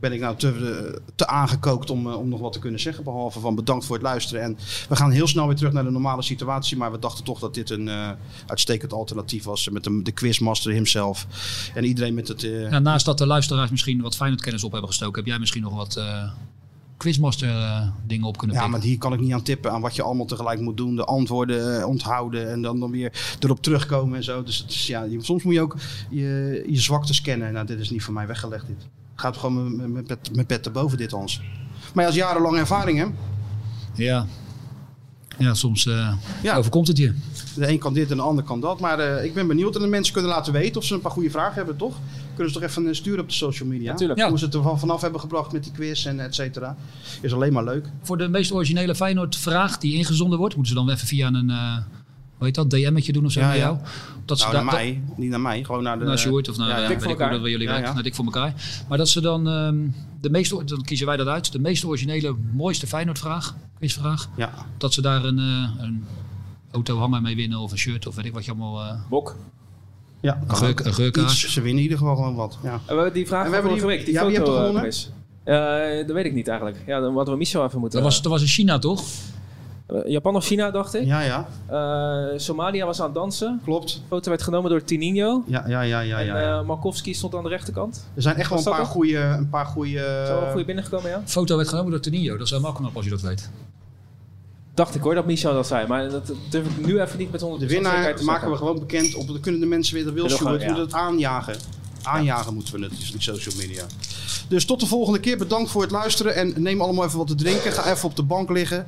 C: ben ik nou te, eh, te aangekookt om, eh, om nog wat te kunnen zeggen. Behalve van bedankt voor het luisteren. En we gaan heel snel weer terug naar de normale situatie. Maar we dachten toch dat dit een eh, uitstekend alternatief was. Met de, de quizmaster himself. En iedereen met het... eh,
D: Ja, naast dat de luisteraars misschien wat Feyenoord kennis op hebben gestoken, heb jij misschien nog wat eh, Quizmaster eh, dingen op kunnen
C: Ja,
D: pikken.
C: maar hier kan ik niet aan tippen aan wat je allemaal tegelijk moet doen. De antwoorden eh, onthouden en dan, dan weer erop terugkomen en zo. Dus het is, ja, je- soms moet je ook je, je zwaktes kennen. Nou, dit is niet voor mij weggelegd. Dit gaat gewoon met, met, met, met pet erboven dit, Hans. Maar ja, als jarenlange ervaring, hè?
D: Ja. Ja, soms eh,
C: Ja.
D: overkomt het je.
C: De een kan dit en de ander kan dat. Maar eh, ik ben benieuwd. En de mensen kunnen laten weten of ze een paar goede vragen hebben, toch? Kunnen ze toch even eh, sturen op de social media?
D: Natuurlijk. Ja.
C: Hoe ze het er van- vanaf hebben gebracht met die quiz en et cetera. Is alleen maar leuk.
D: Voor de meest originele Feyenoord-vraag die ingezonden wordt, moeten ze dan even via een, eh hoe heet dat, DM'tje doen of zo
C: Ja,
D: naar
C: ja.
D: jou? Dat nou,
C: nou,
D: daar-
C: naar mij. Niet naar mij. Gewoon naar de...
D: naar Sjoerd of naar, ja, weet ik hoe dat bij jullie
C: eh, Ja,
D: werken,
C: ja.
D: naar Dik voor elkaar. Maar dat ze dan, ehm, de meest, o- dan kiezen wij dat uit, de meest originele, mooiste Feyenoord-vraag, quizvraag.
C: Ja.
D: Dat ze daar een, eh, een auto hanger mee winnen of een shirt of weet ik wat je allemaal... eh,
E: Bok.
C: Ja,
D: Een geur- een geurkaars.
C: Iets, Ze winnen in ieder geval gewoon wat. Ja.
E: En we hebben die vraag
C: En
E: van
C: we hebben die-
E: vorige week, die
C: ja, wie
E: foto
C: hebt er
E: eh,
C: gewonnen?
E: quiz. Eh, dat weet ik niet eigenlijk. Ja, dan hadden we Michel even moeten...
D: Dat was, dat was in China toch?
E: Eh, Japan of China, dacht ik.
C: Ja, ja.
E: Eh, Somalia was aan het dansen.
C: Klopt.
E: foto werd genomen door Tininho.
C: Ja, ja, ja, ja.
E: en
C: ja.
E: eh, Markowski stond aan de rechterkant.
C: er zijn echt wel een
E: was dat
C: paar
E: ook?
C: goede... Een paar goede...
E: Zo wel goed binnengekomen, ja?
D: Foto werd genomen door Tenio, dat is helemaal knap als je dat weet.
E: Dacht ik hoor dat Michel dat zei, maar dat durf ik nu even niet met 100%
C: De
E: zekerheid
C: winnaar
E: te
C: maken
E: zeggen.
C: we gewoon bekend. Op, dan kunnen de mensen weer... Dat wil
E: Kunnen we
C: Sjoerd. We
E: gewoon,
C: moeten het aanjagen. Aanjagen moeten we het. Dus die social media. Dus tot de volgende keer. Bedankt voor het luisteren. En neem allemaal even wat te drinken. Ga even op de bank liggen.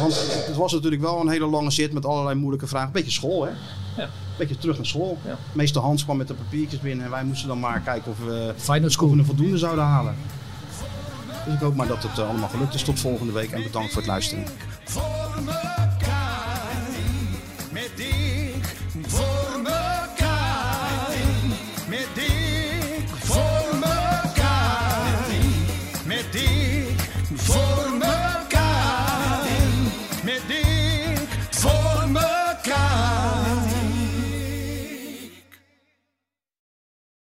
C: Want het was natuurlijk wel een hele lange zit met allerlei moeilijke vragen. Beetje school, hè?
E: Ja.
C: Beetje terug naar school. Meester Hans kwam met de papiertjes binnen. En wij moesten dan maar kijken of we,
D: Feyenoord
C: of we een voldoende zouden halen. Dus ik hoop maar dat het eh, allemaal gelukt is. Tot volgende week. En bedankt voor het luisteren.
L: Voor me